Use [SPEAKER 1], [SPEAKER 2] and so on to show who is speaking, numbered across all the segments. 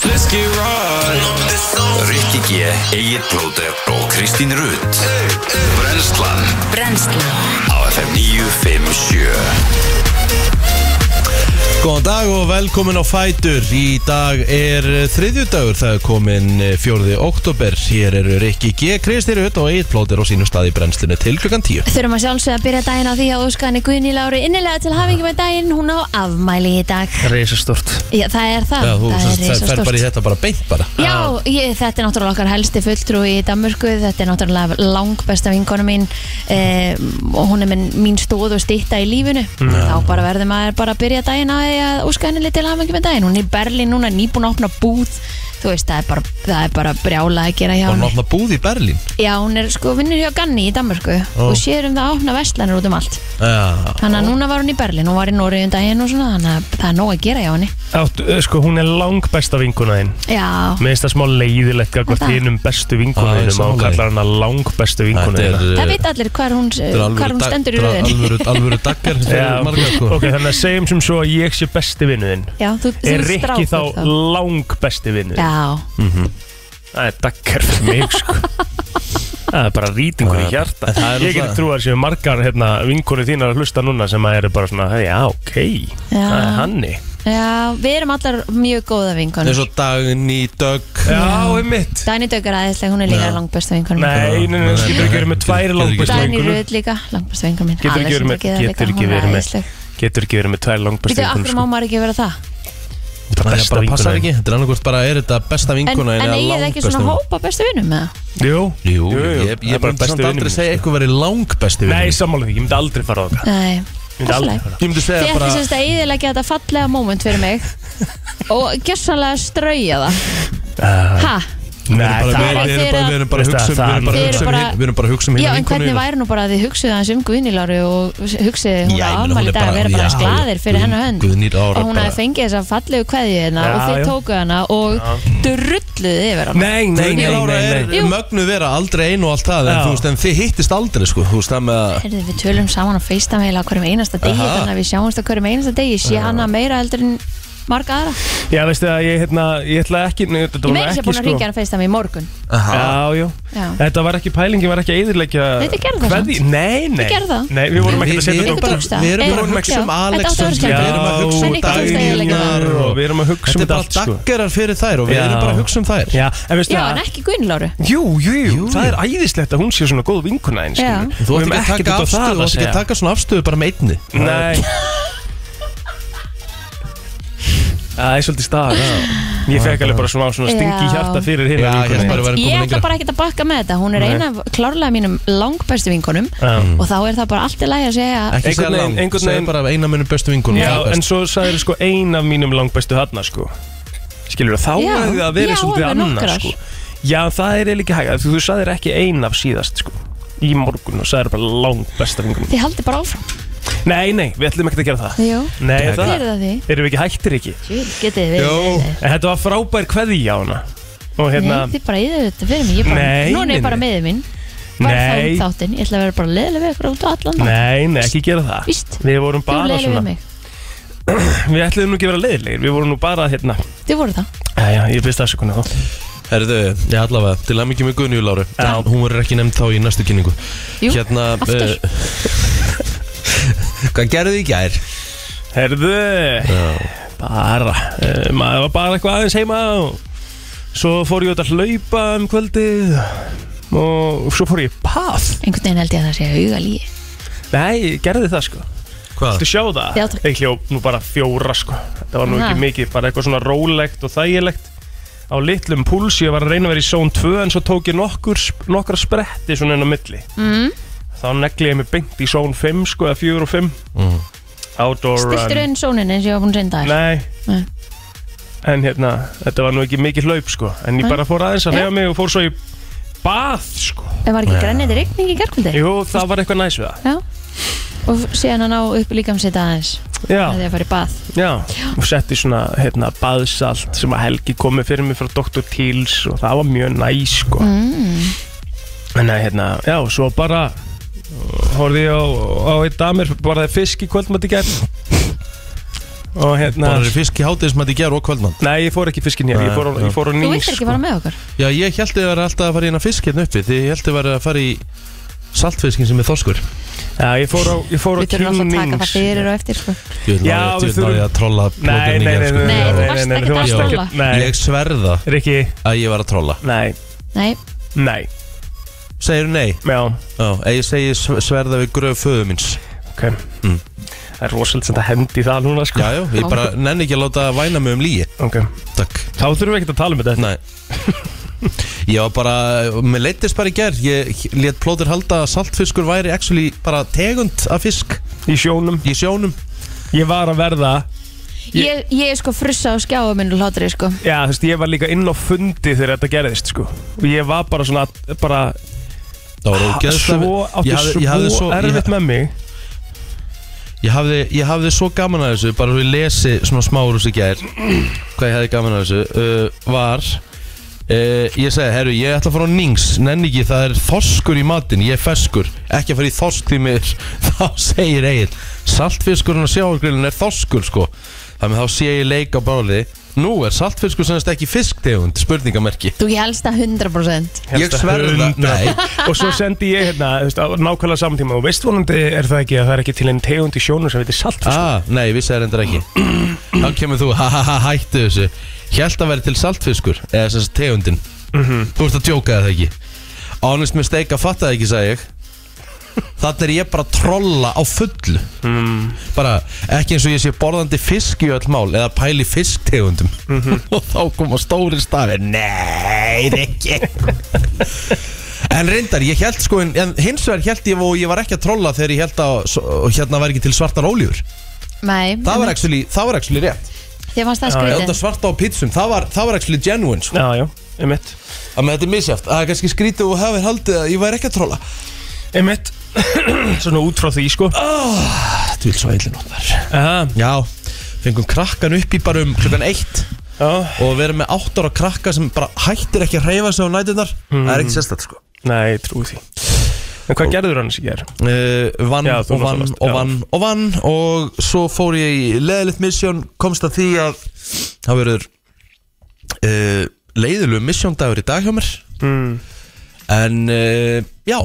[SPEAKER 1] kannski rann
[SPEAKER 2] Rikki G, Egil Blóter og Kristín Rutt Brenslan
[SPEAKER 3] Brennslan
[SPEAKER 2] á FM 957
[SPEAKER 4] Góðan dag og velkomin á Fætur Í dag er eh, þriðjudagur, það er komin fjórði oktober Hér eru Rikki G, Kristi Rutt og Egil Plóter á sínum stað í brennslinu til klukkan 10
[SPEAKER 3] Þurfum að sjálfsögja að byrja daginn á því að óska henni Guðni Láru innilega til hafingi með daginn Hún á afmæli í dag
[SPEAKER 5] Reisastort
[SPEAKER 3] Já, það er það,
[SPEAKER 4] Já, þú
[SPEAKER 3] það
[SPEAKER 4] sérst, það fer
[SPEAKER 3] risastórt.
[SPEAKER 4] bara í hérna- þetta bara beint bara
[SPEAKER 3] Já, ég, þetta er náttúrulega okkar helsti fulltrúi í Danmörku Þetta er náttúrulega langbesta vinkonu mín eh, Og hún er minn, mín stóð og stýtta í lífinu Þá bara verður maður bara að byrja daginn að, að óska henni til hafingi með daginn Hún er í Berlín núna, nýbúin að opna búð Þú veist, það er bara, það er bara brjála að gera hjá
[SPEAKER 4] Og
[SPEAKER 3] henni
[SPEAKER 4] hann opna búð í Berlín
[SPEAKER 3] Já, hún er sko vinnur hjá Ganni í Danmörku
[SPEAKER 4] Ó.
[SPEAKER 3] og sér um það að opna vestlanir út um allt
[SPEAKER 4] Já,
[SPEAKER 3] Þannig að núna var hún í Berlin, hún var í Nóri um daginn og svona þannig að það er nóg að gera hjá henni
[SPEAKER 5] Áttu, eh, sko, hún er lang besta vinkuna þinn
[SPEAKER 3] Já,
[SPEAKER 5] Mér finnst það smá leiðilegt Gagvart
[SPEAKER 3] Þetta?
[SPEAKER 5] hinum bestu
[SPEAKER 4] Ah, ég
[SPEAKER 5] vinkunum Og hún
[SPEAKER 4] sammála
[SPEAKER 5] kallar hana lang bestu vinkuna
[SPEAKER 4] þetta er, eh,
[SPEAKER 5] þinn
[SPEAKER 3] það veit allir hvar hún, hvar hún stendur í röðin
[SPEAKER 4] Alvöru, alvöru daggar, þetta
[SPEAKER 5] Já,
[SPEAKER 4] er margar sko
[SPEAKER 5] ok, þannig að segjum sem svo að ég sé besti vinnuðinn
[SPEAKER 3] Já, þú, þú
[SPEAKER 5] Er
[SPEAKER 3] ert
[SPEAKER 5] Rikki
[SPEAKER 3] strákur
[SPEAKER 5] þá lang besti vinnuðinn?
[SPEAKER 3] Já,
[SPEAKER 5] Það er dakkar fyrir mig, sko Það er bara rýtingur í
[SPEAKER 4] Það-
[SPEAKER 5] hjarta
[SPEAKER 4] en það er
[SPEAKER 5] Ég
[SPEAKER 4] náttúrulega-
[SPEAKER 5] get trú að séu margar hérna, vinkunni þínar að hlusta núna sem að eru bara svona, "Hey, já, ok,
[SPEAKER 3] Já.
[SPEAKER 5] það er hanni
[SPEAKER 3] já, við erum allar mjög góða
[SPEAKER 4] Það er
[SPEAKER 3] vinkonur
[SPEAKER 4] svo dagný, dögg
[SPEAKER 5] Já, einmitt
[SPEAKER 3] Dæni Dögg er aðeinslega, hún er
[SPEAKER 4] Já.
[SPEAKER 3] líka langbesta vinkonur mín
[SPEAKER 5] Nei, nei, nei, skilur ekki verið með tvær
[SPEAKER 4] Getur ekki-
[SPEAKER 5] langbæstu
[SPEAKER 3] Dæni
[SPEAKER 5] vinkunum
[SPEAKER 3] Röð líka, langbesta vinkonur mín
[SPEAKER 5] Getur ekki verið með- getur ekki verið með- Getur ekki verið með tvær langbæstu
[SPEAKER 3] Býtu, af hverju má
[SPEAKER 5] sko.
[SPEAKER 3] maður ekki vera það?
[SPEAKER 4] Það er bara passar ekki, þetta er annarkvort bara er þetta besta
[SPEAKER 3] En,
[SPEAKER 4] vinkona
[SPEAKER 3] en
[SPEAKER 4] eða
[SPEAKER 3] eigið þið ekki
[SPEAKER 4] langbesta
[SPEAKER 3] svona
[SPEAKER 4] vinkona?
[SPEAKER 3] hópa bestu vinnum með það?
[SPEAKER 5] Jú,
[SPEAKER 4] Jú, ég,
[SPEAKER 5] það
[SPEAKER 4] ég
[SPEAKER 5] er bara
[SPEAKER 4] myndi samt
[SPEAKER 5] besti
[SPEAKER 4] aldrei
[SPEAKER 5] vinur
[SPEAKER 4] segja
[SPEAKER 5] minn, sko.
[SPEAKER 4] eitthvað verið langbesti vinur
[SPEAKER 5] Nei,
[SPEAKER 4] minn.
[SPEAKER 5] sammála því, ég myndi aldrei fara á það
[SPEAKER 3] Nei,
[SPEAKER 5] Ég myndi aldrei
[SPEAKER 3] alltaf
[SPEAKER 5] fara á það.
[SPEAKER 4] Ég myndi
[SPEAKER 3] Þið
[SPEAKER 4] segja
[SPEAKER 3] ætti
[SPEAKER 4] bara
[SPEAKER 3] semst að íðilegja þetta fallega moment fyrir mig og gessanlega strauja það
[SPEAKER 4] Eh,
[SPEAKER 3] Hæ?
[SPEAKER 4] Við
[SPEAKER 5] Nei,
[SPEAKER 4] erum
[SPEAKER 5] það
[SPEAKER 4] bara- við
[SPEAKER 3] var-
[SPEAKER 4] erum bara- við erum bara að hugsa um-
[SPEAKER 5] Það-
[SPEAKER 4] við erum bara að
[SPEAKER 3] þið
[SPEAKER 4] hugsa um
[SPEAKER 3] eru bara-
[SPEAKER 4] hin- Við erum bara að hugsa um
[SPEAKER 3] Já,
[SPEAKER 4] hérna
[SPEAKER 3] en hvernig
[SPEAKER 4] vinkonuna.
[SPEAKER 3] væri nú bara að þið hugsuðu aðeins um Guðniláru og hugsuðu hún
[SPEAKER 4] Já, ég
[SPEAKER 3] að
[SPEAKER 4] meina,
[SPEAKER 3] afmæli
[SPEAKER 4] hún
[SPEAKER 3] í
[SPEAKER 4] er
[SPEAKER 3] dag
[SPEAKER 4] bara-
[SPEAKER 3] að vera
[SPEAKER 4] já,
[SPEAKER 3] bara aðeins glaðir fyrir hennar hönd
[SPEAKER 4] Guðný Lára
[SPEAKER 3] og hún
[SPEAKER 4] bara-
[SPEAKER 3] hafi fengið þessa fallegu kveðju hérna
[SPEAKER 5] Já,
[SPEAKER 3] og
[SPEAKER 5] já.
[SPEAKER 3] þið tókuðu hana og drulluðu yfir hana
[SPEAKER 5] Nei, nei,
[SPEAKER 4] Guðný
[SPEAKER 5] nei,
[SPEAKER 4] Lára
[SPEAKER 5] nei, nei.
[SPEAKER 4] er
[SPEAKER 3] Jú.
[SPEAKER 4] mögnu vera aldrei einu og allt það En
[SPEAKER 5] Já.
[SPEAKER 4] þú veist, en þið hittist aldrei sko Þú veist það með að
[SPEAKER 3] Herðu, við tölum saman á FaceTime heila á hverjum einasta degi
[SPEAKER 4] Aha.
[SPEAKER 3] þannig að við sjáumst á hverjum einasta degi ég sé hana meira eldur en marga aðra
[SPEAKER 5] Já, veistu það, ég, hérna, ég ætla ekki nei, Þetta
[SPEAKER 3] Ég
[SPEAKER 5] var
[SPEAKER 3] meira sér
[SPEAKER 5] ekki,
[SPEAKER 4] sko.
[SPEAKER 5] sko.
[SPEAKER 3] búin að ringja hana á FaceTime í morgun
[SPEAKER 4] Aha.
[SPEAKER 5] Já, já
[SPEAKER 3] Já.
[SPEAKER 5] Þetta var ekki pæling, ég var ekki að eðurleikja
[SPEAKER 3] Nei, þið gerðu það samt.
[SPEAKER 5] Nei, nei
[SPEAKER 3] Þið gerðu það.
[SPEAKER 5] Nei, við vorum ekki að
[SPEAKER 4] Við- við
[SPEAKER 5] setja
[SPEAKER 4] erum
[SPEAKER 3] Ykkur
[SPEAKER 5] þetta
[SPEAKER 4] bara-
[SPEAKER 3] tókst það.
[SPEAKER 4] Við erum bara
[SPEAKER 3] Ey,
[SPEAKER 4] að hugsa um
[SPEAKER 3] já.
[SPEAKER 4] Alex
[SPEAKER 3] Þetta átti að vera
[SPEAKER 4] Við erum að hugsa um
[SPEAKER 3] En ykkur tókst að eyðileggja
[SPEAKER 4] dagninjar
[SPEAKER 3] það.
[SPEAKER 4] og-
[SPEAKER 5] Við erum að hugsa
[SPEAKER 4] Þetta
[SPEAKER 5] um
[SPEAKER 4] er
[SPEAKER 5] þetta
[SPEAKER 4] bara
[SPEAKER 5] allt sko
[SPEAKER 4] daggarar fyrir þær Og við
[SPEAKER 5] Já.
[SPEAKER 4] erum bara að hugsa um þær
[SPEAKER 5] Já, en veistu
[SPEAKER 3] Já,
[SPEAKER 5] það sko?
[SPEAKER 3] en ekki Guðniláru
[SPEAKER 5] Jú, jú, jú, það er æðislegt að hún sé svona góð vinkuna einn
[SPEAKER 3] Já.
[SPEAKER 4] Þú átt ekki að taka afstöðu Þú átt ekki að taka svona afstöðu bara með einni
[SPEAKER 5] Nei Það er svolítið stað Ég fekk alveg bara svona, svona stingi
[SPEAKER 3] Já.
[SPEAKER 5] hjarta fyrir
[SPEAKER 4] Já,
[SPEAKER 5] hérna
[SPEAKER 4] ég held bara að vera
[SPEAKER 3] Ég
[SPEAKER 4] komin
[SPEAKER 3] ætla
[SPEAKER 4] lengra
[SPEAKER 3] bara ekkert að bakka með þetta Hún er
[SPEAKER 5] Nei.
[SPEAKER 3] eina af klárlega mínum langbæstu vinkonum
[SPEAKER 5] Já.
[SPEAKER 3] Og þá er það bara allt í lagi að segja
[SPEAKER 4] Ekki segja
[SPEAKER 5] Einhvern veginn-
[SPEAKER 4] lang,
[SPEAKER 5] einhvern
[SPEAKER 4] segja
[SPEAKER 5] veginn-
[SPEAKER 4] bara eina minnum bestu vinkunum
[SPEAKER 5] Já, en svo sagðir sko ein af mínum langbæstu hana sko Skilur þá
[SPEAKER 3] Já.
[SPEAKER 5] hefði það
[SPEAKER 3] Já,
[SPEAKER 5] verið svolítið
[SPEAKER 3] alveg
[SPEAKER 5] annað
[SPEAKER 3] nokkrar.
[SPEAKER 5] sko Já, það er eiginlega ekki hægt Þú, þú sagðir ekki ein af síðast sko Í morgun og sagðir bara langbæsta vingunum
[SPEAKER 3] Þið haldið bara áfram
[SPEAKER 5] Nei, nei, við ætlum ekki að gera það
[SPEAKER 3] Jú,
[SPEAKER 5] Nei,
[SPEAKER 3] þið
[SPEAKER 5] það
[SPEAKER 3] eru það því
[SPEAKER 5] Erum við ekki hættir ekki
[SPEAKER 3] Jú, getið við
[SPEAKER 5] En þetta var frábær kveðja á hana Og hérna
[SPEAKER 3] Nei, þið bara yfir þetta fyrir mig Ég bara,
[SPEAKER 5] Nei,
[SPEAKER 3] Núna
[SPEAKER 5] nei,
[SPEAKER 3] er bara
[SPEAKER 5] nei.
[SPEAKER 3] meðið minn Bara þá
[SPEAKER 5] Nei,
[SPEAKER 3] út þáttinn Ég ætla að vera bara leðilega við ykkur út á allan dag.
[SPEAKER 5] Nei, nei, ekki gera það
[SPEAKER 3] Víst.
[SPEAKER 5] Við vorum
[SPEAKER 3] Þú
[SPEAKER 5] bara
[SPEAKER 3] leðilega við
[SPEAKER 5] svona
[SPEAKER 3] mig
[SPEAKER 5] Við ætluðum nú ekki að vera leiðilegir Við vorum nú bara hérna
[SPEAKER 3] Þið voru það
[SPEAKER 5] Jæja, ég byrst afsökunni þá
[SPEAKER 4] Herðu, ég allavega, til að mikið með Guðnýju Láru
[SPEAKER 5] Já.
[SPEAKER 4] En hún verður ekki nefnd þá í næstu kynningu
[SPEAKER 3] Jú,
[SPEAKER 4] Hérna,
[SPEAKER 3] aftur.
[SPEAKER 4] eh, Hvað gerðu þið í gær?
[SPEAKER 5] Herðu Bara uh, Maður var bara eitthvað aðeins heima og Svo fór ég út að hlaupa um kvöldið Og svo fór ég í pað
[SPEAKER 3] Einhvern veginn held ég að það sé auga líi
[SPEAKER 5] Nei, ég gerði það sko
[SPEAKER 4] Hvað?
[SPEAKER 5] Þú sjá það?
[SPEAKER 3] Já, takk.
[SPEAKER 5] Ég hljóp nú bara fjóra sko Það var nú
[SPEAKER 3] Aha.
[SPEAKER 5] ekki mikið, bara eitthvað svona rólegt og þægilegt Á litlum púls, ég var að reyna að vera í zón 2 En svo tók ég nokkur, nokkra spretti svona inn á milli mm. Þá negli ég mig beint í zón 5 sko, eða 4 og 5 Outdoor
[SPEAKER 3] Stiltur
[SPEAKER 5] run
[SPEAKER 3] inn sónin eins og ég var búin að reynda þér
[SPEAKER 5] Nei
[SPEAKER 3] Nei.
[SPEAKER 5] En hérna, þetta var nú ekki mikið hlaup sko En ég
[SPEAKER 3] Nei.
[SPEAKER 5] bara fór aðeins að
[SPEAKER 3] Já.
[SPEAKER 5] reyja mig og fór svo í bað sko
[SPEAKER 3] En var ekki grænið rigning í gerkvöldi?
[SPEAKER 5] Jú, það var eitthvað næs við það
[SPEAKER 3] Já Og síðan að ná upp líkamsita aðeins
[SPEAKER 5] Já
[SPEAKER 3] Þegar ég farið bað
[SPEAKER 5] Já, og setti svona hérna, baðsalt sem að Helgi komið fyrir mig frá Dr. Teals og það var mjög næs sko. mm. en að hérna, já, svo bara uh, horfði ég á, á eitt damer bara fisk í kvöldmátt í gerð og hérna
[SPEAKER 4] Bara fisk í hátíðismætt í gerð og kvöldmann
[SPEAKER 5] Nei, ég fór ekki fiskin hér, ég fór, á- ég fór á
[SPEAKER 3] Þú
[SPEAKER 5] nýs sko.
[SPEAKER 3] viltir ekki fara með okkur
[SPEAKER 4] Já, ég held að það var alltaf að fara inn að fisk hérna uppi Því ég held að það var að fara í saltfiskin sem er þorskur
[SPEAKER 5] Já, ég fór á, ég fór á
[SPEAKER 3] Við þurfum
[SPEAKER 5] King
[SPEAKER 3] alltaf að taka það
[SPEAKER 5] Nings
[SPEAKER 3] fyrir og eftir sko.
[SPEAKER 4] Ég vil
[SPEAKER 5] Já,
[SPEAKER 4] ná- ég vil
[SPEAKER 5] við
[SPEAKER 4] ná
[SPEAKER 5] þurfum-
[SPEAKER 4] ég að trolla
[SPEAKER 5] Nei,
[SPEAKER 4] plóterinn í
[SPEAKER 5] nei,
[SPEAKER 4] gerð,
[SPEAKER 5] nei,
[SPEAKER 4] sko.
[SPEAKER 3] Nei,
[SPEAKER 5] nei,
[SPEAKER 3] þú
[SPEAKER 5] nei,
[SPEAKER 3] varst ekkert að
[SPEAKER 5] nei, nei, þú varst ekkert-
[SPEAKER 3] trolla.
[SPEAKER 5] Nei,
[SPEAKER 4] Ég sverða
[SPEAKER 5] Rikki,
[SPEAKER 4] að ég var að trolla
[SPEAKER 5] nei,
[SPEAKER 3] Nei,
[SPEAKER 5] nei,
[SPEAKER 4] Segir nei?
[SPEAKER 5] já,
[SPEAKER 4] Já, ef ég segi sv- sverða við gröf föðu minns
[SPEAKER 5] ok Það er rosalega sem þetta hendi í það núna, sko
[SPEAKER 4] Mm. Já, já, ég bara nenni ekki að láta væna mig um líi
[SPEAKER 5] Ok,
[SPEAKER 4] Takk
[SPEAKER 5] þá þurfum við ekkert að tala um þetta
[SPEAKER 4] Nei Ég var bara, mér leittist bara í gerð Ég let plóður halda að saltfiskur væri actually bara tegund af fisk
[SPEAKER 5] Í sjónum,
[SPEAKER 4] í sjónum
[SPEAKER 5] ég var að verða
[SPEAKER 3] ég, ég er sko frussa á skjáum minn og hlátri sko.
[SPEAKER 5] Já, þú veist, ég var líka inn á fundi þegar þetta gerðist, sko Og ég var bara svona, bara
[SPEAKER 4] Það var ógeðslega
[SPEAKER 5] Svo, átti
[SPEAKER 4] Ég hafði- ég hafði
[SPEAKER 5] svo
[SPEAKER 4] svo- ég-
[SPEAKER 5] erfitt með mig
[SPEAKER 4] Ég hafði, ég hafði svo gaman að þessu Bara svo ég lesi svona smáur úr sig gær Hvað ég hafði gaman að þessu uh, Var uh, Ég segi, herru, ég ætla að fara á Nings Nenni ekki, það er þorskur í matinn Ég er feskur, ekki að fara í þorsk því mér Þá segir eigin Saltfiskurinn og sjáargrillin er þorskur sko Þannig þá sé ég leik á báli Nú er saltfiskur sannast ekki fisktegund Spurningamerki
[SPEAKER 3] Þú ég helst að 100%
[SPEAKER 4] Ég sverða, nei
[SPEAKER 5] hérna. Og svo sendi ég hérna, þú veist, á nákvæmlega samtíma Og veist vonandi er það ekki að það er ekki til einn tegund í sjónum sem heitir salt sko.
[SPEAKER 4] Ah, nei, ég vissi það reyndar ekki Þá kemur þú, ha ha ha, hættu þessu Hjælt að vera til saltfiskur Eða sem sagt tegundin Þú ert að djóka eða ekki Honest mistake að fatta það ekki, sagði ég Þannig er ég bara að trolla á fullu Bara, ekki eins og ég sé borðandi fisk í öll mál Eða pæli fisktegundum Og þá koma stóri stafi Nei, ekki En reyndar, ég held sko En en hins vegar held ég og ég var ekki að trolla Þegar ég held að svo- hérna var ekki til svartar óljur
[SPEAKER 3] Nei,
[SPEAKER 4] Það var actually, það var actually rétt
[SPEAKER 3] Þér fannst það
[SPEAKER 5] Já,
[SPEAKER 4] Ég held
[SPEAKER 3] skrítið
[SPEAKER 4] að svarta á pizzum, það var, það var actually genuine sko.
[SPEAKER 5] Já, já, um mitt
[SPEAKER 4] Þannig að þetta er misjáft, það er kannski skrítið og hafið haldið að ég væri ekki að trolla
[SPEAKER 5] Einmitt Svona út frá því sko
[SPEAKER 4] Þetta vil svo eilin út þar
[SPEAKER 5] Aha,
[SPEAKER 4] Já, fengum krakkan upp í bara um klukkan eitt
[SPEAKER 5] já,
[SPEAKER 4] Og við erum með átt ára krakka sem bara hættir ekki að hreyfa sig á nætunar Það er ekki sérstætt sko
[SPEAKER 5] nei, ég trúi því En hvað gerður hann sér?
[SPEAKER 4] uh, Vann
[SPEAKER 5] Já, þú
[SPEAKER 4] og vann
[SPEAKER 5] náttúrulega,
[SPEAKER 4] og
[SPEAKER 5] já.
[SPEAKER 4] vann og vann Og svo fór ég í leðilegt misjón Komst að því að það verður uh, leiðilegu misjóndagur í dag hjá mér
[SPEAKER 5] Mm.
[SPEAKER 4] En uh, já,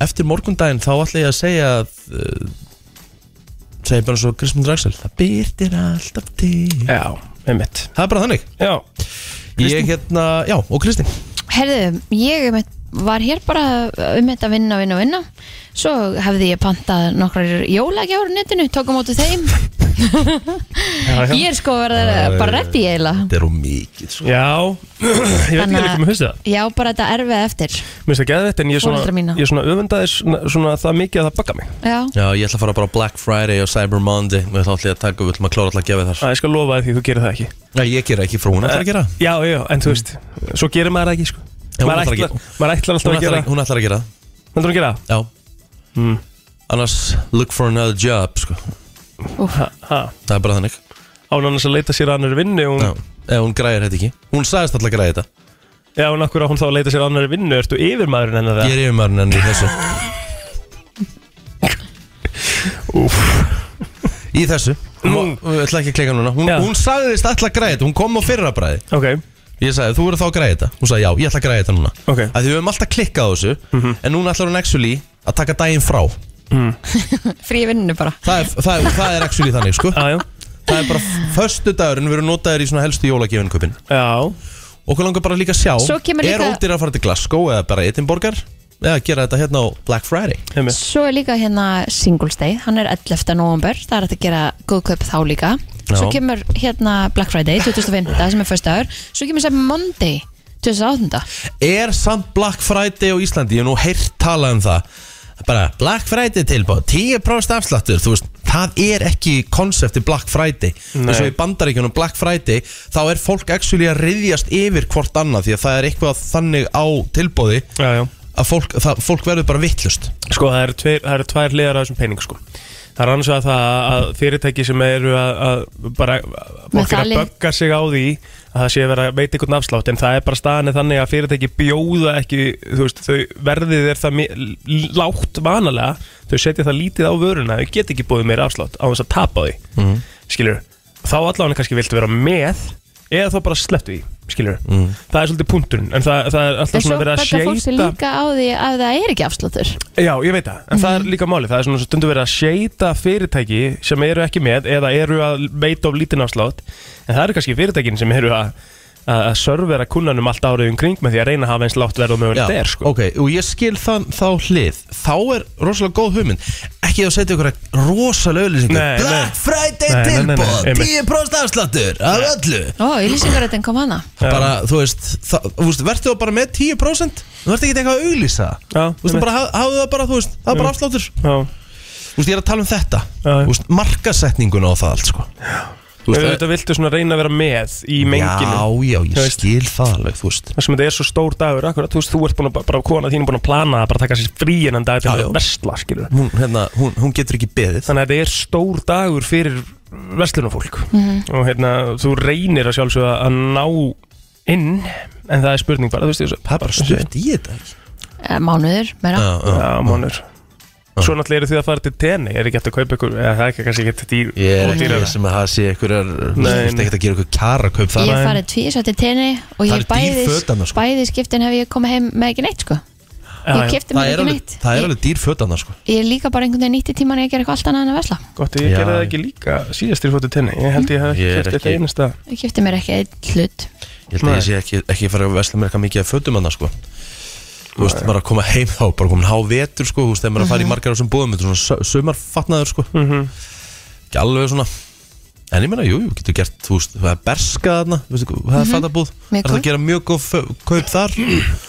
[SPEAKER 4] eftir morgundaginn þá ætla ég að segja að uh, segja bara svo Kristmund Draxel það byrtir alltaf til
[SPEAKER 5] Já, einmitt
[SPEAKER 4] Það er bara þannig
[SPEAKER 5] Já,
[SPEAKER 4] Ég hérna, já, og Kristinn
[SPEAKER 3] Herðu, ég um eitt- var hér bara um þetta að vinna, vinna, vinna Svo hefði ég pantað nokkrar jólagjár á netinu, tók á mótu þeim
[SPEAKER 5] já, já.
[SPEAKER 3] Ég er sko verið bara reddi eiginlega
[SPEAKER 4] Þetta er of mikið sko.
[SPEAKER 5] já. Ég veit ekki
[SPEAKER 3] Þannig að-
[SPEAKER 5] ekki með fyrst það
[SPEAKER 3] Já, bara þetta erfið eftir
[SPEAKER 5] Mér finnst það geðvett en ég er
[SPEAKER 3] Foreldra
[SPEAKER 5] svona,
[SPEAKER 3] mína.
[SPEAKER 5] ég er svona öfundaði svona, svona það mikið að það bagga mig
[SPEAKER 3] Já,
[SPEAKER 4] Já, ég ætla að fara bara á Black Friday og Cyber Monday Við ætla allir að taka, við ætlum að klára alltaf að gefa þar
[SPEAKER 5] að ég skal lofa þér því þú gerir það ekki
[SPEAKER 4] Já, ég gera ekki frún, ætlar að gera
[SPEAKER 5] Já, já, en þú veist, svo gerir maður það ekki sko.
[SPEAKER 4] Já, hún
[SPEAKER 5] maður,
[SPEAKER 4] ætlar
[SPEAKER 5] ætlar, maður ætlar alltaf
[SPEAKER 4] Hún
[SPEAKER 5] að
[SPEAKER 4] ætlar,
[SPEAKER 5] gera
[SPEAKER 4] að- hún ætlar að gera það,
[SPEAKER 5] Heldur hún að gera það?
[SPEAKER 4] já Annars, look for another job, sko
[SPEAKER 5] Ha, ha.
[SPEAKER 4] Það er bara þannig
[SPEAKER 5] Án annars að leita sér að annar vinnu hún,
[SPEAKER 4] Já, ef hún græðir þetta ekki Hún sagðist alltaf að græði þetta
[SPEAKER 5] Já, hún akkur á hún þá að leita sér að annar vinnu Ertu yfirmaðurinn hennar það?
[SPEAKER 4] Ég er yfirmaðurinn henni í þessu Í þessu Nú, ég ætla ekki að klika núna Hún,
[SPEAKER 5] Já.
[SPEAKER 4] hún sagðist alltaf að græða þetta, hún kom á fyrra bræði
[SPEAKER 5] Ok,
[SPEAKER 4] Ég sagði, þú eru þá að græða þetta Hún sagði, já, ég ætla að græða þetta núna
[SPEAKER 5] Ok. Mhm.
[SPEAKER 4] Af Því við höfum alltaf klikkað á þessu En núna ætlar hún actually að taka daginn frá
[SPEAKER 3] frí vinninu bara
[SPEAKER 4] Það er, það er, það er actually þannig, sko
[SPEAKER 5] aðjá
[SPEAKER 4] Það er bara föstu dagurinn við erum notaðir í svona helstu jólagefinköpin
[SPEAKER 5] Já,
[SPEAKER 4] Okkur langar bara líka að sjá
[SPEAKER 3] Svo kemur
[SPEAKER 4] Er
[SPEAKER 3] líka-
[SPEAKER 4] ódýr að fara til Glasgow eða bara Edinborgar Eða gera þetta hérna á Black Friday
[SPEAKER 5] einmitt
[SPEAKER 3] Svo er líka hérna Singles Day, hann er 11. november, það er hægt að gera góðkaup þá líka. Svo
[SPEAKER 4] Já.
[SPEAKER 3] kemur hérna Black Friday 2005, sem er fyrsta ár. Svo kemur sem Monday 2008.
[SPEAKER 4] Er samt Black Friday á Íslandi Ég hef nú heyrt talað um það Bara Black Friday tilbáð 10% afsláttur Þú veist Það er ekki konsepti Black Friday
[SPEAKER 5] Nei.
[SPEAKER 4] eins og í bandaríkjunum Black Friday Þá er fólk actually að riðjast yfir hvort annað Því að það er eitthvað þannig á tilbóði
[SPEAKER 5] Já, já
[SPEAKER 4] Að fólk, það, fólk verður bara vittlust
[SPEAKER 5] Sko, það eru tveir, það eru tvær liðar af þessum pening, sko. Það er annars vegar það að fyrirtæki sem eru að, að bara, að fólk er að
[SPEAKER 3] það lið.
[SPEAKER 5] bögga sig á því að það sé að vera að veita einhvern afslátt, en það er bara staðanir þannig að fyrirtæki bjóða ekki, þú veist, þau verðið er það mi- l- lágt vanalega, þau setja það lítið á vöruna, þau get ekki búið meira afslátt á þess að tapa á því, mm. skilur þá allavega kannski viltu vera með eða þá bara slepptu því skilur það er svolítið punkturinn en það, það er
[SPEAKER 3] En
[SPEAKER 5] alltaf
[SPEAKER 3] svo
[SPEAKER 5] svona verið að
[SPEAKER 3] betta fólk sér
[SPEAKER 5] seita
[SPEAKER 3] líka á því að það er ekki afsláttur
[SPEAKER 5] já ég veit það en það
[SPEAKER 4] Mhm.
[SPEAKER 5] er líka máli það er svona stundu verið að seita fyrirtæki sem eru ekki með eða eru að veita of lítinn afslátt en það eru kannski fyrirtækin sem eru að að að servera kunnanum allt árið um kring með því að reyna að hafa eins látt verð og mögulegt er sko.
[SPEAKER 4] ok, og ég skil þann þá hlið Þá er rosalega góð hugmynd Ekki að setja ykkur rosalega auðlýsingu
[SPEAKER 5] Nei, nei.
[SPEAKER 4] Black Friday
[SPEAKER 5] Nei, nei, nei, nei,
[SPEAKER 4] tilbóð,
[SPEAKER 5] einmitt.
[SPEAKER 4] 10% afsláttur Af öllu
[SPEAKER 3] Ó, ylýsingaröðin kom hana
[SPEAKER 4] bara, þú veist, það, þú veist, verður það bara með 10% þú verður ekki eitthvað að auglýsa þú
[SPEAKER 5] Já,
[SPEAKER 4] veist,
[SPEAKER 5] einmitt.
[SPEAKER 4] bara, haf- hafðu það bara, þú veist, það er bara afsláttur þú
[SPEAKER 5] Já.
[SPEAKER 4] veist, ég er að tala um þetta
[SPEAKER 5] Já, já.
[SPEAKER 4] þú veist, markasetninguna og það allt, sko þú
[SPEAKER 5] Veist,
[SPEAKER 4] veist,
[SPEAKER 5] þetta viltu svona reyna að vera með í menginu
[SPEAKER 4] já, já,
[SPEAKER 5] Þú
[SPEAKER 4] ég
[SPEAKER 5] veist.
[SPEAKER 4] skil það alveg, þú veist
[SPEAKER 5] þar sem þetta er svo stór dagur akkurat, þú veist, þú ert búin að, bara kona þín er búin að plana að bara taka sér frí innan dag til
[SPEAKER 4] Já,
[SPEAKER 5] að
[SPEAKER 4] já.
[SPEAKER 5] versla, skilur
[SPEAKER 4] hún, hérna, hún, hún getur ekki beðið
[SPEAKER 5] þannig að þetta er stór dagur fyrir verslunafólk og hérna, þú reynir að sjálfsögða að ná inn, en það er spurning bara, þú veist, þessu,
[SPEAKER 4] það er bara stutt í þetta ekki
[SPEAKER 3] Eh, Mánuður, meira
[SPEAKER 4] Já, já.
[SPEAKER 5] já, mánur Svo náttúrulega eru þið að fara til tenni, er ekki hægt að kaupa ykkur, eða það er ekki kannski ekki dýr,
[SPEAKER 4] ég er ekki
[SPEAKER 5] ódýrara.
[SPEAKER 4] viss um að það sé ykkur er, þú
[SPEAKER 5] Nei,
[SPEAKER 4] veist,
[SPEAKER 5] nei.
[SPEAKER 4] ekkert að gera ykkur kjara kaup
[SPEAKER 3] Ég
[SPEAKER 4] það
[SPEAKER 3] hef farið tvísvætti tenni og
[SPEAKER 4] Það
[SPEAKER 3] ég
[SPEAKER 4] eru
[SPEAKER 3] bæði,
[SPEAKER 4] dýr föt annars, sko.
[SPEAKER 3] bæði skiptin hef ég komið heim með ekki neitt sko.
[SPEAKER 5] Já,
[SPEAKER 3] Ég
[SPEAKER 5] já,
[SPEAKER 3] kefti
[SPEAKER 4] það
[SPEAKER 3] mér
[SPEAKER 4] er
[SPEAKER 3] ekki
[SPEAKER 4] alveg,
[SPEAKER 3] neitt
[SPEAKER 4] það er
[SPEAKER 3] Ég-
[SPEAKER 4] alveg dýr föt annars, sko
[SPEAKER 3] Ég er líka bara einhvern veginn nýtt í tíman að gera eitthvað allt annað en að vesla
[SPEAKER 5] Gott, ég
[SPEAKER 4] Já.
[SPEAKER 5] gerði það ekki líka síðast þegar ég fór til tenni, ég held ég hef
[SPEAKER 4] Ég er
[SPEAKER 5] ekki þetta
[SPEAKER 4] ekki-
[SPEAKER 5] einasta.
[SPEAKER 3] Ég kefti mér ekki einn hlut
[SPEAKER 4] Ég held að
[SPEAKER 5] Nei.
[SPEAKER 4] ég sé ekki, ekki fara að vesla mér eitthvað mikið af fötum hann sko. Þú veist, bara að koma heim þá bara komin há vetur sko, þú veist, þegar maður er að fara í margar á þessum búðum, þetta er svona sömarfatnaður sko. Ekki alveg svona En ég meina, jú, jú, getur gert, þú veist, það er berska þarna, þú veist, það er fattabúð Það
[SPEAKER 3] Mjög
[SPEAKER 4] er það
[SPEAKER 3] góð.
[SPEAKER 4] að gera mjög góð fö- kaup þar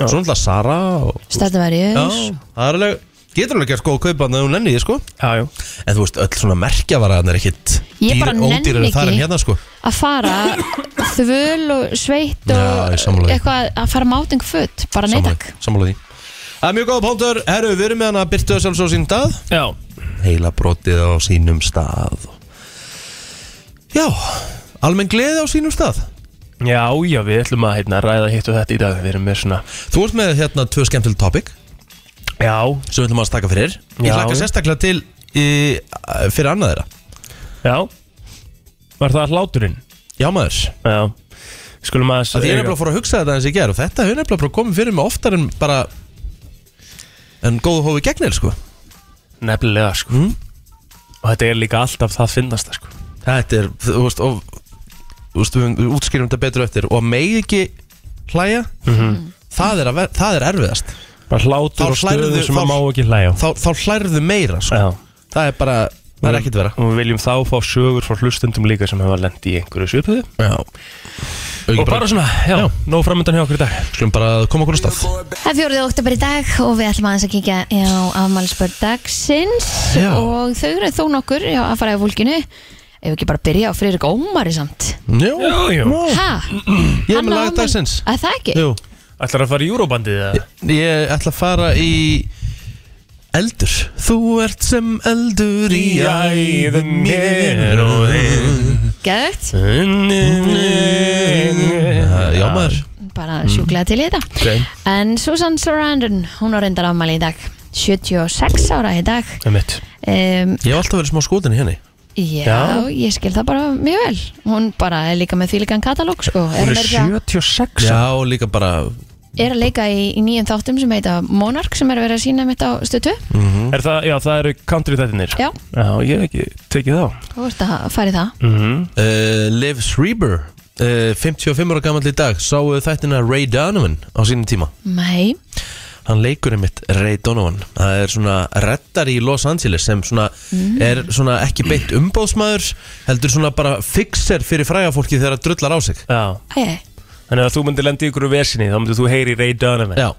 [SPEAKER 4] Svona alltaf Sara og,
[SPEAKER 3] Stæðverjus
[SPEAKER 4] Já, það er alveg, getur alveg gert góð kaup hann ef hún nenni því sko
[SPEAKER 5] Já, já.
[SPEAKER 4] En þú veist, öll svona merkjavaraðan er ekkit
[SPEAKER 3] Ég bara nenni
[SPEAKER 4] ódýrari þar en
[SPEAKER 3] ekki.
[SPEAKER 4] hérna sko
[SPEAKER 3] að fara þvöl og sveitt
[SPEAKER 4] Já,
[SPEAKER 3] og
[SPEAKER 4] ég sammála því.
[SPEAKER 3] eitthvað að fara máting föt bara neytak
[SPEAKER 4] Sammála því Það er mjög góða punktur, herru, við erum með hana að byrtu þess alveg svo sín dag
[SPEAKER 5] Já,
[SPEAKER 4] Heila brotið á sínum stað Já, almenn gleði á sínum stað
[SPEAKER 5] já, já, við ætlum að hérna, ræða hitt og þetta í dag, við erum með svona,
[SPEAKER 4] Þú ert með hérna tvö skemmtileg topic
[SPEAKER 5] já,
[SPEAKER 4] sem við ætlum að taka fyrir Ég
[SPEAKER 5] Já.
[SPEAKER 4] hlakka sérstaklega til í, fyrir annað þeirra
[SPEAKER 5] Já Var það hláturinn?
[SPEAKER 4] Já maður,
[SPEAKER 5] Já Skulum að
[SPEAKER 4] það því ég er nefnilega að fór að hugsa þetta eins ég ger og þetta hefur nefnilega bara komið fyrir mig oftar en bara en góðu hófi gegnir sko
[SPEAKER 5] Nefnilega sko
[SPEAKER 4] Mm.
[SPEAKER 5] Og þetta er líka alltaf það finnast sko
[SPEAKER 4] Þetta er, þú veist, og, þú veist við, við útskýrum þetta betur eftir og að megi ekki hlæja
[SPEAKER 5] Mhm.
[SPEAKER 4] það, er að, ver- það er erfiðast
[SPEAKER 5] Bara hlátur
[SPEAKER 4] Þá
[SPEAKER 5] og stöðu
[SPEAKER 4] hlærðu-
[SPEAKER 5] sem
[SPEAKER 4] þá-
[SPEAKER 5] að má ekki hlæja á.
[SPEAKER 4] þá, þá hlærðu meira sko.
[SPEAKER 5] Já
[SPEAKER 4] það er bara, það er ekkert vera
[SPEAKER 5] Og við viljum þá fá sögur frá hlustundum líka sem hefur lent í einhverju svipuðu
[SPEAKER 4] Já.
[SPEAKER 5] Og
[SPEAKER 4] og
[SPEAKER 5] bara,
[SPEAKER 4] bara
[SPEAKER 5] svona, já, já. nóg framöndan hjá okkur í dag
[SPEAKER 4] skulum bara koma okkur á stað
[SPEAKER 3] Það er fjórið oktober í dag og við ætlum aðeins að kíkja á afmælisbörn dagsins
[SPEAKER 4] Já.
[SPEAKER 3] og þau eru þó nokkur já, að fara í fólkinu ef ekki bara byrja á Friðrik Ómari samt
[SPEAKER 4] Jú,
[SPEAKER 5] Já, já.
[SPEAKER 3] Hæ?
[SPEAKER 4] ég er með lag dagsins
[SPEAKER 3] Að það ekki?
[SPEAKER 4] Jú.
[SPEAKER 5] Ætlar að fara í Eurobandið eða?
[SPEAKER 4] ég ætla að fara í eldur þú ert sem eldur í æðum mér og
[SPEAKER 3] Gæðvegt?
[SPEAKER 4] Já, já maður
[SPEAKER 3] Bara
[SPEAKER 4] Mm.
[SPEAKER 3] sjúklega til í þetta
[SPEAKER 4] okay.
[SPEAKER 3] En Susan Sarandon, hún á reyndar afmæli í dag 76 ára í dag
[SPEAKER 5] Einmitt.
[SPEAKER 3] um,
[SPEAKER 4] Ég hef alltaf verið smá skotin í henni
[SPEAKER 3] já,
[SPEAKER 5] Já.
[SPEAKER 3] ég skil það bara mjög vel Hún bara er líka með þvílíkan katalóg sko.
[SPEAKER 5] Hún er
[SPEAKER 3] meira að segja-
[SPEAKER 5] 76
[SPEAKER 4] Já, og líka bara
[SPEAKER 3] er að leika í, í nýjum þáttum sem heita Monark sem er verið að sína mitt á stötu
[SPEAKER 5] Er það, já, það eru country þættinir
[SPEAKER 3] Já,
[SPEAKER 5] Já, ég hef ekki tekið þá
[SPEAKER 3] þú ert að fara í það
[SPEAKER 5] mm -hmm.
[SPEAKER 4] Uh, Liv Schreiber uh, 55 ára gammal í dag sáu þættina Ray Donovan á sínum tíma
[SPEAKER 5] Mm.
[SPEAKER 3] Nei,
[SPEAKER 4] hann leikur einmitt Ray Donovan það er svona reddar í Los Angeles sem svona
[SPEAKER 3] Mm.
[SPEAKER 4] er svona ekki beint umbóðsmaður heldur svona bara fixer fyrir fræga fólki þegar það drullar á sig
[SPEAKER 5] Já
[SPEAKER 3] æ, æ.
[SPEAKER 5] Þannig að ef þú myndir lenda í ykkur vesinni þá myndir þú heyri Ray Donovan
[SPEAKER 4] já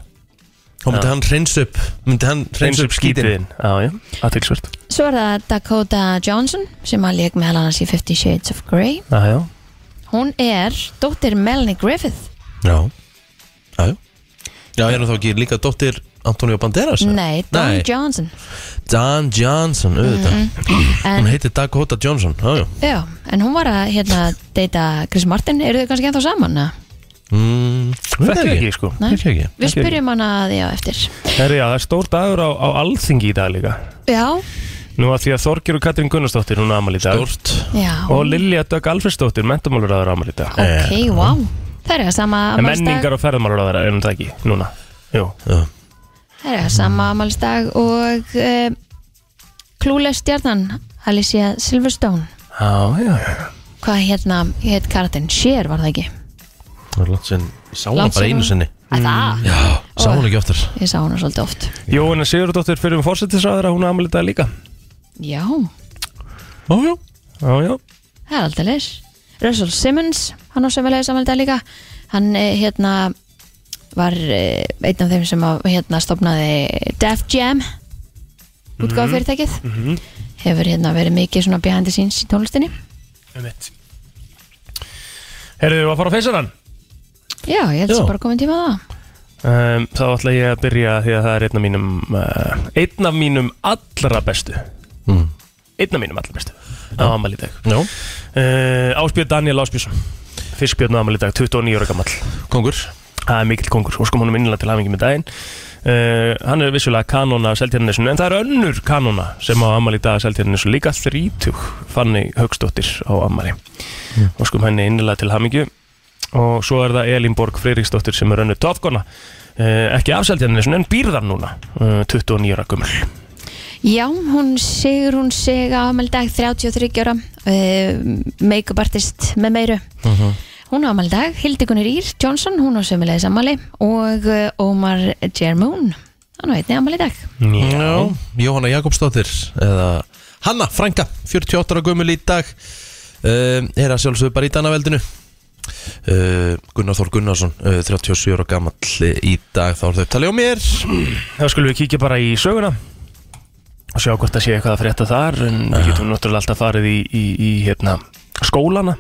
[SPEAKER 4] þá myndi
[SPEAKER 5] Já.
[SPEAKER 4] hann hreinsa upp myndi hann
[SPEAKER 5] Reyns
[SPEAKER 4] hreinsa upp skítin
[SPEAKER 5] Já, já, aðtilsvöld
[SPEAKER 3] Svo er það Dakota Johnson sem að leik meðal annars í Fifty Shades of Grey
[SPEAKER 5] Já, já
[SPEAKER 3] Hún er dóttir Melanie Griffith
[SPEAKER 4] já já já Já, hérna þá ekki líka dóttir Antonio Banderas eða?
[SPEAKER 3] Nei, Don
[SPEAKER 4] Nei.
[SPEAKER 3] Johnson
[SPEAKER 4] Don Johnson, auðvitað
[SPEAKER 3] Mm,
[SPEAKER 4] Hún
[SPEAKER 3] en,
[SPEAKER 4] heitir Dakota Johnson, já, já
[SPEAKER 3] já, en hún var að hérna deyta Chris Martin, eru þau kannski ennþá saman? eða?
[SPEAKER 4] Mm,
[SPEAKER 5] Þetta er ekki, sko
[SPEAKER 3] Nei.
[SPEAKER 4] Þetta er ekki
[SPEAKER 3] Við
[SPEAKER 5] Ekki.
[SPEAKER 3] spyrjum hana að því á eftir
[SPEAKER 5] Herri, já, það er stór dagur á, á alþingi í dag líka
[SPEAKER 3] Já,
[SPEAKER 5] Nú að því að Þorgjur og Katrín Gunnarsdóttir hún amal í dag
[SPEAKER 4] Dort
[SPEAKER 3] Já,
[SPEAKER 5] og Lilja Dögg Alfredsdóttir mentamálur aðra amal í dag
[SPEAKER 3] ok, wow Það eru sama
[SPEAKER 5] Eh, en
[SPEAKER 3] amalstag
[SPEAKER 5] menningar og ferðamálur aðra er hún það ekki núna Jú,
[SPEAKER 3] Það eru sama amalstag og uh, Clueless stjarnan Alicia Silverstone
[SPEAKER 5] já, já, já
[SPEAKER 3] Hvað hérna, hétt karatinn? Cher var það ekki?
[SPEAKER 4] Það er langt sinn Ég sá hana
[SPEAKER 3] Langt
[SPEAKER 4] bara
[SPEAKER 3] síðan.
[SPEAKER 4] einu sinni
[SPEAKER 5] Mm,
[SPEAKER 3] Æ, það?
[SPEAKER 4] Já, sá
[SPEAKER 3] Og-
[SPEAKER 4] hana ekki aftur
[SPEAKER 3] Ég sá hana svolítið oft
[SPEAKER 5] Jóhanna Sigurdóttir fyrir um fórsetisraðara hún amal í dag líka
[SPEAKER 3] Já,
[SPEAKER 4] Ó, já
[SPEAKER 5] Já, já,
[SPEAKER 3] það er aldrei leis Russell Simmons, hann á sömulega samanlega líka Hann eh, hérna var eh, einn af þeim sem að, hérna stopnaði Def Jam útgáð fyrirtækið
[SPEAKER 5] Mhm,
[SPEAKER 3] hefur hérna verið mikið svona behind the scenes í tónlistinni
[SPEAKER 5] um mitt Herðu, við að fara á feysarann
[SPEAKER 3] Já, ég held
[SPEAKER 4] Já.
[SPEAKER 3] sem bara komin tíma á það
[SPEAKER 5] Um, þá ætla ég að byrja því að það er einn af mínum uh, einn af mínum allra bestu
[SPEAKER 4] Mm.
[SPEAKER 5] einn af mínum allra bestu á amal í dag
[SPEAKER 4] Já,
[SPEAKER 5] uh, Áspjörn Daniel Áspjörsson Fiskbjörn á amal í dag, 29 ára gammal
[SPEAKER 4] kongur
[SPEAKER 5] Það er mikill kongur, óskum honum innilega til hafingi með daginn uh, Hann er vissulega kanóna af Seltjarnesinu, en það er önnur kanóna sem á ammali í dag af Seltjarnesinu, líka 30 Fanny Högstóttir á ammali Óskum henni innilega til hamingi og svo er það Elín Borg Freiriksdóttir sem er önnur topkona uh, ekki af Seltjarnesinu, en býr þar núna uh, 29 ára gömul
[SPEAKER 3] Já, hún sigur hún sig á afmæli í dag 33 ára uh, make-up artist með meiru Hún á afmæli í dag, Hildikunir Ír Johnson, hún á sömulegis afmæli og eh, Omar Jermoon hann á einni afmæli í dag
[SPEAKER 4] Já, Jóhanna Jakobsdóttir eða Hanna Franka 48 ára gömul í dag uh, er að sjálfsögðu bara í Danaveldinu uh, Gunnar Þór Gunnarsson uh, 37 ára gamall í dag þá er þau talið á mér
[SPEAKER 5] Þá skulum við kíkja bara í söguna og sjá hvort það sé eitthvað að frétta þar en við getum náttúrulega alltaf farið í, í, í hérna, skólana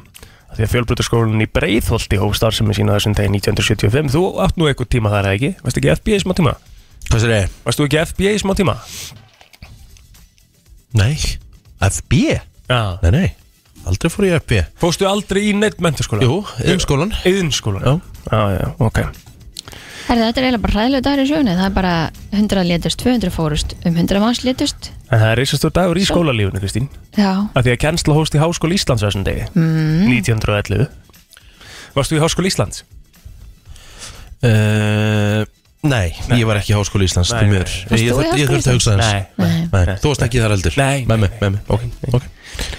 [SPEAKER 5] Af því að fjölbrutarskólan í Breiðholti hóf starfsemi sína á þessum degi 1975 Þú átt nú eitthvað tíma þar eða ekki? Varst ekki FBA í smá tíma?
[SPEAKER 4] Hvað sér ég?
[SPEAKER 5] Varst þú ekki FBA í smá tíma?
[SPEAKER 4] Nei, FB?
[SPEAKER 5] Já
[SPEAKER 4] Nei, nei, aldrei fór ég FB
[SPEAKER 5] Fóstu aldrei í neitt mentaskóla?
[SPEAKER 4] Jú, yngskólan
[SPEAKER 5] Yðnskólan?
[SPEAKER 4] Já.
[SPEAKER 5] Já, já, ok
[SPEAKER 3] Herði, þetta er eiginlega bara hræðilegu dagur í sjöunni það er bara 100 létust, 200 fórust um 100 manns létust
[SPEAKER 5] En það er reisastur dagur í skólalífunu, Kristín
[SPEAKER 3] Já,
[SPEAKER 5] Af því að kennsla hófst í Háskóla Íslands á þessum degi mm. 1911 Varstu í Háskóla Íslands?
[SPEAKER 4] uh, nei, ég var ekki í Háskóla Íslands
[SPEAKER 5] Nei,
[SPEAKER 4] því
[SPEAKER 5] nei.
[SPEAKER 4] miður.
[SPEAKER 3] Varst
[SPEAKER 4] Ég
[SPEAKER 3] þú í
[SPEAKER 4] þurfti- Ég
[SPEAKER 3] Háskóla
[SPEAKER 4] þurfti að hugsa þess
[SPEAKER 3] Nei.
[SPEAKER 4] Nei, þú varst ekki þar heldur
[SPEAKER 5] Nei,
[SPEAKER 4] Með
[SPEAKER 5] nei,
[SPEAKER 4] mig, með mig, ok, ok,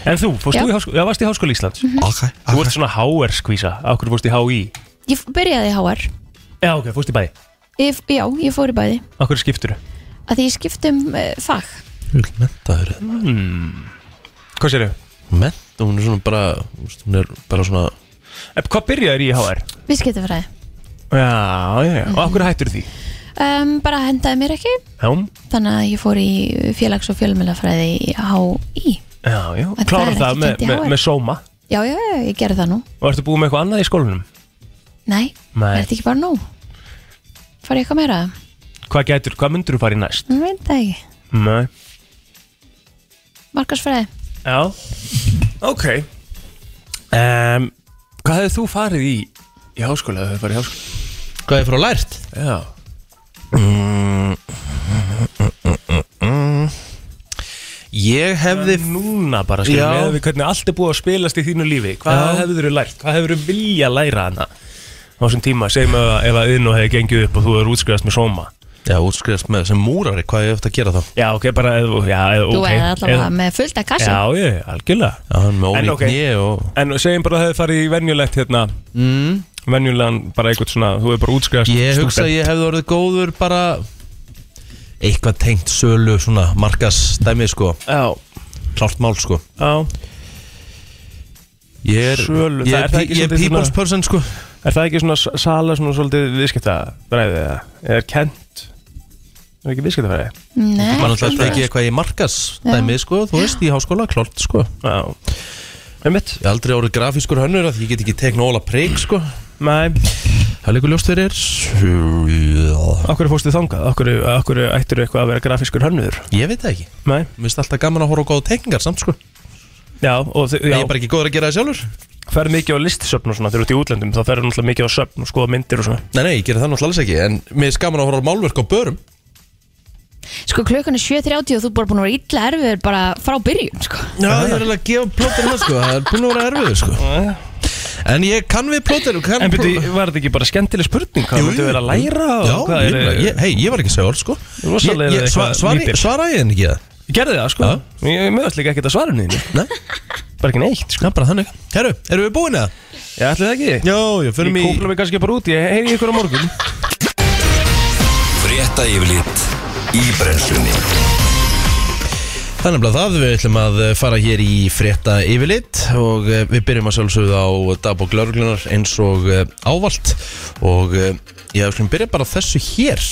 [SPEAKER 5] En þú, fórst
[SPEAKER 3] Já. Mhm.
[SPEAKER 5] þú í háskóla, já, varst í háskóla Íslands
[SPEAKER 4] okay.
[SPEAKER 5] Þú ert svona HR skvísa, okkur fórst í HÍ
[SPEAKER 3] ég f- byrjaði í HR
[SPEAKER 5] Já, ok, fórst í bæði,
[SPEAKER 3] ég, f- Já, ég fór í bæði
[SPEAKER 5] okkur skiptur
[SPEAKER 3] að því ég skiptum uh, fag
[SPEAKER 4] Mentaður
[SPEAKER 5] Hvað sér þau?
[SPEAKER 4] Ment, hún er svona bara úst, Hún er bara svona
[SPEAKER 5] Eh, Hvað byrjaður í HR?
[SPEAKER 3] við skiptum fræði
[SPEAKER 5] Já, já, já, og okkur hættur því
[SPEAKER 3] um, bara hendaði mér ekki
[SPEAKER 5] Já,
[SPEAKER 3] þannig að ég fór í félags- og fjölmjölafræði í HÍ
[SPEAKER 5] já, já,
[SPEAKER 3] En það er
[SPEAKER 5] klára
[SPEAKER 3] ekki
[SPEAKER 5] það með,
[SPEAKER 3] tengt í
[SPEAKER 5] með,
[SPEAKER 3] HR.
[SPEAKER 5] með sóma
[SPEAKER 3] Já, já, já, ég gerði það nú
[SPEAKER 5] Og ertu búið með eitthvað annað í skólanum?
[SPEAKER 3] Nei,
[SPEAKER 5] Nei.
[SPEAKER 3] er þetta ekki bara nú? Far ég eitthvað meira?
[SPEAKER 5] Hvað gætur, hvað myndur þú farið næst?
[SPEAKER 3] Nú veit það ekki
[SPEAKER 5] Nei
[SPEAKER 3] Markarsfræði
[SPEAKER 5] Já, ok um, Hvað hefur þú farið í, í háskóla? Hefur farið í háskóla?
[SPEAKER 4] Hvað er frá lært?
[SPEAKER 5] Já
[SPEAKER 4] Ég hefði
[SPEAKER 5] núna bara skilja
[SPEAKER 4] Já.
[SPEAKER 5] með við hvernig allt er búið að spilast í þínu lífi hvað
[SPEAKER 4] Já.
[SPEAKER 5] hefur þú lært, hvað hefur þú vilja læra hana á þessum tíma, segjum að ef að inn og hefði gengið upp og þú hefur útskrifast með sóma
[SPEAKER 4] Já, útskrifast með sem múrari, hvað ég eftir að gera þá?
[SPEAKER 5] já ok, bara ef, já, ef,
[SPEAKER 3] Þú
[SPEAKER 5] ok
[SPEAKER 3] okay. er allavega
[SPEAKER 5] Ef-
[SPEAKER 3] með fullt af kassi
[SPEAKER 5] já, ég, algjörlega
[SPEAKER 4] Já, hann með
[SPEAKER 5] En
[SPEAKER 4] ólík
[SPEAKER 5] ok.
[SPEAKER 4] okay. og
[SPEAKER 5] en segjum bara að það hefði farið í venjulegt hérna mm. venjulegan, bara eitthvað svona þú hefur bara útskrifast
[SPEAKER 4] Ég hugsa að
[SPEAKER 5] stúdent.
[SPEAKER 4] ég hefði orðið góður bara Eitthvað tengt sölu, svona, markas dæmið sko
[SPEAKER 5] já,
[SPEAKER 4] Klárt mál sko
[SPEAKER 5] já,
[SPEAKER 4] Ég er,
[SPEAKER 5] Sölu,
[SPEAKER 4] ég
[SPEAKER 5] það er
[SPEAKER 4] er,
[SPEAKER 5] það
[SPEAKER 4] pí-
[SPEAKER 5] ekki
[SPEAKER 4] ég er
[SPEAKER 5] svolítið
[SPEAKER 4] people's
[SPEAKER 5] svona-
[SPEAKER 4] person sko
[SPEAKER 5] er það ekki svona s- sala svona svolítið viðskipta bræðið eða, Eða er kent er ekki viðskipta
[SPEAKER 3] Nei,
[SPEAKER 4] Man alltaf ekki eitthvað í markas dæmið sko Þú veist, í háskóla, klárt sko Ég
[SPEAKER 5] já, einmitt
[SPEAKER 4] er aldrei orðið grafískur hönnur að ég get ekki tekna óla preik sko
[SPEAKER 5] nei,
[SPEAKER 4] Það er líka ljóst fyrir þér.
[SPEAKER 5] Akkur fórstu þangað? Akkur, akkur ættir eitthvað að vera grafískur hönnuður?
[SPEAKER 4] Ég veit það ekki
[SPEAKER 5] Nei
[SPEAKER 4] Mér finnst alltaf gaman að horfa á góða teikningar samt sko
[SPEAKER 5] Já, og þau-
[SPEAKER 4] Ég
[SPEAKER 5] já,
[SPEAKER 4] er bara ekki góður að gera það sjálfur
[SPEAKER 5] ferð mikið á listsöfn og svona Þegar þú ert í útlendum þá ferðu náttúrulega mikið á söfn og skoða myndir og svona
[SPEAKER 4] Nei, nei, ég gera það náttúrulega alls ekki En mér er skaman að horfa á málverk á börum
[SPEAKER 3] Sko klukkan er 7.30 og þú er bara búin að vera illa erfiður bara frá byrjun sko.
[SPEAKER 4] Já, ég er alveg að gefa plóterinn það sko Það er búin að vera erfiður sko En ég kann við plóterinn kann
[SPEAKER 5] En byrju,
[SPEAKER 4] pló-
[SPEAKER 5] var þetta ekki bara skemmtileg spurning? Hvað
[SPEAKER 4] Jú,
[SPEAKER 5] veitum
[SPEAKER 4] jú.
[SPEAKER 5] við að læra? og
[SPEAKER 4] Já,
[SPEAKER 5] hvað
[SPEAKER 4] ég, er, ég, hei, ég var ekki að segja orð sko ég,
[SPEAKER 5] Rosalega
[SPEAKER 4] ég, sva,
[SPEAKER 5] eitthvað
[SPEAKER 4] svari,
[SPEAKER 5] lítil.
[SPEAKER 4] Svara ég henni ekki það?
[SPEAKER 5] Ég gerði það, sko Ég ég meðast líka ekkert að svara henni
[SPEAKER 4] Nei,
[SPEAKER 5] Bara ekki neitt, sko
[SPEAKER 4] það er bara þannig Herru, erum við búin að?
[SPEAKER 5] Ég ætli það ekki
[SPEAKER 4] Já, já,
[SPEAKER 5] Ég
[SPEAKER 4] förum í
[SPEAKER 5] kúpla mig kannski bara út Ég heyri ykkur á morgun
[SPEAKER 2] Frétta yfirlit í brennslunni
[SPEAKER 4] Þannig að það við ætlum að eh, fara hér í frétta yfirlit og eh, við byrjum að sjálfsögðu á dagbók lauruglunar eins og eh, ávallt og eh, ég ætlum að byrja bara á þessu hér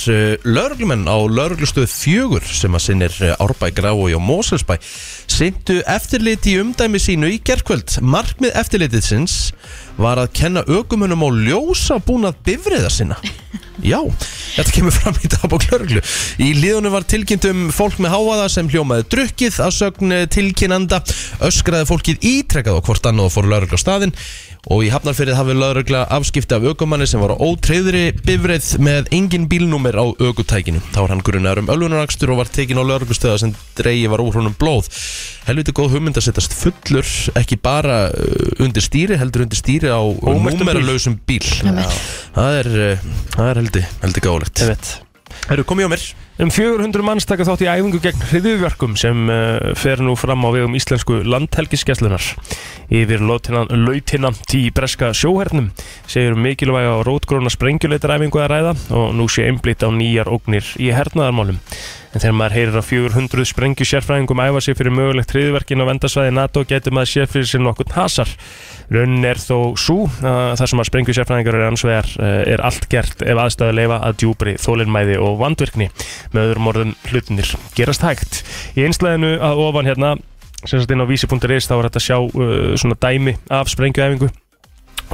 [SPEAKER 4] lauruglumenn á lauruglustöð fjögur sem að sinnir eh, Árbæ, Grávói og Moselsbæ sindu eftirliti í umdæmi sínu í gerkvöld markmið eftirlitiðsins var að kenna ökumunum á ljósa búnað bifriða sinna Já, þetta kemur fram í dagbók lörglu Í liðunum var tilkynnt um fólk með háaða sem hljómaði drukkið að sögn eh, tilkynnanda öskraði fólkið ítrekkað og hvort annað og fór lörglu á staðinn og í Hafnarfyrið hafi lörgla afskipti af ökumanni sem var á ótreyðri bifreið með engin bílnúmer á ökutækinu þá var hann grunnar um öllunarakstur og var tekin á lörglustöða sem dreigi var úr honum blóð helviti góð hugmynd að setjast fullur ekki bara eh, undir stýri heldur undir stýri á
[SPEAKER 5] Ómerktum bíl.
[SPEAKER 4] númeralausum bíl Það er, eh, það er heldig, heldig gálegt
[SPEAKER 5] Einmitt.
[SPEAKER 4] Herru, kom ég á mér
[SPEAKER 5] Um 400 manns taka þátt í æfingu gegn hriðuvjörgum sem uh, fer nú fram á vegum íslensku landhelgiskeslunar. Yfir lautinant í breska sjóhernum segir um mikilvæga og rótgróna sprengjuleitar æfingu að ræða og nú sé einblýtt á nýjar ógnir í hernaðarmálum. En þegar maður heyrir að 400 sprengju sérfræðingum æfa sig fyrir mögulegt hriðverkin á vendarsvæði NATO getur maður sér fyrir sér nokkurn hasar. Rönn er þó svo uh, þar sem að sprengju sérfræðingar er ansvegar uh, er allt gert ef aðstæða leifa að djúbri þólinmæði og vandvirkni með öðrum orðum hlutinir gerast hægt. Í einslæðinu að ofan hérna sem sagt inn á vísi.is þá er þetta að sjá uh, svona dæmi af sprengjuæfingu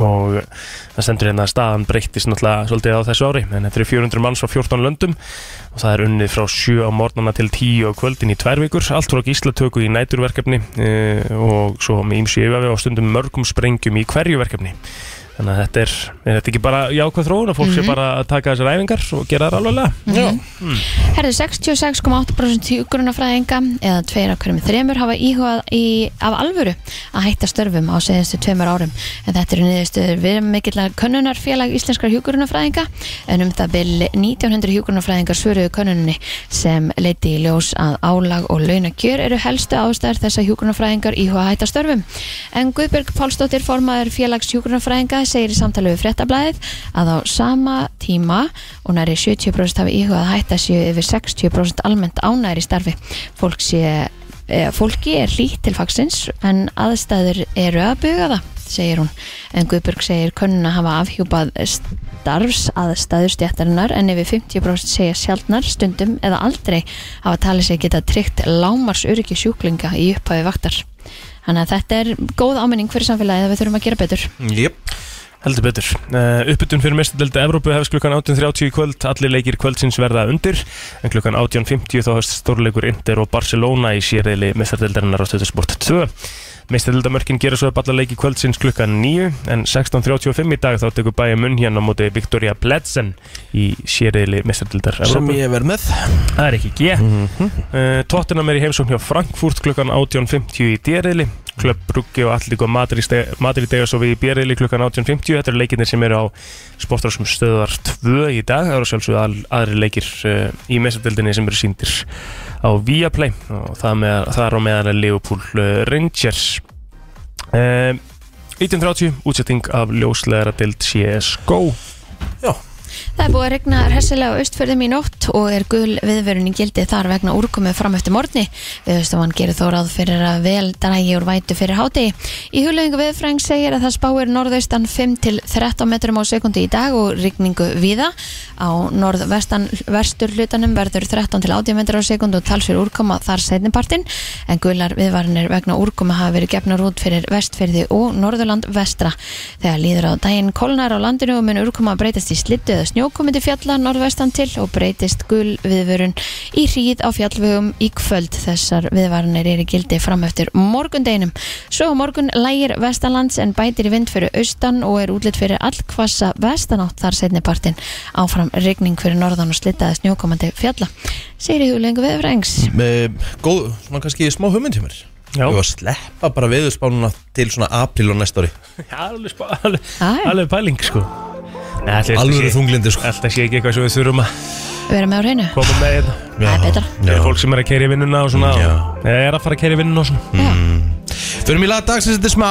[SPEAKER 5] og uh, það stendur hérna að staðan breyttist náttúrulega svolítið á þessu ári en þetta eru 400 manns frá 14 löndum og það er unnið frá 7 á morgnana til 10 á kvöldin í tvær vikur, allt frá gíslatöku í næturverkefni uh, og svo með ímsi yfirvefi og stundum mörgum sprengjum í hverju verkefni þannig að þetta er, er þetta ekki bara jákvæð þróun að fólk sé bara að taka þessar æfingar og gera það alveglega
[SPEAKER 3] Herðu 66,8% hjúgrunafræðinga eða tveir af hverjum þremur hafa íhugað í, af alvöru að hætta störfum á seðinstu tveimur árum en þetta eru niðurstöður við mikillar könnunarfélag íslenskar hjúgrunafræðinga en um það byl 1900 hjúgrunafræðingar svöruðu könnunni sem leiti í ljós að álag og launakjör eru helstu ástæður þess að hjúgrunafræðingar íhuga að hætta störfum en Guðbjörg Pálsdóttir formaður félags hjúgrunafræðinga segir í samtali við fréttablaðið að á sama tíma og næri 70% hafi íhugað að hætta séu yfir 60% almennt ánæri starfi. Fólk sé, e, fólki er hlýtt til fagsins en aðstæður eru að buga það segir hún. En Guðbjörg segir könnuna hafa afhjúpað starfs aðstæður stjættarinnar en yfir 50% segja sjaldnar stundum eða aldrei hafa talið sig geta tryggt lámars öryggi sjúklinga í upphafi vaktar. Þannig að þetta er góð áminning fyrir samfélagið að við þurfum að gera betur.
[SPEAKER 4] Jep
[SPEAKER 5] Heldur betur. Uh, uppbytun fyrir mestadeldi Evrópu hefst klukkan 18.30 í kvöld, allir leikir kvöldsins verða undir, en klukkan 18.50 þá hefst stórleikur Inter og Barcelona í sérreili mestadeldarinnar á stöðusport 2. Mestadeldamörkin gera svo upp alla leiki kvöldsins klukkan 9, en 16.35 í dag þá tekur bæja munn hérna á móti Victoria Bledsen í sérreili mestadeldar
[SPEAKER 4] Sem
[SPEAKER 5] Evrópu.
[SPEAKER 4] ég verð með Mhm.
[SPEAKER 5] Það er ekki G. Uh, Tottenham er í heimsókn hjá Frankfurt klukkan 18.50 í D-reili Klöpp Brugge og Allík og Madrid dega svo við í B-reili klukkan 18.50 Þetta eru leikinir sem eru á sportrásum stöðar 2 í dag Það eru sjálfsögðu al, aðri leikir uh, í mesadeldinni sem eru síndir á Viaplay og það, með, það er á meðan er Liverpool uh, Rangers uh, 19.30 útsetting af ljósleðara deild CSGO
[SPEAKER 3] Það er búið að regna hressilega á austfjörðum í nótt og er gul viðvörun í gildi þar vegna úrkomu fram eftir morgni. Viðustofan gerir þó ráð fyrir að vel dragi úr vætu fyrir hátegi. Í hulöfingu viðfræng segir að það spáir norðaustan 5 til 13 metrum á sekundi í dag og rigningu viða. Á norðvestan verstur hlutanum verður 13 til 18 metrum á sekundu og talsfyrir úrkoma þar setnipartin en gular viðvarinir vegna úrkomu hafa verið gefnar út fyrir vestfyrði og norðurland vestra. Þegar líður á daginn kólnar á landinu og mun úrkoma breytast í slittu eða eða snjókomindi fjalla norðvestan til og breytist gul viðvörun í hríð á fjallvegum í kvöld. Þessar viðvaranir eru í gildi fram eftir morgundeginum. Svo á morgun lægir vestanlands en bætir í vind fyrir austan og er útlitt fyrir allkvassa vestanátt þar setni partin áfram regning fyrir norðan og slitaði snjókomandi fjalla. Segir í huglengu viðfrængs.
[SPEAKER 4] með góð, svona kannski smá hugmynd hjá mér
[SPEAKER 5] Já.
[SPEAKER 4] Ég var að sleppa bara veðurspánuna til svona apríl og næsta ári
[SPEAKER 5] Já, alveg, spá- alveg,
[SPEAKER 3] Æ.
[SPEAKER 5] alveg pæling sko Nei, ætli þetta
[SPEAKER 4] Alvöru
[SPEAKER 5] sé-
[SPEAKER 4] þunglindi sko
[SPEAKER 5] Alltaf sé ekki eitthvað sem við þurfum að
[SPEAKER 3] Vera með á hreinu.
[SPEAKER 5] koma með hérna
[SPEAKER 3] Það er betra.
[SPEAKER 5] Það er fólk sem er að keiri vinnuna og svona
[SPEAKER 4] Mm, Já.
[SPEAKER 5] Eða er að fara að keiri vinnuna og svona
[SPEAKER 3] Já.
[SPEAKER 4] Förum í lag dagsins þetta er smá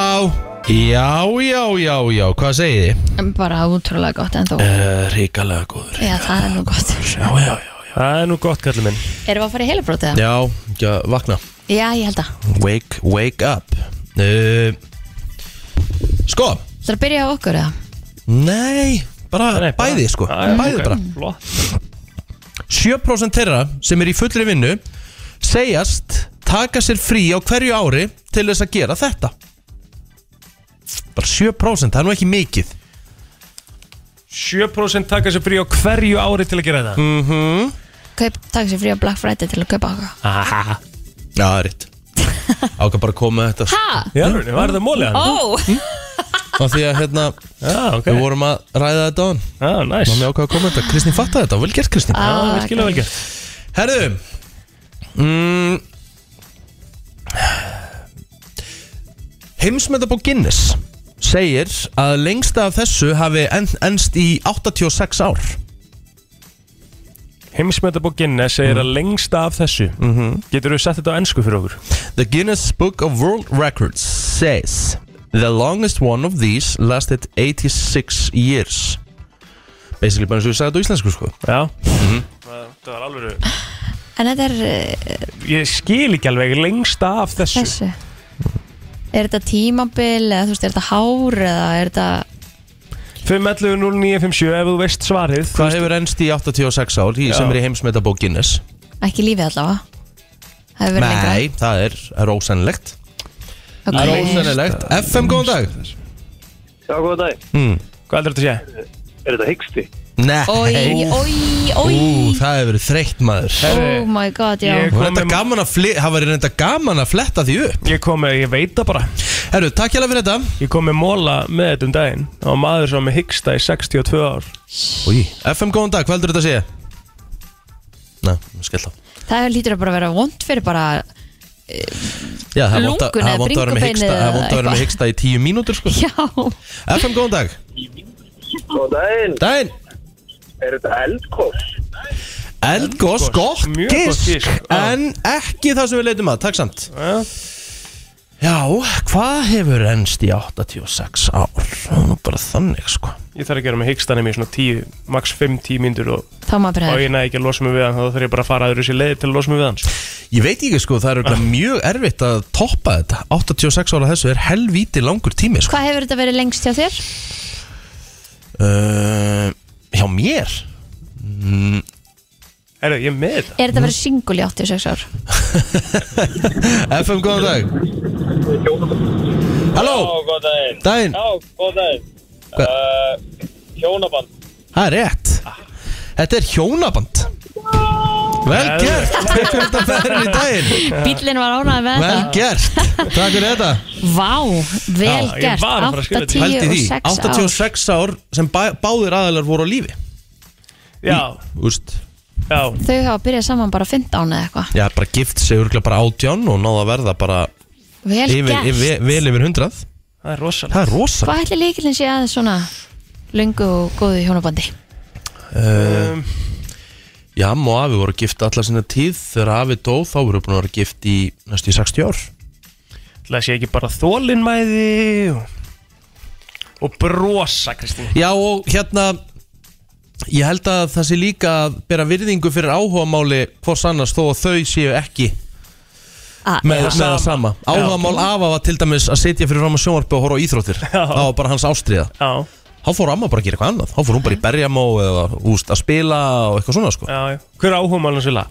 [SPEAKER 4] Já, já, já, já, hvað segið þið?
[SPEAKER 3] Bara útrúlega gott en þó.
[SPEAKER 4] Uh, Ríkalega góður
[SPEAKER 3] Já, það er nú gott.
[SPEAKER 4] Já, já, já
[SPEAKER 5] Það er nú gott kallið minn
[SPEAKER 3] Erum við að fara í heilabrótið?
[SPEAKER 4] Já, ekki að vakna
[SPEAKER 3] Já, ég held að.
[SPEAKER 4] Wake, wake up uh, Sko,
[SPEAKER 3] Það er að byrja á okkur eða?
[SPEAKER 4] nei, bara
[SPEAKER 5] Nei, bara-
[SPEAKER 4] bæði sko
[SPEAKER 5] Já, já,
[SPEAKER 4] Bæði
[SPEAKER 5] ok.
[SPEAKER 4] bara
[SPEAKER 5] Flott
[SPEAKER 4] 7% þeirra sem er í fullri vinnu segjast taka sér frí á hverju ári til þess að gera þetta bara 7% það er nú ekki mikið
[SPEAKER 5] 7% taka sér frí á hverju ári til að gera það mm.
[SPEAKER 3] Kaup, taka sér frí á Black Friday til að kaupa okkur.
[SPEAKER 4] já, það er rétt ákvað bara að koma með þetta
[SPEAKER 3] Ha?
[SPEAKER 5] Já, var það mólið hann?
[SPEAKER 3] Ó!
[SPEAKER 4] á því að hérna
[SPEAKER 5] Já, ok
[SPEAKER 4] við vorum að ræða þetta á hann
[SPEAKER 5] Já, næs
[SPEAKER 4] maður ákvað að koma með þetta Kristín fattaði þetta vel gert Kristín
[SPEAKER 5] Já,
[SPEAKER 3] Ah,
[SPEAKER 5] virkilega vel gert
[SPEAKER 4] herðu mm, heimsmetabók Guinness segir að lengsta af þessu hafi enn, ennst í 86 ár
[SPEAKER 5] Heimsmetabók Guinness
[SPEAKER 4] Mm.
[SPEAKER 5] segir að lengsta af þessu
[SPEAKER 4] Mhm.
[SPEAKER 5] Getur þú sett þetta á ennsku fyrir okkur?
[SPEAKER 4] The Guinness Book of World Records says the longest one of these lasted 86 years. Basically bara eins og ég sagði þetta á íslensku sko.
[SPEAKER 5] Já Það var alveg
[SPEAKER 3] En þetta er eh,
[SPEAKER 5] Ég skil ekki alveg lengsta af þessu
[SPEAKER 3] þessu. Er þetta tímabil eða þú veist, er þetta hár eða er þetta...
[SPEAKER 5] 511 0957 ef þú veist svarið
[SPEAKER 4] Hvað hefur ennst í 86 ár í, sem
[SPEAKER 5] Já.
[SPEAKER 4] er í heimsmetabók Guinness?
[SPEAKER 3] Ekki lífið allavega? Það hefur verið lengra.
[SPEAKER 4] Nei, það er, er ósennilegt.
[SPEAKER 3] Ok.
[SPEAKER 4] Það er ósennilegt. FM, góðan dag.
[SPEAKER 1] Já, góðan dag.
[SPEAKER 4] Mm.
[SPEAKER 5] Hvað heldur þetta að sé?
[SPEAKER 1] Er þetta hyggsti?
[SPEAKER 4] Nei.
[SPEAKER 3] Oj, oj, oj.
[SPEAKER 4] Ú, það hefur verið þreytt maður.
[SPEAKER 3] Oh my god, já.
[SPEAKER 5] Ég-
[SPEAKER 4] Það var reynda gaman að fli- það var reynda gaman að fletta því upp.
[SPEAKER 5] Ég kom með, ég veit það bara
[SPEAKER 4] Herru, takk hjá fyrir þetta.
[SPEAKER 5] Ég kom með móla með þetta um daginn og maður sem var með hyggsta í 62 ár
[SPEAKER 4] Új. FM, góðan dag. Hvað heldur þetta að segja? Nei, skell á.
[SPEAKER 3] Það lítur að bara vera vond fyrir bara...
[SPEAKER 4] Já, það er vont að-
[SPEAKER 3] Lungun
[SPEAKER 4] það er
[SPEAKER 3] eða
[SPEAKER 4] vont að vera með
[SPEAKER 3] bringubeinið
[SPEAKER 4] hyggsta- það er vont að vera
[SPEAKER 3] eða
[SPEAKER 4] með hyggsta í tíu mínútur sko.
[SPEAKER 3] Já.
[SPEAKER 4] FM, góðan dag
[SPEAKER 1] Góðan daginn.
[SPEAKER 4] Dæn
[SPEAKER 1] Er þetta eldkoss?
[SPEAKER 4] Eldgós, gott
[SPEAKER 5] mjög gott
[SPEAKER 4] gisk
[SPEAKER 5] gisk, já.
[SPEAKER 4] En ekki það sem við leitum að, takk samt
[SPEAKER 5] Já.
[SPEAKER 4] Já, hvað hefur ennst í 86 ár? Það er nú bara þannig sko
[SPEAKER 5] Ég þarf að gera með hyggstanum í svona 10, max 5-10 myndur og,
[SPEAKER 3] Þá maður
[SPEAKER 1] Eh.
[SPEAKER 5] og
[SPEAKER 3] byrjaði.
[SPEAKER 5] ég næði ekki að losa mig við hann þá þarf ég bara að fara aður þessi leið til að losa mig við hann sko.
[SPEAKER 4] Ég veit ekki sko, það er örugglega
[SPEAKER 5] Ah.
[SPEAKER 4] mjög erfitt að toppa þetta 86 ára þessu er helvíti langur tími sko
[SPEAKER 3] Hvað hefur þetta verið lengst hjá þér?
[SPEAKER 4] uh, Hjá mér?
[SPEAKER 5] Herru, ég er með þetta
[SPEAKER 3] Er þetta verið singul í 86 ár?
[SPEAKER 4] FM, góðan dag Halló,
[SPEAKER 1] góðan daginn.
[SPEAKER 4] Dæn,
[SPEAKER 1] góðan daginn.
[SPEAKER 4] Hva-
[SPEAKER 1] Uh, hjónaband.
[SPEAKER 4] það er rétt Þetta er hjónaband Vel
[SPEAKER 5] Vel
[SPEAKER 4] gert, takk fyrir þetta ferðin í daginn
[SPEAKER 3] Bíllinn var ánægð með
[SPEAKER 4] Vel
[SPEAKER 3] þetta.
[SPEAKER 4] gert, takk fyrir þetta
[SPEAKER 3] Vá, vel
[SPEAKER 5] Já, ég
[SPEAKER 3] gert.
[SPEAKER 5] var að fara að
[SPEAKER 3] 8,
[SPEAKER 5] skrifa þetta.
[SPEAKER 3] 10
[SPEAKER 4] Pældi
[SPEAKER 3] og
[SPEAKER 4] því,
[SPEAKER 3] 6 ár.
[SPEAKER 4] 86 ár sem bæ, báðir aðalar voru á lífi
[SPEAKER 5] Já,
[SPEAKER 4] Úst,
[SPEAKER 5] já
[SPEAKER 3] Þau hafa byrjað saman bara 15 eða eitthvað.
[SPEAKER 4] já, bara gift sig örgulega bara átján og náða að verða bara
[SPEAKER 3] Vel
[SPEAKER 4] yfir,
[SPEAKER 3] gert.
[SPEAKER 4] yfir, vel yfir 100
[SPEAKER 5] Það er rosalega
[SPEAKER 4] Það er rosa
[SPEAKER 3] Hvað ætli líkilinn sé aðeins svona lungu og góðu hjónabandi?
[SPEAKER 5] um,
[SPEAKER 4] Ehm, Já, amma og afi voru gift allar sinna tíð þegar afi dó þá voru búin að vera gift í næstu í 60 ár
[SPEAKER 5] Það sé ekki bara þólinmæði og, og brosa, Kristín
[SPEAKER 4] Já og hérna ég held að það sé líka að bera virðingu fyrir áhugamáli hvors annars þó að þau séu ekki
[SPEAKER 3] Ah,
[SPEAKER 4] með,
[SPEAKER 5] Já.
[SPEAKER 4] með það sama Áhugamál afa var til dæmis að sitja fyrir fram á sjónvarpi og horfa á íþróttir það var bara hans ástriða
[SPEAKER 5] Já,
[SPEAKER 4] þá fór amma bara að gera eitthvað annað þá fór hún bara í berjamó eða úst að spila og eitthvað svona sko
[SPEAKER 5] já, já Hver áhuga málum svolga?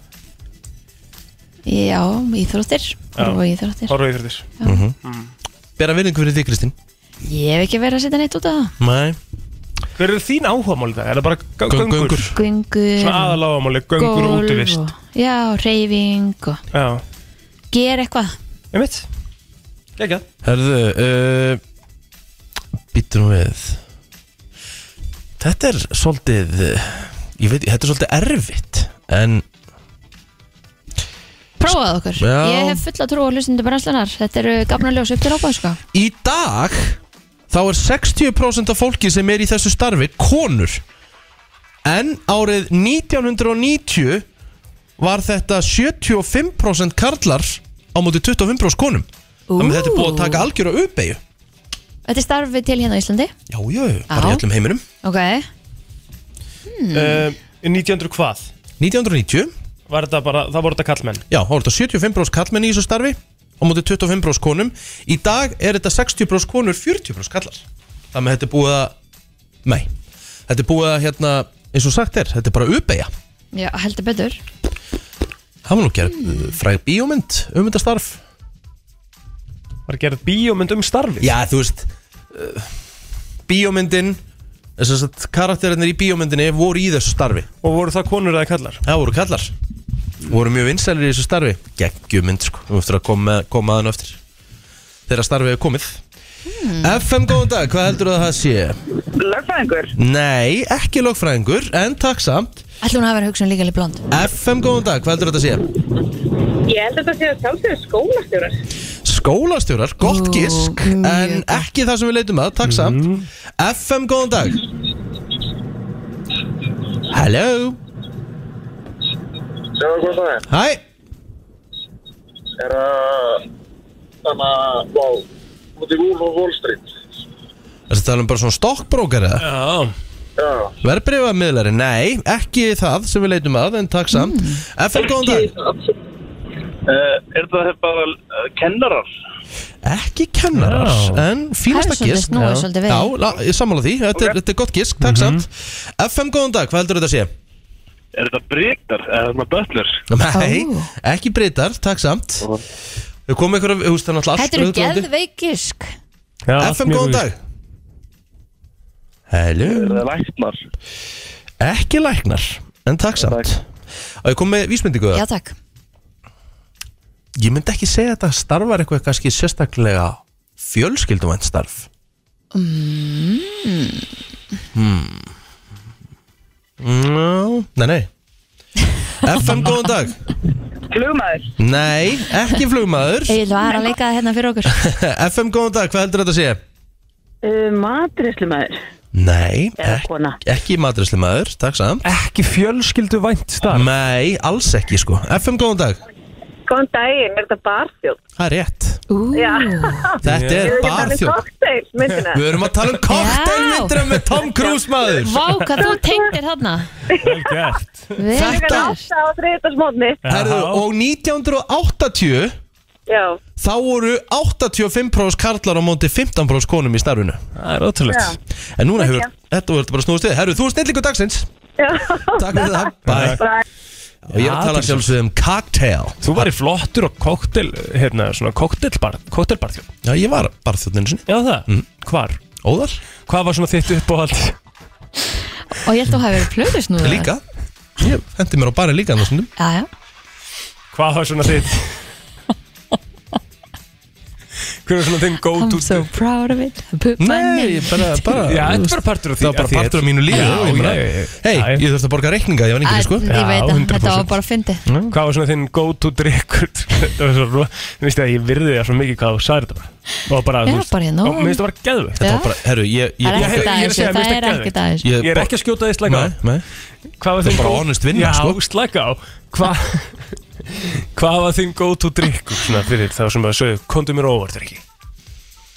[SPEAKER 3] Já, íþróttir. Horfa á íþróttir.
[SPEAKER 5] Horfa yfir þess
[SPEAKER 4] bera virðingu fyrir því Kristín
[SPEAKER 3] Ég hef ekki verið að setja neitt út af það.
[SPEAKER 4] Nei
[SPEAKER 5] Hver eru þín áhugamál í dag? Er það bara gö-
[SPEAKER 4] Göngur.
[SPEAKER 5] göngur?
[SPEAKER 3] Göngur
[SPEAKER 5] Svona
[SPEAKER 3] og
[SPEAKER 5] aðalágamáli, göngur og útivist
[SPEAKER 3] og, Já, reyfing og
[SPEAKER 5] Já,
[SPEAKER 3] gera eitthvað
[SPEAKER 5] ég mitt Gekka
[SPEAKER 4] Herðu uh, Býttu nú við Þetta er svolítið uh, Ég veit, þetta er svolítið erfitt En
[SPEAKER 3] Prófaðu okkur,
[SPEAKER 4] Já.
[SPEAKER 3] ég hef fulla trú á hlustundu brennslunar Þetta eru gafnuljós upp til hópa sko.
[SPEAKER 4] í dag Þá er 60% af fólki sem er í þessu starfi Konur En árið 1990 Var þetta 75% karlar Á móti 25% konum Þannig að þetta er búið að taka algjör á uppeyju
[SPEAKER 3] Þetta er starfið til hérna á Íslandi
[SPEAKER 4] Já, já, bara í
[SPEAKER 3] Já.
[SPEAKER 4] öllum heiminum
[SPEAKER 3] Ok, Mm.
[SPEAKER 5] 1900 Eh, hvað?
[SPEAKER 4] 1990
[SPEAKER 5] Var þetta bara, það voru þetta kallmenn
[SPEAKER 4] Já, þá er þetta 75 brós kallmenn í þessu starfi á móti 25 brós konum í dag er þetta 60 brós konur 40 brós kallar þannig að þetta er búið að nei, þetta er búið að hérna eins og sagt er, þetta er bara uppeyja
[SPEAKER 3] já, heldur betur
[SPEAKER 4] það var nú gerð mm. fræg bíómynd um þetta starf
[SPEAKER 5] Var gerð bíómynd um starfið
[SPEAKER 4] já, þú veist uh, bíómyndin þess að karakterinir í bíómyndinni voru í þessu starfi
[SPEAKER 5] Og voru það konur eða kallar
[SPEAKER 4] það voru kallar voru mjög vinsælir í þessu starfi geggjumynd sko, þú eftir að koma, koma aðan eftir þegar starfið er komið
[SPEAKER 3] Hmm.
[SPEAKER 4] FM góðan dag, hvað heldur að það sé?
[SPEAKER 1] Lögfræðingur
[SPEAKER 4] Nei, ekki lögfræðingur, en takk samt
[SPEAKER 3] Ætli hún hafa verið hugsun líka leið blond
[SPEAKER 4] FM góðan dag, hvað heldur að það sé?
[SPEAKER 6] Ég held að þetta sé að sjálfsögur skólastjórar.
[SPEAKER 4] Skólastjórar, gott
[SPEAKER 3] Ú,
[SPEAKER 4] gisk
[SPEAKER 3] mjög
[SPEAKER 4] en
[SPEAKER 3] gott. Hmm.
[SPEAKER 4] ekki það sem við leitum að, takk samt FM góðan dag Hello,
[SPEAKER 1] Já, hvað það er?
[SPEAKER 4] hæ
[SPEAKER 1] Er að Þannig að Vá Út í Wolf of Wall Street
[SPEAKER 4] Þetta tala um bara svona stokkbrókar eða?
[SPEAKER 5] Já
[SPEAKER 1] Já
[SPEAKER 4] Verbreyfa miðlari, nei, ekki það sem við leitum að, en takk samt
[SPEAKER 3] Mm.
[SPEAKER 4] FM, góðan dag,
[SPEAKER 1] Eh, Er það bara eh, kennarar?
[SPEAKER 4] ekki kennarar en fínasta
[SPEAKER 3] Harrison,
[SPEAKER 4] gisk
[SPEAKER 3] snúið svolítið við.
[SPEAKER 4] Já, la, ég sammála því, þetta, er, þetta er gott gisk, takk
[SPEAKER 3] Mhm.
[SPEAKER 4] samt FM, góðan dag, hvað heldur þetta að sé?
[SPEAKER 1] Er þetta breytar? Er þetta bötlar?
[SPEAKER 4] Nei,
[SPEAKER 3] Ó.
[SPEAKER 4] ekki breytar, takk samt Við komum ykkur, þú veist, það er náttúrulega allt
[SPEAKER 3] Þetta eru
[SPEAKER 4] öðruvísi.
[SPEAKER 3] geðveikisk
[SPEAKER 5] Já, allt
[SPEAKER 4] FM,
[SPEAKER 5] mjög
[SPEAKER 4] góðan
[SPEAKER 5] víst.
[SPEAKER 4] dag Hello,
[SPEAKER 1] það læknar?
[SPEAKER 4] ekki læknar, en takk samt Og ég kom með vísmyndingu
[SPEAKER 3] Já
[SPEAKER 4] það
[SPEAKER 3] takk,
[SPEAKER 4] Ég myndi ekki segja að þetta starfar eitthvað kannski sérstaklega fjölskylduvænt starf mm. Mm. Nei, nei FM, góðan dag
[SPEAKER 6] Flugmaður.
[SPEAKER 4] Nei, ekki flugmaður
[SPEAKER 3] Egil var að leika það hérna fyrir okkur
[SPEAKER 4] FM, góðan dag, hvað heldur þetta að sé?
[SPEAKER 6] Uh, Matrislumaður.
[SPEAKER 4] Nei,
[SPEAKER 6] Eða
[SPEAKER 4] ek,
[SPEAKER 6] kona.
[SPEAKER 4] ekki matrisli maður, takk samt
[SPEAKER 5] Ekki fjölskyldu vænt starf
[SPEAKER 4] Nei, alls ekki sko FM, góðan dag,
[SPEAKER 6] Góðan daginn, er þetta barþjóð?
[SPEAKER 4] það er rétt
[SPEAKER 3] Ú,
[SPEAKER 6] Já.
[SPEAKER 4] Þetta er barþjóð
[SPEAKER 6] Kokteil, myndina.
[SPEAKER 4] Við erum að tala um koktelmyndra með Tom Cruise maður
[SPEAKER 3] Vá, hvað þú tengdir þarna
[SPEAKER 5] Vel gert
[SPEAKER 3] Vel
[SPEAKER 4] Þetta-
[SPEAKER 3] gert.
[SPEAKER 6] Átta á þriðdagsmótni.
[SPEAKER 4] Herðu, og 1980
[SPEAKER 6] Já.
[SPEAKER 4] þá voru 85% karlar á móti 15% konum í starfinu
[SPEAKER 5] Það er ótrúlegt
[SPEAKER 4] En núna hefur, þetta voru bara snúðust við Herru, þú er snillingu dagsins
[SPEAKER 6] Já.
[SPEAKER 4] Takk fyrir það, bye
[SPEAKER 6] Bye.
[SPEAKER 4] Og ég er að tala sjálfsögum um cocktail
[SPEAKER 5] Þú væri flottur og koktel, hérna, svona koktelbar, koktelbarþjóð
[SPEAKER 4] Já, ég var barþjóðninu sinni
[SPEAKER 5] Já það, hvar?
[SPEAKER 4] Óðar,
[SPEAKER 5] Hvað var svona þitt uppáhald?
[SPEAKER 3] Og ég held þú hafi verið plöðus nú
[SPEAKER 4] líka Ég hendi mér á barinn líka annars stundum
[SPEAKER 3] Já, já
[SPEAKER 5] Hvað var svona þitt? Hver var svona þinn go
[SPEAKER 3] I'm
[SPEAKER 5] to?
[SPEAKER 3] so proud of it I Put my
[SPEAKER 4] Nei,
[SPEAKER 3] name
[SPEAKER 4] bara, bara
[SPEAKER 5] Já, þetta er bara partur af því
[SPEAKER 4] Það var bara partur af mínu lífi
[SPEAKER 5] Já,
[SPEAKER 4] ég meina.
[SPEAKER 5] já, já, já.
[SPEAKER 4] Hei,
[SPEAKER 5] Já, já.
[SPEAKER 4] ég þurfti að borga reikninga, ég var
[SPEAKER 3] Æ,
[SPEAKER 4] yngri sko
[SPEAKER 3] Ég veit
[SPEAKER 5] Já,
[SPEAKER 3] að þetta
[SPEAKER 5] 100%.
[SPEAKER 3] var bara fyndi
[SPEAKER 5] Hvað var svona þinn go to drikkur? Þetta var svo ro... Þú veist að ég virði það svo mikið hvað þú sagði þetta bara Og bara,
[SPEAKER 3] Já, bara ég
[SPEAKER 5] ég
[SPEAKER 3] nóg.
[SPEAKER 5] nóg Mér finnst það bara geðvegt
[SPEAKER 4] Það
[SPEAKER 3] Já.
[SPEAKER 4] var bara, herru, ég, ég
[SPEAKER 3] Það er
[SPEAKER 5] ég-
[SPEAKER 3] ekkert
[SPEAKER 5] ég- ég-
[SPEAKER 3] aðeins,
[SPEAKER 5] ég- ég-
[SPEAKER 3] það
[SPEAKER 5] ég-
[SPEAKER 3] er
[SPEAKER 5] ég-
[SPEAKER 3] ekkert aðeins
[SPEAKER 4] Ég-
[SPEAKER 5] Ég er ekki að skjóta því slæka á
[SPEAKER 4] Nei, nei
[SPEAKER 5] Hvað var
[SPEAKER 4] Þetta
[SPEAKER 5] þinn
[SPEAKER 4] er bara
[SPEAKER 5] go-
[SPEAKER 4] honest vinna,
[SPEAKER 5] Já,
[SPEAKER 4] sko.
[SPEAKER 5] slæka á Hvað Hvað var þinn go to drikkur svona fyrir þá sem að sögðu Kondu mér á óvart er ekki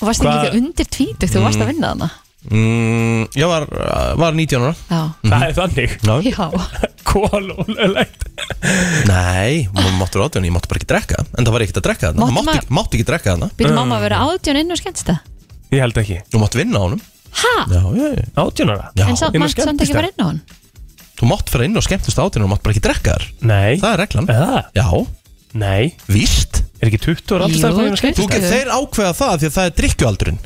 [SPEAKER 3] Og varst ekki
[SPEAKER 5] Hvað-
[SPEAKER 3] líka undir tvítu, þú varst að vinna þarna
[SPEAKER 4] mm, Ég var, var 19 ára
[SPEAKER 3] Já,
[SPEAKER 5] Það er þannig
[SPEAKER 4] Ná.
[SPEAKER 3] já
[SPEAKER 5] Kólólulegt
[SPEAKER 4] Nei, maður máttur átjón, ég máttu bara ekki drekka En það var ekkert að drekka þarna,
[SPEAKER 3] Mátti
[SPEAKER 4] maður mátti,
[SPEAKER 3] maður-
[SPEAKER 4] ekki- mátti ekki drekka þarna
[SPEAKER 3] Býtum mamma að vera átjón inn og skemmtist það
[SPEAKER 5] Ég held ekki
[SPEAKER 4] Þú mátt vinna á honum
[SPEAKER 3] Ha?
[SPEAKER 4] Já, já, já,
[SPEAKER 5] Átjónara
[SPEAKER 4] já.
[SPEAKER 3] En samt
[SPEAKER 5] inn og
[SPEAKER 3] mátt samt
[SPEAKER 5] skemmtist
[SPEAKER 3] ekki
[SPEAKER 5] það.
[SPEAKER 3] bara inn á hann
[SPEAKER 4] Þú mátt fara inn og skemmtist átjón og mátt bara ekki drekka þar
[SPEAKER 5] Nei
[SPEAKER 4] Það er reglan
[SPEAKER 5] Eða?
[SPEAKER 4] Já,
[SPEAKER 5] Nei
[SPEAKER 4] víst
[SPEAKER 5] Er ekki 20 ára
[SPEAKER 3] Jú,
[SPEAKER 5] alltaf
[SPEAKER 4] Þú get þeir ákveða það því að það er drikkjualdurinn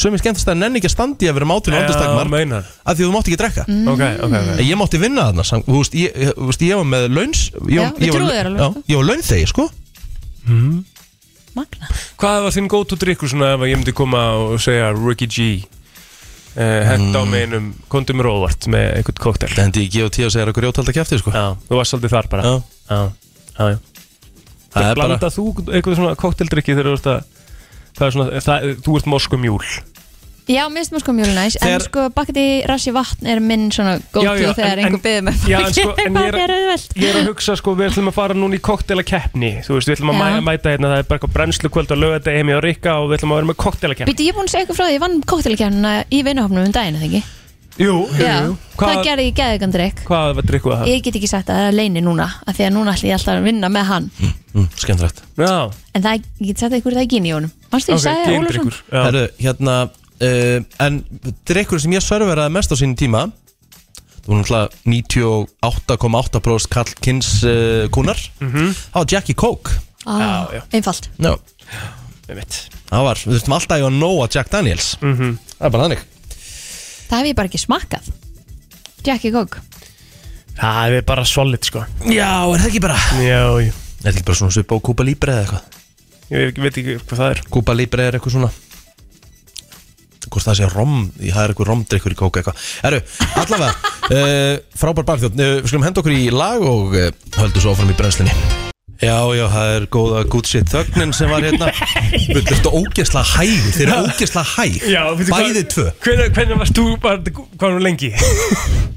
[SPEAKER 4] Sumir skemmtist að nenni ekki að standi að vera mátil og andastakmar
[SPEAKER 5] meinar
[SPEAKER 4] Af því að þú mátti ekki
[SPEAKER 3] Mm.
[SPEAKER 4] drekka
[SPEAKER 5] Ok, ok, ok
[SPEAKER 4] En Ég mátti vinna þarna sam- Þú veist, ég, ég, þú veist, ég var með launs ég,
[SPEAKER 3] Já, við
[SPEAKER 4] ég var,
[SPEAKER 3] trúum þér alveg.
[SPEAKER 4] já, Ég var launþegi, sko
[SPEAKER 3] Magna
[SPEAKER 5] Hvað var þinn gótu drikkur svona ef ég myndi koma og segja Ricky G uh, Hent
[SPEAKER 4] Mm.
[SPEAKER 5] á mig einum kondum róvart með einhvern koktel
[SPEAKER 4] Það hendi ég gefa tíu og segja eitthvað rjótald að kæfti, sko
[SPEAKER 5] Já, þú varst aldrei þar bara
[SPEAKER 4] Já.
[SPEAKER 5] já, já, já.
[SPEAKER 4] Það er
[SPEAKER 5] Blanda
[SPEAKER 4] bara
[SPEAKER 5] þú eitthvað svona kokteldrykki þegar þú ert að Það er svona, það, þú ert um moskumjúl
[SPEAKER 3] Já, mér finnst maður sko mjög næs En
[SPEAKER 4] Þegar-
[SPEAKER 3] sko bakkti rassi vatn er minn svona góð
[SPEAKER 5] Já, já,
[SPEAKER 3] til þegar
[SPEAKER 5] en-
[SPEAKER 3] einhver um
[SPEAKER 5] en-
[SPEAKER 3] beður með
[SPEAKER 5] Já, en sko, en ég er-
[SPEAKER 3] Hvað er auðvelt?
[SPEAKER 5] Ég er að hugsa sko, við ætlum að fara núna í koktelakeppni Þú veist, við ætlum að
[SPEAKER 3] Já.
[SPEAKER 5] mæ, mæta hérna Það er bara eitthvað brennslu kvöld að lögða heimi á Rikka Og við ætlum að vera með koktelakeppni
[SPEAKER 3] Býtu, ég er búin að segja eitthvað frá því, ég vann kóttelkjörnuna í vinahopnum um daginn, eða ekki?
[SPEAKER 5] Jú, jú,
[SPEAKER 3] Já,
[SPEAKER 5] jú
[SPEAKER 3] það
[SPEAKER 5] Hvað,
[SPEAKER 3] gerði ég geðugan drikk
[SPEAKER 5] hvað var drykkuð það?
[SPEAKER 3] Ég get ekki sagt að það er leini núna af því að núna ætlum ég alltaf að vinna með hann
[SPEAKER 4] mm, Skemmtilegt
[SPEAKER 5] Já,
[SPEAKER 3] En það, ég get sagt eitthvað það er gín í honum Manstu, ég
[SPEAKER 5] ok,
[SPEAKER 3] sagði það Ólafsson
[SPEAKER 5] geimdrykkur Já,
[SPEAKER 4] Herru, hérna uh, En drikkur sem ég serveraði mest á sínum tíma Það var náttúrulega 98,8% kall kynns uh, kúnar Það var Jackie Coke
[SPEAKER 5] Já, já.
[SPEAKER 3] ah, Einfalt
[SPEAKER 4] Já
[SPEAKER 5] ég veit
[SPEAKER 4] Það var, við þurftum alltaf að ég var nóa Jack Daniels Það er bara þannig
[SPEAKER 3] Það hef ég bara ekki smakkað Jackie Coke
[SPEAKER 5] Það er bara solid sko
[SPEAKER 4] Já, er það ekki bara
[SPEAKER 5] Já, já
[SPEAKER 4] Er það ekki bara svona svipað á Kúpa Libre eða eitthvað
[SPEAKER 5] Ég veit ekki hvað það er
[SPEAKER 4] Kúpa Libre er eitthvað svona Hvort það sé rom, í- það er eitthvað romdrykkur í kóka eitthvað Herru, allavega, uh, frábær barþjótt uh, Við skulum henda okkur í lag og uh, höldum svo áfram í brennslinni Já, já, það er góða good shit þögnin sem var hérna Þú ert ógesla hæg, þeir eru ógesla hæg Bæði tvö
[SPEAKER 5] Hvernig, hvernig varst þú bara, hvað var hún lengi?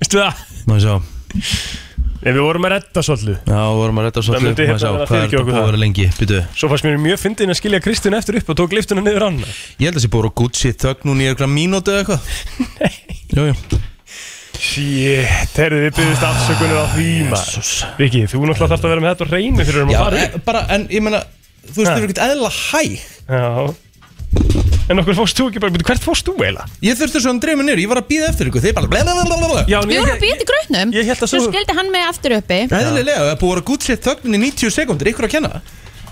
[SPEAKER 5] Veistu það?
[SPEAKER 4] Má ég sjá,
[SPEAKER 5] Nei, við vorum að redda svolítið
[SPEAKER 4] já, vorum að redda svo
[SPEAKER 5] Það
[SPEAKER 4] Má
[SPEAKER 5] myndi
[SPEAKER 4] ég sjá,
[SPEAKER 5] hérna
[SPEAKER 4] hvað
[SPEAKER 5] vera
[SPEAKER 4] er
[SPEAKER 5] fyrirgefið
[SPEAKER 4] þetta
[SPEAKER 5] okkur
[SPEAKER 4] búið að
[SPEAKER 5] það.
[SPEAKER 4] vera lengi, byrju
[SPEAKER 5] Svo fannst mér mjög fyndin að skilja Kristján eftir upp og tók liftuna niður hann
[SPEAKER 4] Ég held að það sé búið að Gucci þögn núna í eitthvað mínútu eða eitthvað Jú, jú
[SPEAKER 5] Shit, herðu þið byggðist afsökunar á því maður
[SPEAKER 4] Jesus.
[SPEAKER 5] Viki, þú náttúrulega þarfst að vera með þetta á reynu fyrir um
[SPEAKER 4] Já,
[SPEAKER 5] að fara
[SPEAKER 4] e- bara, en ég meina Þú veist,
[SPEAKER 5] Ha.
[SPEAKER 4] þau eru ekkert eðla hæ
[SPEAKER 5] Já En okkur fórst þú ekki bara, byrju, hvert fórst þú eiginlega?
[SPEAKER 4] Ég þurfti svo að dreif mig niður, ég var að býða eftir ykkur Þeir bara blablabla
[SPEAKER 5] Já, en
[SPEAKER 3] Við
[SPEAKER 5] ég-
[SPEAKER 3] vorum að býta í grötnum
[SPEAKER 5] Ég hélt að
[SPEAKER 3] Svo
[SPEAKER 5] svo-
[SPEAKER 3] skildi hann mig aftur uppi
[SPEAKER 4] Eðlilega, það er búið að vera Gucci þögnin í 90 sekundur Ykkur að kenna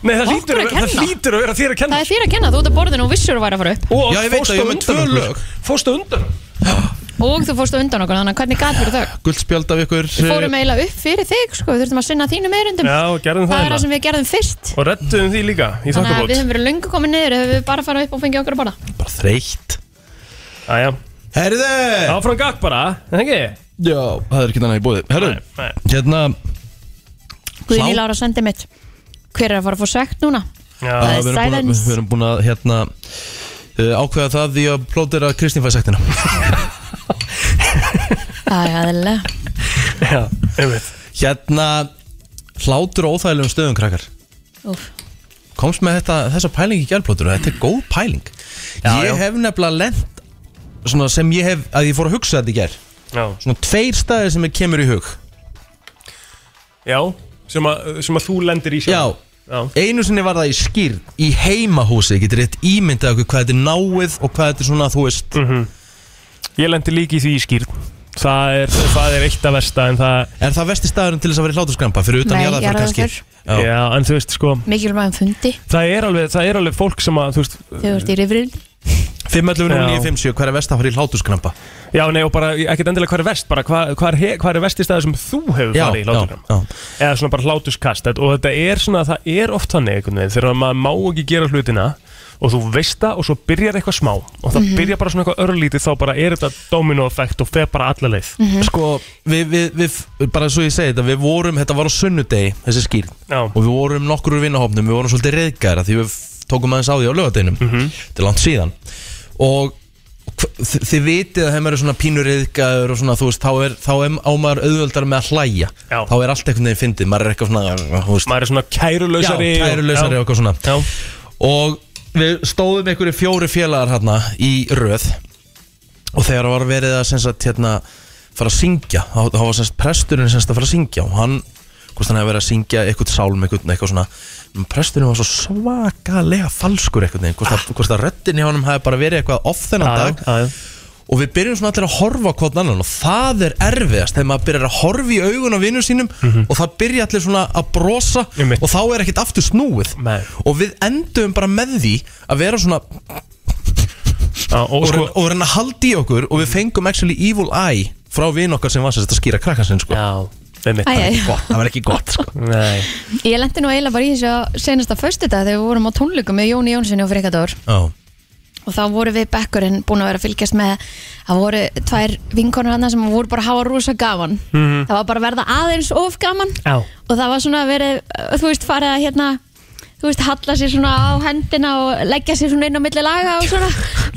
[SPEAKER 5] Nei, það
[SPEAKER 3] Okkur
[SPEAKER 5] hlýtur
[SPEAKER 3] að
[SPEAKER 5] að, vera- það
[SPEAKER 3] kenna.
[SPEAKER 5] hlýtur að vera þér að
[SPEAKER 3] Það
[SPEAKER 5] kenna
[SPEAKER 3] er þér að kenna, þú ert að borðinu og vissur að væri að fara upp
[SPEAKER 5] Og
[SPEAKER 4] Já, ég veit
[SPEAKER 5] fórstu
[SPEAKER 4] að ég
[SPEAKER 5] á
[SPEAKER 4] er með
[SPEAKER 5] undan
[SPEAKER 4] tvö
[SPEAKER 5] okkur.
[SPEAKER 4] lög.
[SPEAKER 5] Fórstu á undan okkur.
[SPEAKER 3] Og þú fórst á undan okkur, þannig að hvernig gat fyrir þau
[SPEAKER 4] Guld spjald af ykkur eh,
[SPEAKER 3] Við fórum eiginlega upp fyrir þig, sko, við þurftum að sinna þínum erindum
[SPEAKER 5] Já, gerðum það
[SPEAKER 3] Það er það
[SPEAKER 5] eiginlega.
[SPEAKER 3] sem við gerðum fyrst
[SPEAKER 5] Og rettuðum því líka í
[SPEAKER 3] Þannig að
[SPEAKER 5] þokkabót
[SPEAKER 3] við höfum verið löngu komið niður ef við bara fara upp og fengið okkur að borða
[SPEAKER 4] Bara þreytt
[SPEAKER 5] Æja,
[SPEAKER 4] Herðu
[SPEAKER 5] áfram gakk bara, en ekki?
[SPEAKER 4] Já, það er ekki þannig í bóði Herðu,
[SPEAKER 5] Nei, nei.
[SPEAKER 4] hérna
[SPEAKER 3] Guðný
[SPEAKER 4] Hlá-
[SPEAKER 3] Lára sendi mitt Hver er að fara að fá sekt núna?
[SPEAKER 5] Já,
[SPEAKER 3] Það
[SPEAKER 4] að
[SPEAKER 3] er
[SPEAKER 4] Við erum búin að-
[SPEAKER 3] silence.
[SPEAKER 4] við erum búin að, hérna Uh, ákveða það því að plótera Kristín fæði sektina
[SPEAKER 3] Ægæðilega
[SPEAKER 5] já, einmitt
[SPEAKER 4] Hérna Hlátur á óþægilegum stöðum krakkar
[SPEAKER 3] Úf
[SPEAKER 4] komst með þetta, þessa pæling í gerplótur og þetta er góð pæling ég
[SPEAKER 5] já.
[SPEAKER 4] hef nefnilega lent svona sem ég hef, að ég fór að hugsa þetta í ger
[SPEAKER 5] Já,
[SPEAKER 4] svona tveir staðir sem ég kemur í hug
[SPEAKER 5] já sem, að, sem að þú lendir í
[SPEAKER 4] já,
[SPEAKER 5] sjálf já.
[SPEAKER 4] einu sinni var það í skýrn í heimahúsi, ég getur rétt ímyndað okkur hvað þetta er náið og hvað þetta er svona þú veist,
[SPEAKER 5] Mhm. Ég lendi líki í því í skýrn Það er, það er eitt að versta en það,
[SPEAKER 4] er það vesti staðurinn til þess að vera í hláturskrampa fyrir utan
[SPEAKER 3] Nei,
[SPEAKER 4] jarðarför kannski
[SPEAKER 3] jarðarför.
[SPEAKER 5] já.
[SPEAKER 4] já.
[SPEAKER 5] en þú veist sko
[SPEAKER 3] Mikilvæg um fundi
[SPEAKER 5] Það er alveg, það er alveg fólk sem að, þú veist
[SPEAKER 3] Þau ert í rifrið
[SPEAKER 4] 5.11.9.57, hver er vest að fara í hláturskrampa
[SPEAKER 5] Já, nei, og bara, ekkert endilega hvað er verst bara, hvað, hvað, er, he- hvað er verst í staði sem þú hefur
[SPEAKER 4] já,
[SPEAKER 5] farið í
[SPEAKER 4] já,
[SPEAKER 5] hláturkram
[SPEAKER 4] já,
[SPEAKER 5] Eða svona bara hlátuskast þetta- og þetta er svona, það er oft þannig einhvern veginn þegar maður má ekki gera hlutina og þú veist það og svo byrjar eitthvað smá og
[SPEAKER 4] Mhm.
[SPEAKER 5] það byrjar bara svona eitthvað örlítið þá bara er þetta domino effekt og fer bara alla leið
[SPEAKER 4] sko, við, við, við bara svo ég segi þetta, við vorum, þetta var á sunnudegi þessi skýrn
[SPEAKER 5] Já,
[SPEAKER 4] og við vorum nokkur úr vinnahopnum, við vorum svolítið reyðgæra því við tókum aðeins á því á lögadeinum
[SPEAKER 5] Mhm.
[SPEAKER 4] þetta er langt síðan og hv- þi- þið vitið að þeim eru svona pínur reyðgæður og svona þú veist, þá er, þá er á maður auðvöldar með að hlæja
[SPEAKER 5] Já.
[SPEAKER 4] þá er allt einhvern veginn fyndið, maður er eitthvað svona þú veist,
[SPEAKER 5] maður er svona kærulausari
[SPEAKER 4] já,
[SPEAKER 5] og-
[SPEAKER 4] kærulausari og
[SPEAKER 5] já.
[SPEAKER 4] eitthvað svona
[SPEAKER 5] Já.
[SPEAKER 4] og við stóðum einhverju fjóri félagar hérna í röð og þegar var verið að sem sagt, hérna, fara að syngja þá, þá var sem sagt, presturinn sem sagt, að fara að syngja og hann, hvort hann hefði verið að syngja eitthvað sálm, eitthvað, eitthvað svona en presturinn var svo svakalega falskur eitthvað, veginn, hvort, ah. hvort að röddinn hjá honum hefði bara verið eitthvað off þennan
[SPEAKER 5] Já,
[SPEAKER 4] dag
[SPEAKER 5] já, já.
[SPEAKER 4] og við byrjum svona allir að horfa á hvort annan og það er erfiðast þegar maður byrjar að horfa í augun á vinnum sínum og það byrja allir svona að brosa
[SPEAKER 5] Mhm. Einmitt.
[SPEAKER 4] og þá er ekkert aftur snúið
[SPEAKER 5] Nei.
[SPEAKER 4] og við endum bara með því að vera svona
[SPEAKER 5] Já, og
[SPEAKER 4] og,
[SPEAKER 5] sko-
[SPEAKER 4] sko, og reyna að haldi í okkur og við fengum actually evil eye frá vin okkar sem var sérst að skýra krakkarsinn sko.
[SPEAKER 5] Já, einmitt
[SPEAKER 3] Æ, æ,
[SPEAKER 4] gott, það var ekki gott sko.
[SPEAKER 5] Nei,
[SPEAKER 3] Ég lendi nú eiginlega bara í þessu á senasta föstudag þegar við vorum á tónleikum með Jóni Jónssoni og Frikador
[SPEAKER 4] Já,
[SPEAKER 3] og þá voru við bekkurinn búin að vera að fylgjast með það voru tvær vinkonur hann sem voru bara að hafa rosa gaman það var bara að verða aðeins of gaman
[SPEAKER 5] Já.
[SPEAKER 3] og það var svona verið, uh, þú veist, farið að hérna þú veist, halla sér svona á hendina og leggja sér svona inn á milli laga og svona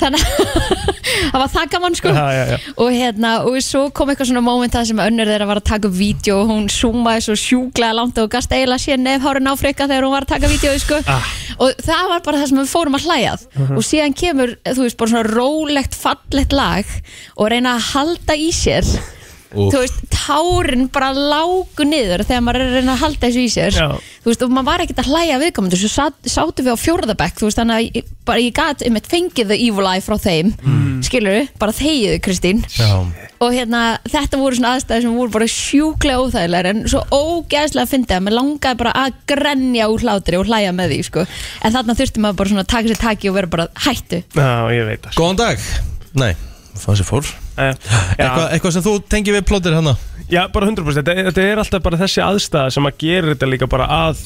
[SPEAKER 3] þannig að það var það gaman sko
[SPEAKER 5] Já, já, já.
[SPEAKER 3] og hérna, og svo kom eitthvað svona moment það sem önnur þeirra var að taka upp vídeo og hún zoomaði svo sjúklega langt og gasta eiginlega sér nefhárin á freka þegar hún var að taka vídeo sko.
[SPEAKER 5] Ah.
[SPEAKER 3] og það var bara það sem við fórum að hlæjað
[SPEAKER 5] Mhm.
[SPEAKER 3] og síðan kemur, þú veist, bara svona rólegt, fallegt lag og reyna að halda í sér þú veist, tárin bara lágu niður þegar maður er að reyna að halda þessu í sér
[SPEAKER 5] Já.
[SPEAKER 3] þú veist, og maður var ekkert að hlæja viðkomandi svo sat, sátum við á fjórðabekk þú veist, þannig að ég, bara ég gat um eitt fengið the evil eye frá þeim, mm. skilur bara þegiðu Kristín
[SPEAKER 4] já,
[SPEAKER 3] og hérna, þetta voru svona aðstæði sem voru bara sjúklega óþægilegar en svo ógeðslega fyndið að mér langaði bara að grenja úr hlátri og hlæja með því, sko en þarna þurfti maður bara svona að taka sér taki og vera bara hættu
[SPEAKER 5] já, ég veit það sko.
[SPEAKER 4] góðan dag Nei, fann sér fór
[SPEAKER 5] Eh,
[SPEAKER 4] Eitthvað,
[SPEAKER 5] já,
[SPEAKER 4] eitthvað sem þú tengir við hérna? plótir hana
[SPEAKER 5] já, bara 100% þetta, þetta er alltaf bara þessi aðstæða sem að gera þetta líka bara að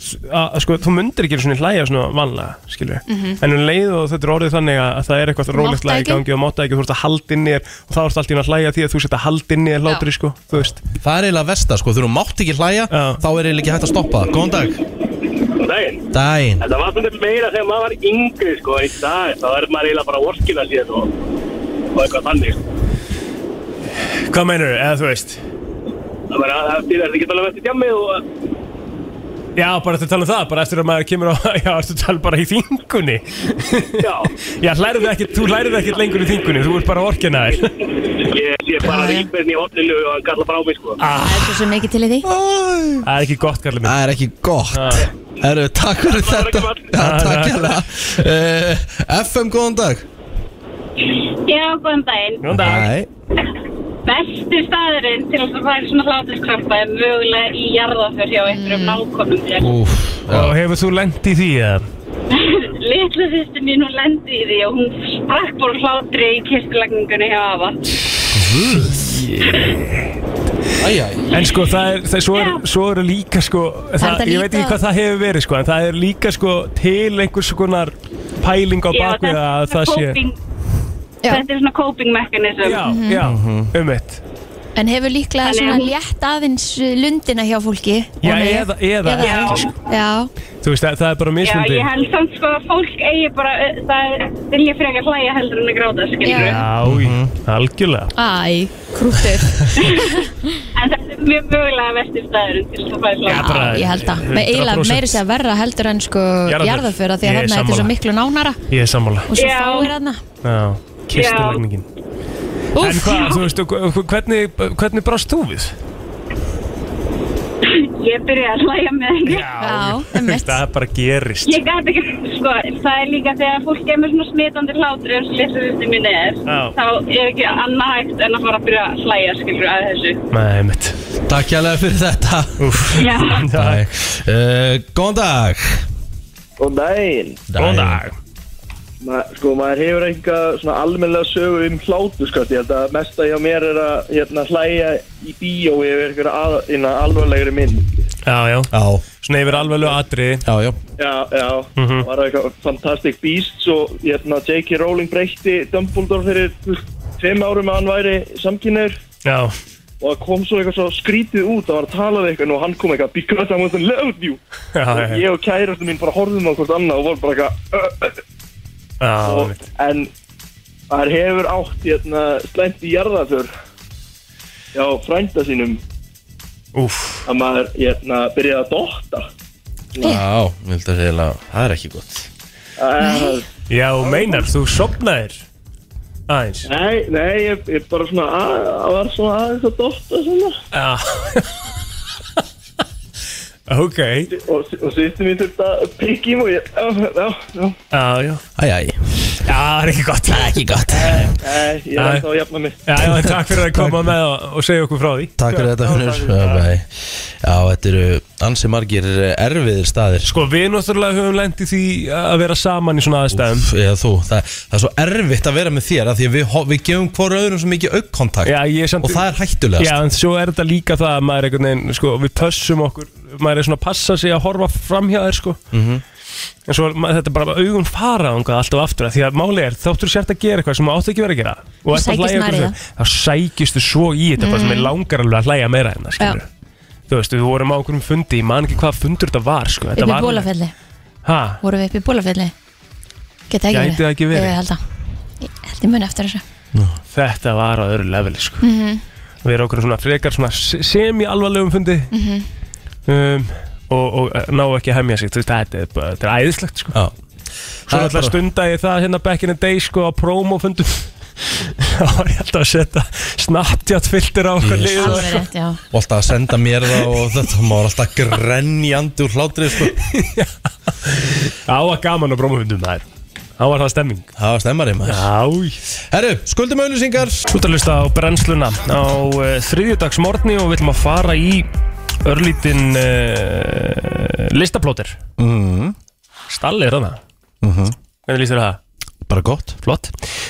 [SPEAKER 5] að, sko, þú myndir ekki svona hlæja svona vanlega, skilju en um leið og þetta er orðið þannig að, að það er eitthvað rólegt
[SPEAKER 3] Mátta
[SPEAKER 5] hlæja í
[SPEAKER 3] ekki.
[SPEAKER 5] gangi og máta ekki, þú ert að halda inn í þér og þá ert allt í einu að hlæja því að þú setja halda inn í þér hlátri, sko, þú veist
[SPEAKER 4] Það er eiginlega versta, sko, þegar hún mátt ekki hlæja
[SPEAKER 5] Já.
[SPEAKER 4] Þá er eiginlega ekki hægt að stoppa það. Góðan dag
[SPEAKER 7] Daginn.
[SPEAKER 4] Dæin
[SPEAKER 7] Þetta var svona meira þegar maður var yngri sko en í dag, þá er maður eiginlega bara orkina síðan og, og eitthvað þannig sko.
[SPEAKER 5] Hvað meinur, eða þú veist
[SPEAKER 7] Það er að það er ekki talað með þetta djammi og
[SPEAKER 5] Já, bara eftir að tala um það, bara eftir að maður kemur á Já, eftir að tala bara í þingunni
[SPEAKER 7] já,
[SPEAKER 5] Já, hlærðu ekki, þú lærðu ekki lengur í þingunni, þú ert bara orkinaðir
[SPEAKER 7] ég sé bara rýmberni í hotninu og hann kallar frá mig sko.
[SPEAKER 3] Það er svo mikið til í því
[SPEAKER 5] Það er ekki gott, kallið minn
[SPEAKER 4] Það er ekki gott Herru, takk fyrir
[SPEAKER 7] Það var ekki
[SPEAKER 4] þetta
[SPEAKER 7] gott.
[SPEAKER 4] Já, Takk hérna. hérlega uh, FM, góðan dag
[SPEAKER 8] Já, góðan daginn.
[SPEAKER 5] Góðan
[SPEAKER 4] Æ,
[SPEAKER 5] dag
[SPEAKER 8] Bestu staðurinn til að færa svona hláturskrampa er mögulega í jarðaför hjá einhverjum
[SPEAKER 5] Mm.
[SPEAKER 8] nákvæmum þér.
[SPEAKER 4] úf
[SPEAKER 5] Og hefur þú lent í því eða?
[SPEAKER 8] Litla sýstin mín hún lendi í því og hún sprakk bara úr hlátri í kirkulagningunni hjá afa.
[SPEAKER 4] Æja,
[SPEAKER 5] En sko, það er, það, svo, er, svo eru líka sko það,
[SPEAKER 3] þetta
[SPEAKER 5] Ég veit ekki
[SPEAKER 3] líka-
[SPEAKER 5] hvað það hefur verið sko En það er líka sko til einhvers konar pæling á bakvið að það sé
[SPEAKER 8] coping-
[SPEAKER 3] Já.
[SPEAKER 8] Þetta er svona coping mechanism.
[SPEAKER 5] Já, já, um eitt
[SPEAKER 3] En hefur líklega
[SPEAKER 8] Þannig
[SPEAKER 3] svona
[SPEAKER 8] að hún-
[SPEAKER 3] létt aðeins uh, lundina hjá fólki
[SPEAKER 5] Já,
[SPEAKER 3] og mig.
[SPEAKER 5] eða, eða,
[SPEAKER 3] Eða-
[SPEAKER 8] Já.
[SPEAKER 5] sko.
[SPEAKER 3] Já,
[SPEAKER 5] Þú veist, það, það er bara
[SPEAKER 8] Já,
[SPEAKER 5] mismundi
[SPEAKER 8] ég held samt sko að fólk eigi bara, uh, það er, vilja frekar hlæja heldur en að gráta, skilur
[SPEAKER 3] Já.
[SPEAKER 5] Já, Mhm. algjörlega
[SPEAKER 3] æ, krútið
[SPEAKER 8] En þetta er mjög mögulega vesti staðurinn til að færa
[SPEAKER 5] Já,
[SPEAKER 8] hlátur.
[SPEAKER 5] bara-
[SPEAKER 3] Ég held að, með eiginlega
[SPEAKER 5] 100%
[SPEAKER 3] meiri segja verra heldur en sko
[SPEAKER 5] Jarðarför.
[SPEAKER 3] jarðaföra því að
[SPEAKER 5] Ég er
[SPEAKER 3] þarna þetta er svo
[SPEAKER 5] sammála.
[SPEAKER 3] miklu nánara
[SPEAKER 5] Ég er sammála
[SPEAKER 3] og svo
[SPEAKER 8] Já.
[SPEAKER 3] fáir þarna
[SPEAKER 5] Já, kistulegningin En
[SPEAKER 3] Úf,
[SPEAKER 5] hvað, þú veist, og hv- hvernig, hvernig brást þú við?
[SPEAKER 8] Ég byrjaði að hlæja með henni.
[SPEAKER 3] Já, einmitt.
[SPEAKER 5] Það bara gerist
[SPEAKER 8] Ég gæti ekki, sko, það er líka þegar fólk kemur svona smitandi hlátur eins og litluðusti mín er,
[SPEAKER 5] Já.
[SPEAKER 8] þá er ekki annað hægt en að fara að byrja að hlæja, skilur, að þessu.
[SPEAKER 5] Nei, um mitt
[SPEAKER 4] takk hérlega fyrir þetta
[SPEAKER 5] Úff
[SPEAKER 8] Já.
[SPEAKER 5] Dag.
[SPEAKER 4] uh, Góðan dag
[SPEAKER 9] Góðan daginn
[SPEAKER 5] Góðan dag
[SPEAKER 9] Ma, Sko, maður hefur eitthvað svona almennilega sögu um hlátu, sko Ég held að mesta hjá mér er að hérna, hlæja í bíó yfir eitthvað að, inna, alvarlegri mynd
[SPEAKER 5] Já, já
[SPEAKER 4] Já,
[SPEAKER 5] Svona yfir alveg lög atri
[SPEAKER 4] já, já
[SPEAKER 9] Já, já, mm -hmm. var eitthvað Fantastic Beasts og hérna, J.K. Rowling breytti Dumbledore fyrir þú veist, tveim árum að hann væri samkynir
[SPEAKER 5] Já
[SPEAKER 9] og það kom svo eitthvað svo skrítið út að var að tala við eitthvað og hann kom eitthvað because I'm gonna love you
[SPEAKER 5] Já, já,
[SPEAKER 9] og
[SPEAKER 5] já
[SPEAKER 9] ég og kærastu mín bara horfðum á hvort annað og vorum bara eitthvað "Ö, ö, ö,
[SPEAKER 5] Já,
[SPEAKER 9] og,
[SPEAKER 5] mitt
[SPEAKER 9] en það hefur átt hérna, slæmt í jarðaför já, frænda sínum
[SPEAKER 5] Úff
[SPEAKER 9] að maður hérna, byrjaði að dotta
[SPEAKER 4] Já, ég held að segja að það er ekki gott
[SPEAKER 9] uh,
[SPEAKER 5] Já, og meinar, þú sopnaðir Aðeins
[SPEAKER 9] nei, nei, ég, ég bara svona að, að var svona aðeins að dotta svona.
[SPEAKER 5] Já Ok
[SPEAKER 9] og, og sýstum mín þurfti að prikki í mig og ég, já, já, já
[SPEAKER 5] Já, já
[SPEAKER 4] Æj, æj
[SPEAKER 5] Já, það er ekki gott
[SPEAKER 10] Það er ekki gott
[SPEAKER 9] Nei, Eh, ég er
[SPEAKER 5] Nei.
[SPEAKER 9] ennþá að jafna mig
[SPEAKER 5] Já, já, en takk fyrir að koma með og, og segja okkur frá því
[SPEAKER 4] Takk fyrir þetta Finnur Já, bæ. Já, þetta eru ansi margir eh, erfiðir staðir
[SPEAKER 5] Sko, við náttúrulega höfum lent í því að vera saman í svona aðstæðum
[SPEAKER 4] Úff, Eða þú, það, það er svo erfitt að vera með þér af Því að við, ho- við gefum hvora öðrum svo mikið aukkontakt
[SPEAKER 5] Já, ég er samt
[SPEAKER 4] Og það er
[SPEAKER 5] Já,
[SPEAKER 4] hættulegast
[SPEAKER 5] en svo er þetta líka það að maður einhvern veginn, sko, við pössum okkur maður er svona að passa sig að horfa framhjá þér, sko en svo maður, þetta er bara augun fara þangað alltaf aftur af því að máli er, þáttur sért að gera eitthvað sem maður áttu ekki verið að gera og ert að
[SPEAKER 3] sækist
[SPEAKER 5] hlæja
[SPEAKER 3] maður
[SPEAKER 5] okkur
[SPEAKER 3] í Mhm.
[SPEAKER 5] þau, þá sækistu svo í þetta bara sem er langar alveg að hlæja meira en það, skilur Þú veist, við vorum á okkurum fundi, ég man ekki hvað fundur þetta var, sko Þetta
[SPEAKER 3] Upp í
[SPEAKER 5] var-
[SPEAKER 3] bólafelli
[SPEAKER 5] Ha?
[SPEAKER 3] Vorum við upp í bólafelli Geta ekki
[SPEAKER 5] Gæti það ekki verið?
[SPEAKER 3] Ég held að Ég held ég muni eftir þessu
[SPEAKER 5] þetta var á öðru leveli sko. við erum okkur svona frekar svona semi-alvarlegum fundi um, og, og eh, ná ekki að hemja sig Þú veist, þetta er, bara- þetta er æðislegt sko.
[SPEAKER 4] Já,
[SPEAKER 5] svo
[SPEAKER 4] Það er
[SPEAKER 5] alltaf
[SPEAKER 4] bara-
[SPEAKER 5] stunda ég það hérna back in the day sko, á promofundum þá var ég alltaf að setja snaptjátt filter á sko. okkur
[SPEAKER 4] Jesus.
[SPEAKER 5] lið og-
[SPEAKER 3] Alveg rétt, já
[SPEAKER 4] Og alltaf að senda mér það og þetta Má alltaf grenjandi úr hlátri sko.
[SPEAKER 5] það var gaman á promofundum það er það var það stemming
[SPEAKER 4] Það var stemmari maður
[SPEAKER 5] Æj
[SPEAKER 4] Herru, skuldum auðlýsingar
[SPEAKER 5] Þú ert að hlusta á brennsluna á uh, þriðjudagsmorni og við ætlum að fara í örlítinn uh, listaplóter mm. Stalli er þarna Hvernig líst þér á það?
[SPEAKER 4] Bara gott
[SPEAKER 5] Flott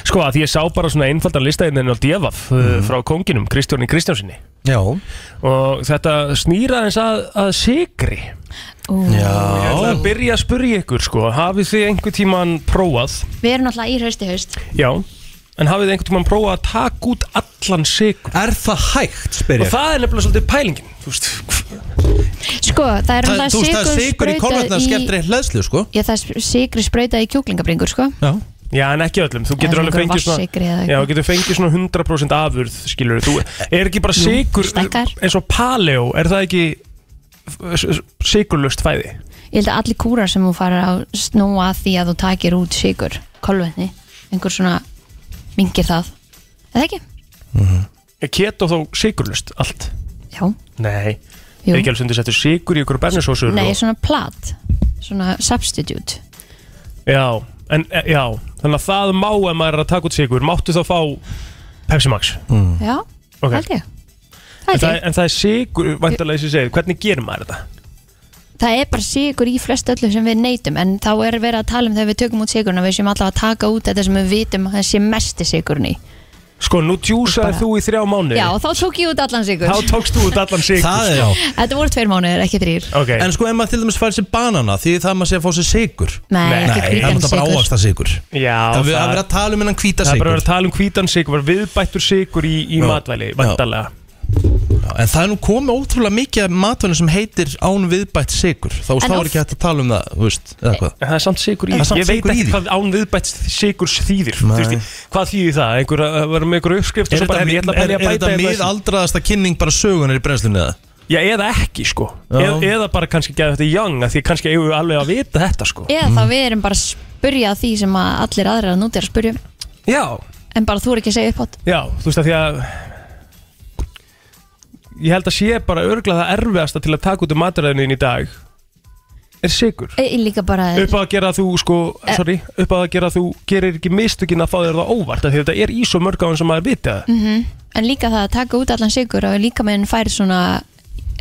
[SPEAKER 5] Sko að því ég sá bara svona einfaldan listaðinni á Devaf mm. frá konginum Kristjóni Kristjánsinni
[SPEAKER 4] Já,
[SPEAKER 5] og þetta snýra eins að, að sigri Ég ætla að byrja að spyrja ykkur sko hafið þið einhver tíman prófað
[SPEAKER 3] Við erum alltaf í haust í haust
[SPEAKER 5] Já En hafið þið einhvern tímann prófað að taka út allan sigur?
[SPEAKER 4] Er það hægt, spyr
[SPEAKER 5] Og
[SPEAKER 4] ég
[SPEAKER 5] það er nefnilega svolítið pælingin, þú veist,
[SPEAKER 3] Sko, það
[SPEAKER 5] hérna
[SPEAKER 3] er
[SPEAKER 4] Það- Þú veist, það
[SPEAKER 3] alltaf
[SPEAKER 4] er sigur í kolvetna
[SPEAKER 3] sigur
[SPEAKER 4] skemmtri hleðslu, sko
[SPEAKER 3] Já, það er sigur sprauta í kjúklingabringur, sko
[SPEAKER 4] Já
[SPEAKER 5] Já, en ekki öllum, þú getur
[SPEAKER 3] svona
[SPEAKER 5] alveg
[SPEAKER 3] einhver
[SPEAKER 5] fengið
[SPEAKER 3] vatnsykri
[SPEAKER 5] svona
[SPEAKER 3] eða
[SPEAKER 5] Já,
[SPEAKER 3] eitthvað.
[SPEAKER 5] þú getur fengið svona 100% afurð skilur, þú er ekki bara sigur
[SPEAKER 3] stækkar.
[SPEAKER 5] eins og paleo, er það ekki s- s- sigurlaust fæði
[SPEAKER 3] Ég held að allir kúrar sem þú farir að snúa að því að þú takir út sigur kolvetni, einhver svona mingir það, eða ekki?
[SPEAKER 5] Er keto þá sigurlaust allt?
[SPEAKER 3] Já,
[SPEAKER 5] Nei,
[SPEAKER 3] jú
[SPEAKER 5] er ekki alveg sem þú settur sigur í ykkur bernisósur
[SPEAKER 3] Nei,
[SPEAKER 5] og,
[SPEAKER 3] svona plat, svona substitute
[SPEAKER 5] Já, en e, já þannig að það má ef maður er að taka út sigur máttu þá fá Pepsi Max
[SPEAKER 3] Já,
[SPEAKER 5] Ok.
[SPEAKER 3] held ég
[SPEAKER 5] en
[SPEAKER 3] Það,
[SPEAKER 5] það,
[SPEAKER 3] er,
[SPEAKER 5] en það er sigur, vantarlega þessi segið hvernig gerir maður þetta?
[SPEAKER 3] það er bara sigur í flest öllu sem við neytum en þá er verið að tala um þegar við tökum út sigurinn að við séum alltaf að taka út þetta sem við vitum að það sé mesti sigurinn í
[SPEAKER 5] Sko, nú tjúsaði
[SPEAKER 3] Bara-
[SPEAKER 5] þú í þrjá mánuði
[SPEAKER 3] Já, og þá tók ég út allan sigur
[SPEAKER 5] Þá tókst þú út allan sigur
[SPEAKER 4] Það er já
[SPEAKER 3] Þetta voru tveir mánuðir, ekki þrýr
[SPEAKER 5] Ok,
[SPEAKER 4] En sko, ef maður til dæmis fær sér banana Því það maður sé að fá sér sigur
[SPEAKER 3] Nei, ekki
[SPEAKER 4] Nei, það er
[SPEAKER 3] hvítan
[SPEAKER 4] náttúrulega bara
[SPEAKER 3] sigur
[SPEAKER 4] ávasta sigur
[SPEAKER 5] já
[SPEAKER 4] Það er að vera að tala um hennan hvíta
[SPEAKER 5] Það er
[SPEAKER 4] sigur
[SPEAKER 5] bara að vera að tala um hvítan sigur, var viðbættur sigur í, í
[SPEAKER 4] Já.
[SPEAKER 5] matvæli,
[SPEAKER 4] Já.
[SPEAKER 5] vantarlega.
[SPEAKER 4] En það er nú komið ótrúlega mikið af matvöldum sem heitir án viðbætt sigur Þá
[SPEAKER 3] En
[SPEAKER 4] þá er
[SPEAKER 3] oft-
[SPEAKER 4] ekki hægt að tala um það, þú veist, eða hvað
[SPEAKER 5] En það er samt sigur í
[SPEAKER 4] Það er
[SPEAKER 5] því.
[SPEAKER 4] samt
[SPEAKER 5] Ég veit
[SPEAKER 4] sykur í
[SPEAKER 5] ekki
[SPEAKER 4] því.
[SPEAKER 5] hvað án viðbætt sigurs þýðir. Þú
[SPEAKER 4] Nei.
[SPEAKER 5] veist, ég- hvað þýðir það? Einhver að vera með einhver uppskrift og
[SPEAKER 4] Er
[SPEAKER 5] svo bara,
[SPEAKER 4] þetta
[SPEAKER 5] herri, ég ætla að
[SPEAKER 4] er-
[SPEAKER 5] bæja
[SPEAKER 4] er
[SPEAKER 5] að bæta
[SPEAKER 4] þetta
[SPEAKER 5] hérna þessu.
[SPEAKER 4] miðaldraðasta kynning bara sögunar í brennslunni eða?
[SPEAKER 5] Já, eða ekki, sko.
[SPEAKER 4] Já.
[SPEAKER 5] Eð, eða bara kannski geða þetta í young, af því kannski eigum við alveg að vita þetta, sko.
[SPEAKER 3] Eða þá við erum bara að spurja að því sem að allir aðrir að núti er að spurja um,
[SPEAKER 5] Já,
[SPEAKER 3] en bara þú er ekki að segja upphátt
[SPEAKER 5] já, þú veist að því að ég held að sé bara örglega það erfiðasta til að taka út um maturæðinu í dag er sigur.
[SPEAKER 3] Ég líka bara
[SPEAKER 5] upp á að gera að þú sko,
[SPEAKER 3] Eh.
[SPEAKER 5] sorry, upp á að gera að þú gerir ekki mistökin að fá þér það óvart af því þetta er í svo mörg á hann sem maður viti það
[SPEAKER 3] Mhm. En líka það að taka út allan sigur og líka meðan fær svona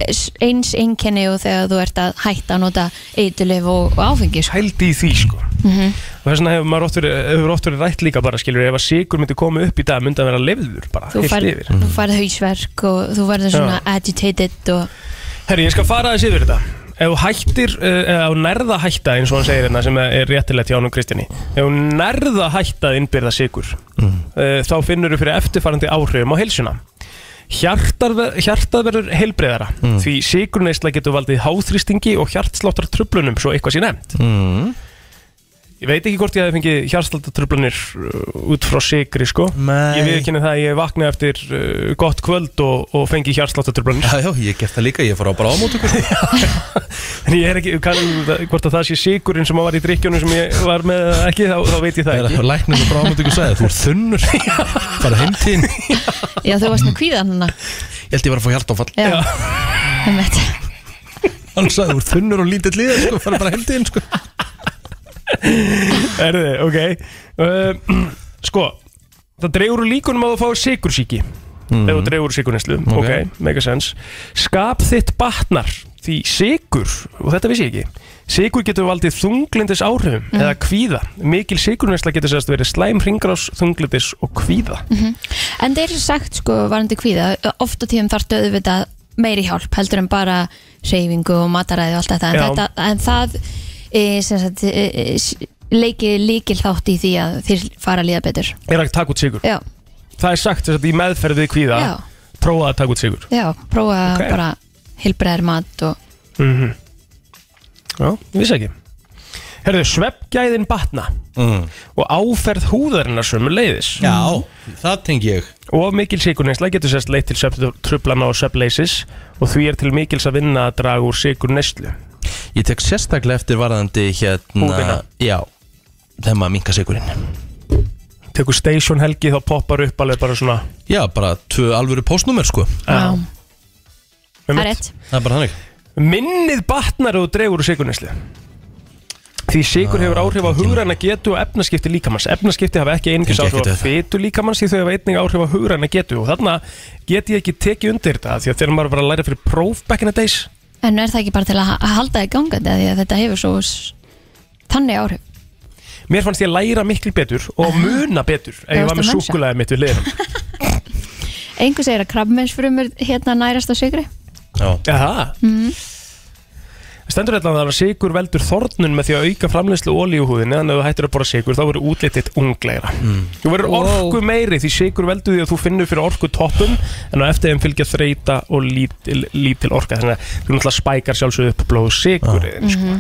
[SPEAKER 3] s- eins einkenni og þegar þú ert að hætta að nota eitulif og, og áfengi sko.
[SPEAKER 5] pældi í því sko
[SPEAKER 3] Mhm.
[SPEAKER 5] og þess vegna hefur maður oft verið, hefur oft verið rætt líka bara skilur, ef að sigur myndi koma upp í dag myndi að vera lefður bara,
[SPEAKER 3] Þú
[SPEAKER 5] heilt
[SPEAKER 3] fær,
[SPEAKER 5] yfir
[SPEAKER 3] þú færð hausverk og þú verður svona agitated og
[SPEAKER 5] Herri, ég skal fara þessi yfir þetta Ef þú hættir, eh, eða ef þú nærða hætta eins og hann segir hérna sem er réttilegt hjá hann og Kristjáni Ef þú nærða hætta að innbyrða sigur eh, þá finnur þú fyrir eftirfarandi áhrifum á heilsuna Hjartar, Hjartað verður heilbreyðara því sigurneisla getur valdið háþrýstingi og hjartsláttar tröflunum svo eitthvað sé nefnt
[SPEAKER 4] Mm.
[SPEAKER 5] Ég veit ekki hvort ég hefði fengið hjartsláttartröflunir út frá sigri sko
[SPEAKER 4] Nei.
[SPEAKER 5] Ég viðkynni það að ég vaknaði eftir eh, gott kvöld og, og fengi hjartsláttartröflunir
[SPEAKER 4] Já, já, ég gert það líka, ég fór á bara ámót ykkur
[SPEAKER 5] En ég er ekki, kannum, hvort að það sé sigurinn sem að var í drikkjónu sem ég var með eða ekki, þá, þá veit ég það ekki.
[SPEAKER 4] Læknir og bráðmöndingur sagði þú er þunnur Fara heimtíðin Ég
[SPEAKER 3] já þú varst með kvíðan hana
[SPEAKER 4] held ég var að fá hjartáfall
[SPEAKER 3] Já, einmitt.
[SPEAKER 4] Hann sagði þú er þunnur og lítill líða sko, Fara bara heimtíðin sko.
[SPEAKER 5] Erði, ok uh, Sko, það dregur úr líkunum að þú fáið sikursíki ef þú dregur úr sikurinnslu, ok,
[SPEAKER 4] Ok.
[SPEAKER 5] mega sens Skap þitt batnar því sikur, og þetta vissi ég ekki Sikur getur valdið þunglindis áhrifum eða kvíða. Mikil sikurnesla getur sérst verið slæm hringrás, þunglindis og kvíða.
[SPEAKER 3] En þeir eru sagt sko varandi kvíða oft og tíðum þarftu auðvitað meiri hjálp heldur en bara reyfingu og mataræði og allt þetta en,
[SPEAKER 5] Já.
[SPEAKER 3] þetta, en það e, sem sagt, e, e, s- leikir líkil þátt í því að þeir fara að líða betur
[SPEAKER 5] Er að taka út sikur.
[SPEAKER 3] Já,
[SPEAKER 5] Það er sagt þess að í meðferð við kvíða,
[SPEAKER 3] Já.
[SPEAKER 5] prófaði að taka út sigur.
[SPEAKER 3] já, prófa
[SPEAKER 5] Ok.
[SPEAKER 3] bara hilbreðar mat og
[SPEAKER 5] Já, ég vissi ekki Herðu, sveppgæðin batna
[SPEAKER 4] Mm.
[SPEAKER 5] og áferð húðarinnar sömu leiðis
[SPEAKER 4] Já, það tengi ég
[SPEAKER 5] og mikil sikurnesla getur sérst leitt til svepptrublana og sveppleisis og því er til mikils að vinna að draga úr sikurneslu
[SPEAKER 4] Ég tek sérstaklega eftir varðandi hérna
[SPEAKER 5] Húðina.
[SPEAKER 4] Já, þegar maður minka sigurinn
[SPEAKER 5] Tekur station helgi þá poppar upp alveg bara svona
[SPEAKER 4] Já, bara tvö alvöru póstnúmer sko
[SPEAKER 3] Já, það er
[SPEAKER 5] einmitt.
[SPEAKER 3] rétt
[SPEAKER 4] Það er bara þannig
[SPEAKER 5] Minnið batnar og dregur úr sikurneslu Því sigur hefur áhrif á hugræna getu og efnaskipti líkamanns. Efnaskipti hafa ekki einingis
[SPEAKER 4] Tengi
[SPEAKER 5] áhrif
[SPEAKER 4] ekkert
[SPEAKER 5] á
[SPEAKER 4] við það.
[SPEAKER 5] fytu líkamanns því þau hafa einning áhrif á hugræna getu og þarna get ég ekki tekið undir þetta því að þegar maður var að læra fyrir próf back in the days
[SPEAKER 3] En er það ekki bara til að ha- að halda þið gangandi af því að þetta hefur svo s- þannig áhrif
[SPEAKER 5] Mér fannst ég læra miklu betur og muna betur ef
[SPEAKER 3] Já,
[SPEAKER 5] ég var
[SPEAKER 3] varstu
[SPEAKER 5] með
[SPEAKER 3] mensa?
[SPEAKER 5] súkulega mitt við liðan
[SPEAKER 3] Engu segir að krabbmeinsfrumur hérna nærast á sigri
[SPEAKER 4] Já,
[SPEAKER 5] Jaha Stendur þetta að það að sigur veldur þornun með því að auka framleiðslu ólíuhúðin eða ef þú hættir að bora sigur þá verður útlitið ungleira
[SPEAKER 4] Mm.
[SPEAKER 5] Þú verður orku meiri því sigur veldur því að þú finnur fyrir orku toppum en á eftir þeim fylgja þreita og lítil, lítil orka þannig að þú náttúrulega spækar sjálfsög upp blóðu sigur ah. sko.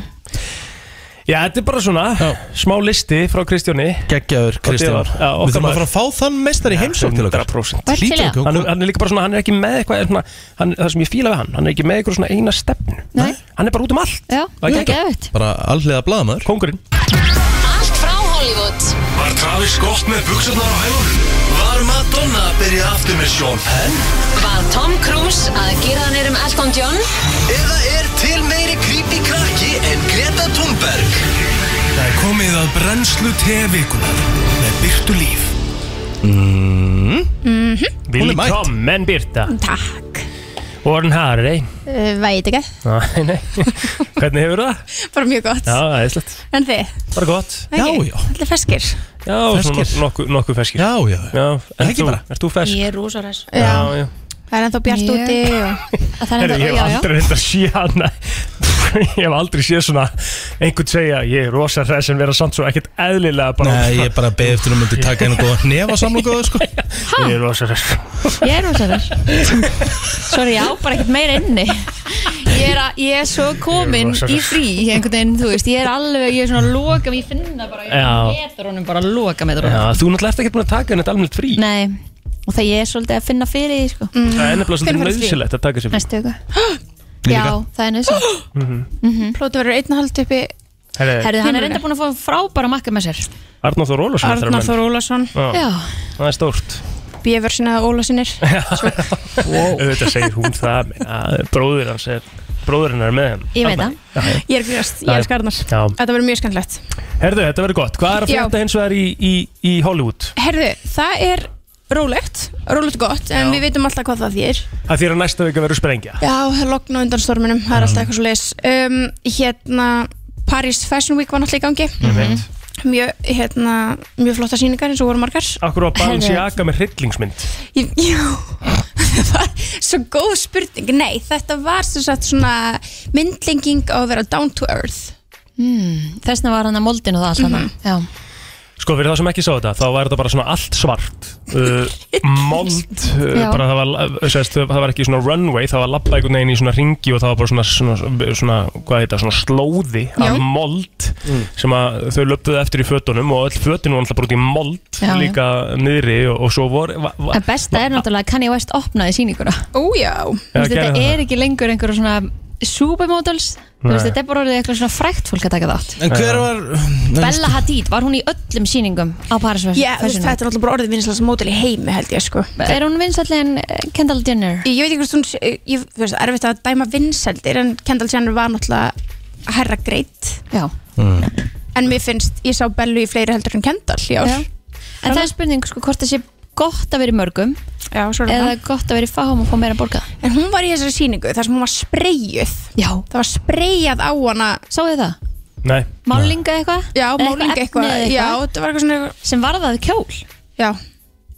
[SPEAKER 5] Já, þetta er bara svona
[SPEAKER 4] Já.
[SPEAKER 5] smá listi frá Kristjóni
[SPEAKER 4] geggjaður Kristján
[SPEAKER 5] var- já, okkar
[SPEAKER 4] Við þurfum að
[SPEAKER 5] maður.
[SPEAKER 4] fara að fá þann meistari heimsók til okkar
[SPEAKER 3] Vært
[SPEAKER 5] 100%
[SPEAKER 3] til í
[SPEAKER 4] Hlýtur
[SPEAKER 3] það?
[SPEAKER 4] ekki
[SPEAKER 5] hann,
[SPEAKER 4] að
[SPEAKER 5] er- hann er líka bara svona, hann er ekki með eitthvað svona, hann, það sem ég fíla við hann, hann er ekki með eitthvað svona eina stefnu
[SPEAKER 3] Nei.
[SPEAKER 5] hann er bara út um allt
[SPEAKER 3] Já, það
[SPEAKER 5] Það er
[SPEAKER 3] er
[SPEAKER 5] geggjað.
[SPEAKER 3] gefitt
[SPEAKER 4] Bara alliða blaðamaður
[SPEAKER 5] kongurinn
[SPEAKER 10] Allt frá Hollywood
[SPEAKER 2] Var Travis gott með buksanar á hælunum? Var Madonna að byrja aftur með Sean Penn?
[SPEAKER 10] Var Tom Cruise að gera hann erum Elton John?
[SPEAKER 2] Eða er til meiri creepy krakki en Greta Thunberg? Það er komið að brennslu tevikunar með Byrtu Líf.
[SPEAKER 4] Mm. er mætt.
[SPEAKER 5] Willkommen Birta
[SPEAKER 11] Takk
[SPEAKER 5] Warren Harry
[SPEAKER 11] uh, Veit ekki,
[SPEAKER 5] Æ, nei. hvernig hefur það?
[SPEAKER 11] bara mjög gott
[SPEAKER 5] já, það er slett,
[SPEAKER 11] En þið,
[SPEAKER 5] bara gott
[SPEAKER 11] ekki?
[SPEAKER 4] Já, já.
[SPEAKER 11] Allir feskir
[SPEAKER 5] já,
[SPEAKER 4] Ferskir.
[SPEAKER 5] svona nokkuð nokku ferskir
[SPEAKER 4] Já, já, já.
[SPEAKER 5] en
[SPEAKER 4] Ekki
[SPEAKER 5] þú,
[SPEAKER 4] bara.
[SPEAKER 5] ert þú fersk?
[SPEAKER 3] Ég er rosa ræs
[SPEAKER 5] já, já
[SPEAKER 11] Það er ennþá bjart
[SPEAKER 3] Mjög.
[SPEAKER 11] úti og...
[SPEAKER 5] Herri, ég hef aldrei reynda að sé hana ég hef aldrei séð svona einhvern segja, ég er rosa hress en vera samt svo ekkert eðlilega bara
[SPEAKER 4] Nei, ég er bara beðið eftir að myndi taka einu góða nefa samlokaðu sko
[SPEAKER 5] ég
[SPEAKER 3] Ah.
[SPEAKER 5] er rosa hress
[SPEAKER 3] Ég er rosa þess Sorry, ég á bara ekkert meira inni Ég er, að, ég er svo komin
[SPEAKER 5] Ég er rosa
[SPEAKER 3] í
[SPEAKER 5] hress.
[SPEAKER 3] frí einhvern veginn, þú veist, ég er alveg ég er svona að loka, mig, ég finn það bara
[SPEAKER 5] Já.
[SPEAKER 3] ég metur honum, bara loka metur
[SPEAKER 5] já,
[SPEAKER 3] honum
[SPEAKER 5] þú náttúrulega ert ekkert búin að taka henni þetta almennt frí
[SPEAKER 3] Nei, og það ég er svolítið að finna fyrir því, sko
[SPEAKER 5] Það er nefnilega svolítið
[SPEAKER 11] Hvenær farið frí?
[SPEAKER 5] nöðsilegt að taka sér frí.
[SPEAKER 3] Næstu ykkur Já, það er nöðsum
[SPEAKER 11] Plóti verður einn og haldt uppi
[SPEAKER 5] Herri,
[SPEAKER 3] Herði, hann er reynda búin að fá frábæra makka með sér
[SPEAKER 5] Arnáð Þór Ólafsson þetta er
[SPEAKER 11] Arnar
[SPEAKER 5] menn.
[SPEAKER 11] Þór Ólafsson
[SPEAKER 5] Já,
[SPEAKER 3] Já,
[SPEAKER 5] Það er stórt
[SPEAKER 11] Bjöfursin eða Ólasinir
[SPEAKER 5] Auðvitað segir hún það meina, Bróðir hans er Bróðurinn er með henn
[SPEAKER 3] ég veit það
[SPEAKER 11] Ég er grjóst, ég er skarnar
[SPEAKER 5] Já.
[SPEAKER 11] Þetta verður mjög skemmtilegt
[SPEAKER 5] Herðu, þetta verður gott Hvað er að
[SPEAKER 11] Já.
[SPEAKER 5] frétta hins vegar í, í, í Hollywood?
[SPEAKER 11] Herðu, það er rólegt Rólegt og gott, en við veitum alltaf hvað það þýr
[SPEAKER 5] Það þýr að næsta vika verður sprengja
[SPEAKER 11] Já, lokn á undan storminum, það er alltaf eitthvað svo leis um, Hérna, Paris Fashion Week var náttúrulega í gangi
[SPEAKER 5] mm.
[SPEAKER 11] Mjög, hérna, mjög flotta síningar eins og voru margar
[SPEAKER 5] Akkur á Balenciaga með hryllingsmynd
[SPEAKER 11] Ég- Já, það var svo góð spurning Nei, þetta var sem sagt svona myndlenging á að vera down to earth
[SPEAKER 3] Þessna var hann að moldin og það allt mm Já,
[SPEAKER 5] Sko, fyrir það sem ekki sá þetta Þá var þetta bara svona allt svart uh, Mold uh,
[SPEAKER 3] Já.
[SPEAKER 5] bara, það, var, uh, sérst, það var ekki svona runway Það var labba einhvern veginn í svona ringi Og það var bara svona, svona, svona, hvað heita, svona slóði
[SPEAKER 11] Já.
[SPEAKER 5] Af mold Sem að þau löpðuðu eftir í fötunum Og öll fötun var alltaf bara út í mold
[SPEAKER 3] Já, já.
[SPEAKER 5] Líka niðri og, og svo vor va, va,
[SPEAKER 3] en besta er náttúrulega að Kanye West opnaði sýninguna
[SPEAKER 11] Ójá
[SPEAKER 5] Já,
[SPEAKER 3] Þú veist,
[SPEAKER 5] gerði
[SPEAKER 3] þetta
[SPEAKER 5] það.
[SPEAKER 3] er ekki lengur einhverjum svona supermodels Þú veist,
[SPEAKER 5] Nei.
[SPEAKER 3] þetta er bara orðið eitthvað svona frækt fólk að taka þátt
[SPEAKER 4] En hver var
[SPEAKER 3] Bella Hadid, var hún í öllum sýningum á Paris Fashion
[SPEAKER 11] sko- Já, þú veist,
[SPEAKER 3] Fashion
[SPEAKER 11] þetta er alltaf bara orðið vinslega sem mótil í heimi held ég sko
[SPEAKER 3] Week? Er hún vinsallið en eh, Kendall Jenner?
[SPEAKER 11] Ég, ég veit ekki hvort hún, sé- ég þú veist, erfitt að
[SPEAKER 4] Mm,
[SPEAKER 11] dæma vinseldir en Kendall Jenner var náttúrulega herra greitt
[SPEAKER 3] Já,
[SPEAKER 11] en mér finnst ég sá Bellu í fleiri heldur en Kendall í ár
[SPEAKER 3] Já. En það er spurning sko hvort það sé gott að vera í mörgum
[SPEAKER 11] Já,
[SPEAKER 3] eða gott að vera í fáum og fá meira að borga
[SPEAKER 11] En hún var í þessari síningu þar sem hún var spreyjuð
[SPEAKER 3] Já
[SPEAKER 11] Það var spreyjað á hana
[SPEAKER 3] Sáðu það?
[SPEAKER 5] Nei
[SPEAKER 3] Málinga eitthvað?
[SPEAKER 11] Já,
[SPEAKER 3] Eða
[SPEAKER 11] málinga
[SPEAKER 3] efni
[SPEAKER 11] eitthvað,
[SPEAKER 3] eða
[SPEAKER 11] já, þetta var eitthvað svona
[SPEAKER 3] Sem varðaði kjól
[SPEAKER 11] Já,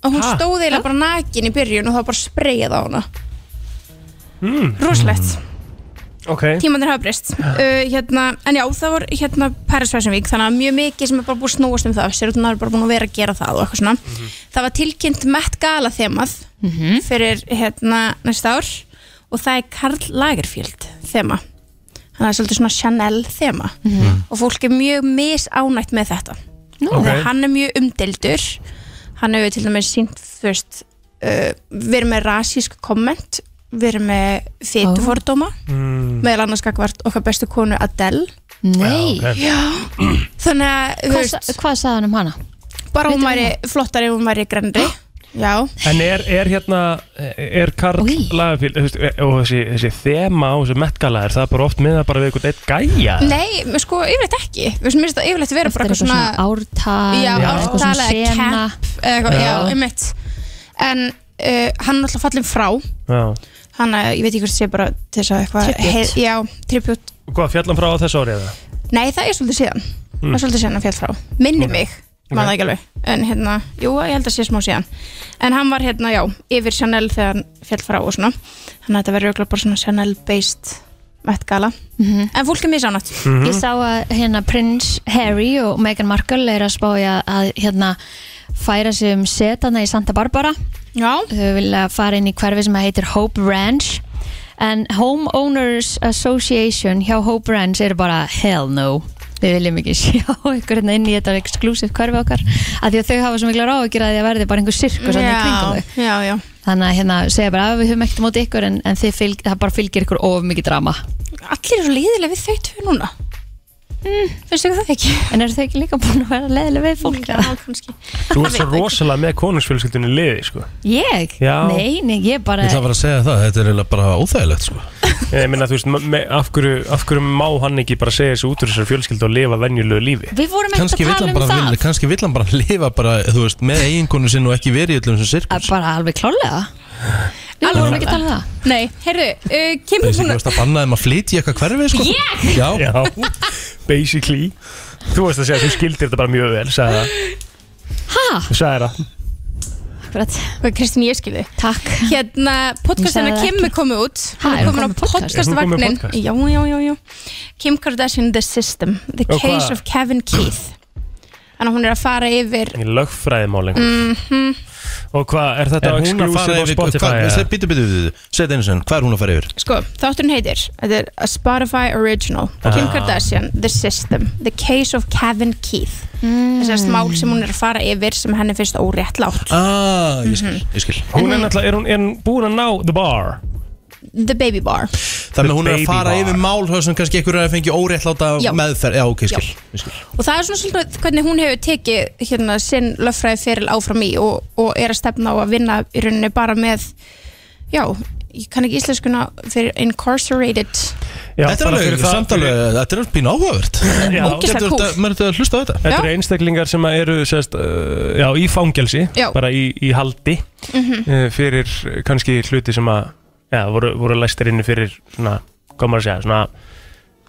[SPEAKER 11] og hún
[SPEAKER 3] Ha?
[SPEAKER 11] stóð eiginlega bara nakin í byrjun og það var bara spreyjað á hana
[SPEAKER 5] mm.
[SPEAKER 11] Rosalegt.
[SPEAKER 5] Ok
[SPEAKER 11] Tímandir hafa breyst uh, hérna, En já, það var hérna Paris Fashion Week Þannig að mjög mikið sem er bara búið að snúast um það Sér út er bara búin að vera að gera það og eitthvað svona Það var tilkynnt Met Gala þemað Fyrir hérna næsta ár Og það er Karl Lagerfjöld þema Þannig að það er svolítið svona Chanel þema Og fólk er mjög misánætt með þetta Nú,
[SPEAKER 8] Ok.
[SPEAKER 11] okay. Hann er mjög umdeildur Hann hefur til dæmis sínt Þú veist uh, Verið með rasísk komment Verið með fytufordóma
[SPEAKER 8] Mm.
[SPEAKER 11] meðal annars gagvart okkar bestu konu Adele
[SPEAKER 3] Nei
[SPEAKER 11] Já, ok. Já. þannig að
[SPEAKER 3] Hvað sa- hvað sagði hann um hana?
[SPEAKER 11] bara hún væri flottar ef hún væri grennri já,
[SPEAKER 5] En er, er hérna, er Karl Lagerfeld, þú veist, og þessi, þessi þema á þessu metgala, er það bara oft með það bara við einhvern eitt gæja?
[SPEAKER 11] nei, men sko yfirleitt ekki við veist, mér finnst það yfirleitt vera bara
[SPEAKER 3] Eftir
[SPEAKER 11] eitthvað svona
[SPEAKER 3] ártal
[SPEAKER 11] já,
[SPEAKER 3] eða eitthvað svona
[SPEAKER 11] ártala eða cap
[SPEAKER 3] sena.
[SPEAKER 11] eða eitthvað,
[SPEAKER 3] Já.
[SPEAKER 11] já, einmitt en uh, hann er alltaf fallin frá
[SPEAKER 5] Já.
[SPEAKER 11] hann, að- ég veit ekki hvort það sé bara til þess að eitthvað
[SPEAKER 5] Tribute.
[SPEAKER 11] hei- já, tribut,
[SPEAKER 5] Og Hvað, fjallan frá á þessu árið það?
[SPEAKER 11] nei það er svolítið síðan það
[SPEAKER 5] Mm.
[SPEAKER 11] er svolítið síðan hann fjall frá minni mig, maður það ekki alveg en hérna, jú, ég held að sé smá síðan en hann var hérna, já, yfir Chanel þegar hann fjall frá og svona þannig að þetta verður örugglega bara svona Chanel based Met Gala, en fólk er misánátt
[SPEAKER 3] Mhm. Ég sá að hérna Prince Harry og Meghan Markle er að spája að hérna færa sig um setana í Santa Barbara
[SPEAKER 11] Já
[SPEAKER 3] Þau vilja fara inn í hverfi sem heitir Hope Ranch En Homeowners Association hjá Hope Ranch eru bara hell no Við viljum ekki sjá ykkur hérna inn í þetta exclusive hverfi okkar af því að þau hafa svo mikla ráðugjur að því að verði bara einhver sirkus þarna í kringum þau
[SPEAKER 11] já, já,
[SPEAKER 3] Þannig að hérna segja bara að við höfum ekkert á móti ykkur en, en þið fylg, það bara fylgir ykkur of mikið drama
[SPEAKER 11] Allir eru svo leiðilega við þau tvö núna mm, Finnst þau það ekki?
[SPEAKER 3] En eru þau ekki líka búin að vera leiðilega við fólk? Já,
[SPEAKER 11] kannski
[SPEAKER 5] Þú ert svo rosalega með konungsfjölskyldunni í liði, sko.
[SPEAKER 3] Ég?
[SPEAKER 5] Já.
[SPEAKER 3] Nei, nei, ég bara
[SPEAKER 4] Ég ætla bara að segja það, þetta er eiginlega bara óþægilegt sko.
[SPEAKER 5] Ég meina, þú veist, me- me- af hverju, af hverju má hann ekki bara segja sig út úr þessar fjölskyldu og lifa venjulegu lífi?
[SPEAKER 3] Við vorum ekkert
[SPEAKER 4] Kanski
[SPEAKER 3] að
[SPEAKER 4] vill
[SPEAKER 3] tala
[SPEAKER 4] hann
[SPEAKER 3] um
[SPEAKER 4] bara,
[SPEAKER 3] það
[SPEAKER 4] vil, kannski vill hann bara lifa bara, þú veist, með eiginkonu sinn og ekki verið í öllum sem sirk
[SPEAKER 3] Að Bara alveg klálega Við vorum ekki að tala um það
[SPEAKER 11] Nei, heyrðu, uh,
[SPEAKER 4] Það
[SPEAKER 11] kemur
[SPEAKER 4] er
[SPEAKER 11] búin
[SPEAKER 4] ekki að banna þeim að flytja í eitthvað hverfi sko.
[SPEAKER 11] Ég?
[SPEAKER 4] Já,
[SPEAKER 5] Já, basically. Þú veist að segja, þú skildir þetta bara mjög vel, sagði það.
[SPEAKER 11] Hæ?
[SPEAKER 5] Þú sagði það.
[SPEAKER 3] Akkurat
[SPEAKER 11] Kristín, ég skilði
[SPEAKER 3] Takk
[SPEAKER 11] Hérna,
[SPEAKER 3] Hún
[SPEAKER 11] podcastina
[SPEAKER 3] sagði
[SPEAKER 11] Kim
[SPEAKER 3] það
[SPEAKER 11] er komið út Hún
[SPEAKER 3] Ha,
[SPEAKER 11] er
[SPEAKER 3] er
[SPEAKER 11] komin
[SPEAKER 3] hún
[SPEAKER 11] á
[SPEAKER 3] komin með podcast?
[SPEAKER 5] Er hún komin með
[SPEAKER 11] podcastvagnin
[SPEAKER 5] podcast?
[SPEAKER 11] Já, já, já, já Kim Kardashian The System The
[SPEAKER 5] Og
[SPEAKER 11] Case
[SPEAKER 5] hvað?
[SPEAKER 11] of Kevin Keith Þannig að hún er að fara yfir
[SPEAKER 5] Í lögfræðimál einhver.
[SPEAKER 11] Mhm.
[SPEAKER 5] Og hvað, er þetta
[SPEAKER 4] Er hún að fara
[SPEAKER 5] exclusive á
[SPEAKER 4] yfir-
[SPEAKER 5] Spotify?
[SPEAKER 4] hvað-
[SPEAKER 5] eða?
[SPEAKER 4] Sett- eh. Bíddu, bíddu, bíddu, set einu sinni, hvað er hún að fara yfir?
[SPEAKER 11] Sko, þátturinn heitir Þetta er a Spotify Original Kim
[SPEAKER 4] Ah.
[SPEAKER 11] Kardashian, The System The Case of Kevin Keith mm. Þessast mál sem hún er að fara yfir sem henni finnst óréttlátt
[SPEAKER 4] Ah, ég skil, ég skil
[SPEAKER 5] Hún er náttúrulega, er hún, er hún búin að ná The Bar?
[SPEAKER 11] The Baby Bar
[SPEAKER 4] Þannig að hún er að
[SPEAKER 5] Baby
[SPEAKER 4] fara
[SPEAKER 5] bar.
[SPEAKER 4] yfir mál þar sem kannski einhverju er að fengi óréttláta
[SPEAKER 11] Já.
[SPEAKER 4] meðferð Já, ok, ég skil,
[SPEAKER 11] Já.
[SPEAKER 4] ég skil.
[SPEAKER 11] Og það er svona svolítið hvernig hún hefur tekið hérna sinn löffræði feril áfram í og, og er að stefna á að vinna í rauninni bara með já, ég kann ekki íslenskuna fyrir incarcerated
[SPEAKER 5] Já,
[SPEAKER 4] Þetta er
[SPEAKER 5] bara
[SPEAKER 4] alveg
[SPEAKER 5] fyrir það-
[SPEAKER 4] samtalið, þetta er pín áhugavert
[SPEAKER 5] Já. Ógeðslega
[SPEAKER 4] Getur þetta- maður þetta að hlusta á þetta
[SPEAKER 5] Þetta eru einstaklingar sem eru sest, uh, já, í fangelsi,
[SPEAKER 11] Já.
[SPEAKER 5] bara í, í haldi
[SPEAKER 11] Mhm.
[SPEAKER 5] uh, fyrir kannski hluti sem að já, voru, voru læstir inni fyrir svona, hvað maður að segja,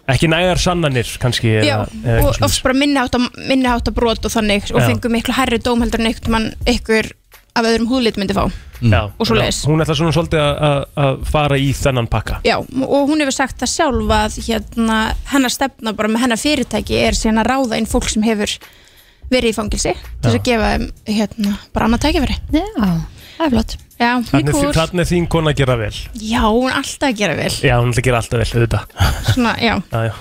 [SPEAKER 5] svona ekki nægar sannanir kannski
[SPEAKER 11] Já,
[SPEAKER 5] eða, eða
[SPEAKER 11] og
[SPEAKER 5] eitthvað svoleiðis.
[SPEAKER 11] oft bara minnihátta minnihátta brot og þannig og
[SPEAKER 5] Já.
[SPEAKER 11] fengu miklu hærri dóm heldur en einhvern mann ykkur af öðrum húðlit myndi fá
[SPEAKER 5] já,
[SPEAKER 11] Mm. og svoleiðis.
[SPEAKER 5] já, Hún ætla svona svolítið að- að- að fara í þennan pakka
[SPEAKER 11] Já, og hún hefur sagt það sjálf að hérna, hennar stefna bara með hennar fyrirtæki er síðan að ráða inn fólk sem hefur verið í fangilsi til þess að gefa þeim hérna, bara annað tækifæri
[SPEAKER 3] Já, það er flott
[SPEAKER 11] Já, mjög
[SPEAKER 5] Þannig
[SPEAKER 11] kúl
[SPEAKER 5] cool. er þín kona að gera vel
[SPEAKER 11] Já, hún er alltaf að gera vel
[SPEAKER 5] Já, hún ætla að gera alltaf vel, auðvitað
[SPEAKER 11] Svona, já
[SPEAKER 5] Já,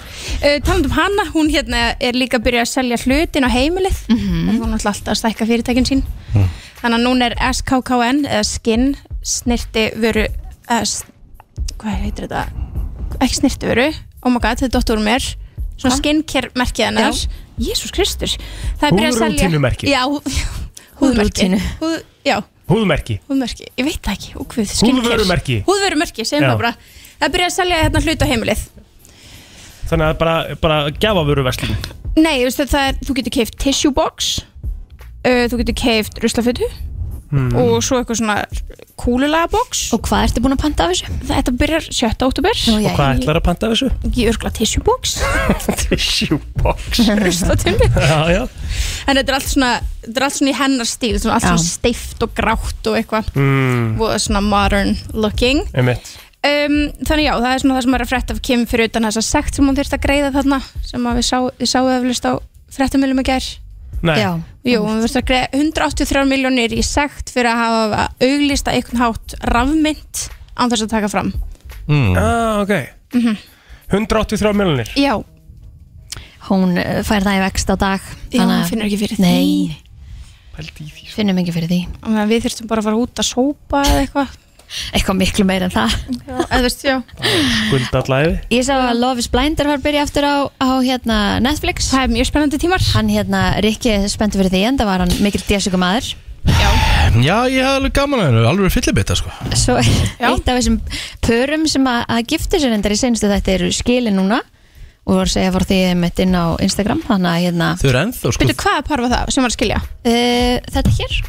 [SPEAKER 5] já.
[SPEAKER 11] uh, Taland um hana, hún hérna er líka að byrja að selja hlutin á heimilið mm -hmm. Hún er náttúrulega alltaf að stækka fyrirtækin sín Þannig að núna er SKKN eða Skin snirti vöru eða, s- Hvað heitir þetta? Ekki snirti vöru Oh my god, þetta er dottur mér Svona skincare merkið hennar Jésús Kristus Það er byrjað að selja
[SPEAKER 5] Húðrútínumerki.
[SPEAKER 11] Já, hú- húðmerki
[SPEAKER 3] Húðrútínu.
[SPEAKER 11] Húð, Já,
[SPEAKER 5] Húðmerki
[SPEAKER 11] húðmerki, ég veit það ekki Úkvið, skincare
[SPEAKER 5] Húðvörumerki.
[SPEAKER 11] Húðvörumerki, segjum
[SPEAKER 5] Já.
[SPEAKER 11] það bara Það er byrjað að selja hérna hlut á heimilið
[SPEAKER 5] Þannig að bara, bara gefa vöru verslun
[SPEAKER 11] Nei, þú veist að það er, þú getur keift tissue box uh, Þú getur keift ruslafötu
[SPEAKER 5] Mm.
[SPEAKER 11] Og svo eitthvað svona kúlulega box
[SPEAKER 3] Og hvað ertu búin að panta af þessu?
[SPEAKER 11] Þetta byrjar 7. oktober
[SPEAKER 3] Nú,
[SPEAKER 5] Og hvað ætlar að panta af þessu?
[SPEAKER 11] Ég örgla tissue box
[SPEAKER 5] Tissue box
[SPEAKER 11] Ruslatimmi
[SPEAKER 5] Já, já
[SPEAKER 11] En þetta er allt svona, þetta er allt svona í hennar stíl svona Allt
[SPEAKER 5] Já.
[SPEAKER 11] svona steift og grátt og eitthvað
[SPEAKER 5] Mm.
[SPEAKER 11] Og svona modern looking
[SPEAKER 5] Einmitt
[SPEAKER 11] um, Þannig já, það er svona það sem er að frétta af Kim Fyrir utan þessa sekt sem hún þyrst að greiða þarna Sem að við, sá, við sáum eflust á fréttamilum í gær
[SPEAKER 5] Nei
[SPEAKER 11] Jú, hún verður að greiða 183 miljónir í sekt fyrir að hafa auglist að einhvern hátt rafmynd án þess að taka fram.
[SPEAKER 4] mm.
[SPEAKER 5] ah, ok 183 miljonir
[SPEAKER 11] Já,
[SPEAKER 3] Hún eh, fær það í vext á dag
[SPEAKER 11] Já,
[SPEAKER 3] þannig að-
[SPEAKER 11] hún finnur ekki fyrir því.
[SPEAKER 3] Nei,
[SPEAKER 5] Pældi í því
[SPEAKER 3] finnum ekki fyrir því
[SPEAKER 11] á meðan við þurftum bara að fara út að sópa eða eitthvað.
[SPEAKER 3] Eitthvað miklu meira en það
[SPEAKER 11] Já, eða veist, já.
[SPEAKER 5] Guld allæði
[SPEAKER 3] Ég sá að Love is Blind er að byrja aftur á, á hérna Netflix
[SPEAKER 11] Það er mjög spennandi tímar
[SPEAKER 3] Hann hérna, Rikki er spenntur fyrir því en það var hann mikill djessugum aður
[SPEAKER 4] Já, ég hafði alveg gaman að hennu, alveg fyllibita sko
[SPEAKER 3] Svo eitt af þessum pörum sem að, að gifta sér endar í senstu þetta eru skilin núna og voru að segja fór því mitt inn á Instagram þannig að hérna
[SPEAKER 4] Þau eru ennþá sko
[SPEAKER 11] Veitu hvaða par var það sem var að skilja?
[SPEAKER 3] uh, Þetta hér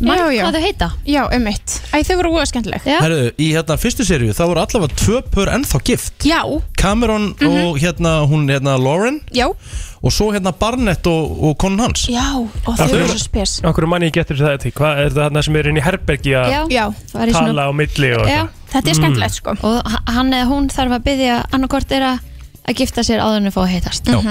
[SPEAKER 3] Man,
[SPEAKER 11] já.
[SPEAKER 3] hvað þau heita?
[SPEAKER 11] Já, um mitt. Æ, þau voru óða skemmtileg.
[SPEAKER 3] Já.
[SPEAKER 4] Herru, í hérna fyrstu seríu, þá voru allavega tvö pör ennþá gift
[SPEAKER 11] Já,
[SPEAKER 4] Cameron og hérna, hún hérna Lauren
[SPEAKER 11] já,
[SPEAKER 4] Og svo hérna Barnett og, og konun hans
[SPEAKER 11] já, og þau voru svo spes.
[SPEAKER 5] Okkur manni ég getur það til Hvað er það þarna sem er inn í herbergi að
[SPEAKER 3] Já,
[SPEAKER 11] Já,
[SPEAKER 3] var í svona-
[SPEAKER 5] tala á milli og
[SPEAKER 3] Já,
[SPEAKER 5] eitthvað
[SPEAKER 11] þetta er skemmtilegt sko
[SPEAKER 3] Og h- hann eða hún þarf að byggja annarkort er að að gifta sér áður en að fá að heitast
[SPEAKER 4] Já.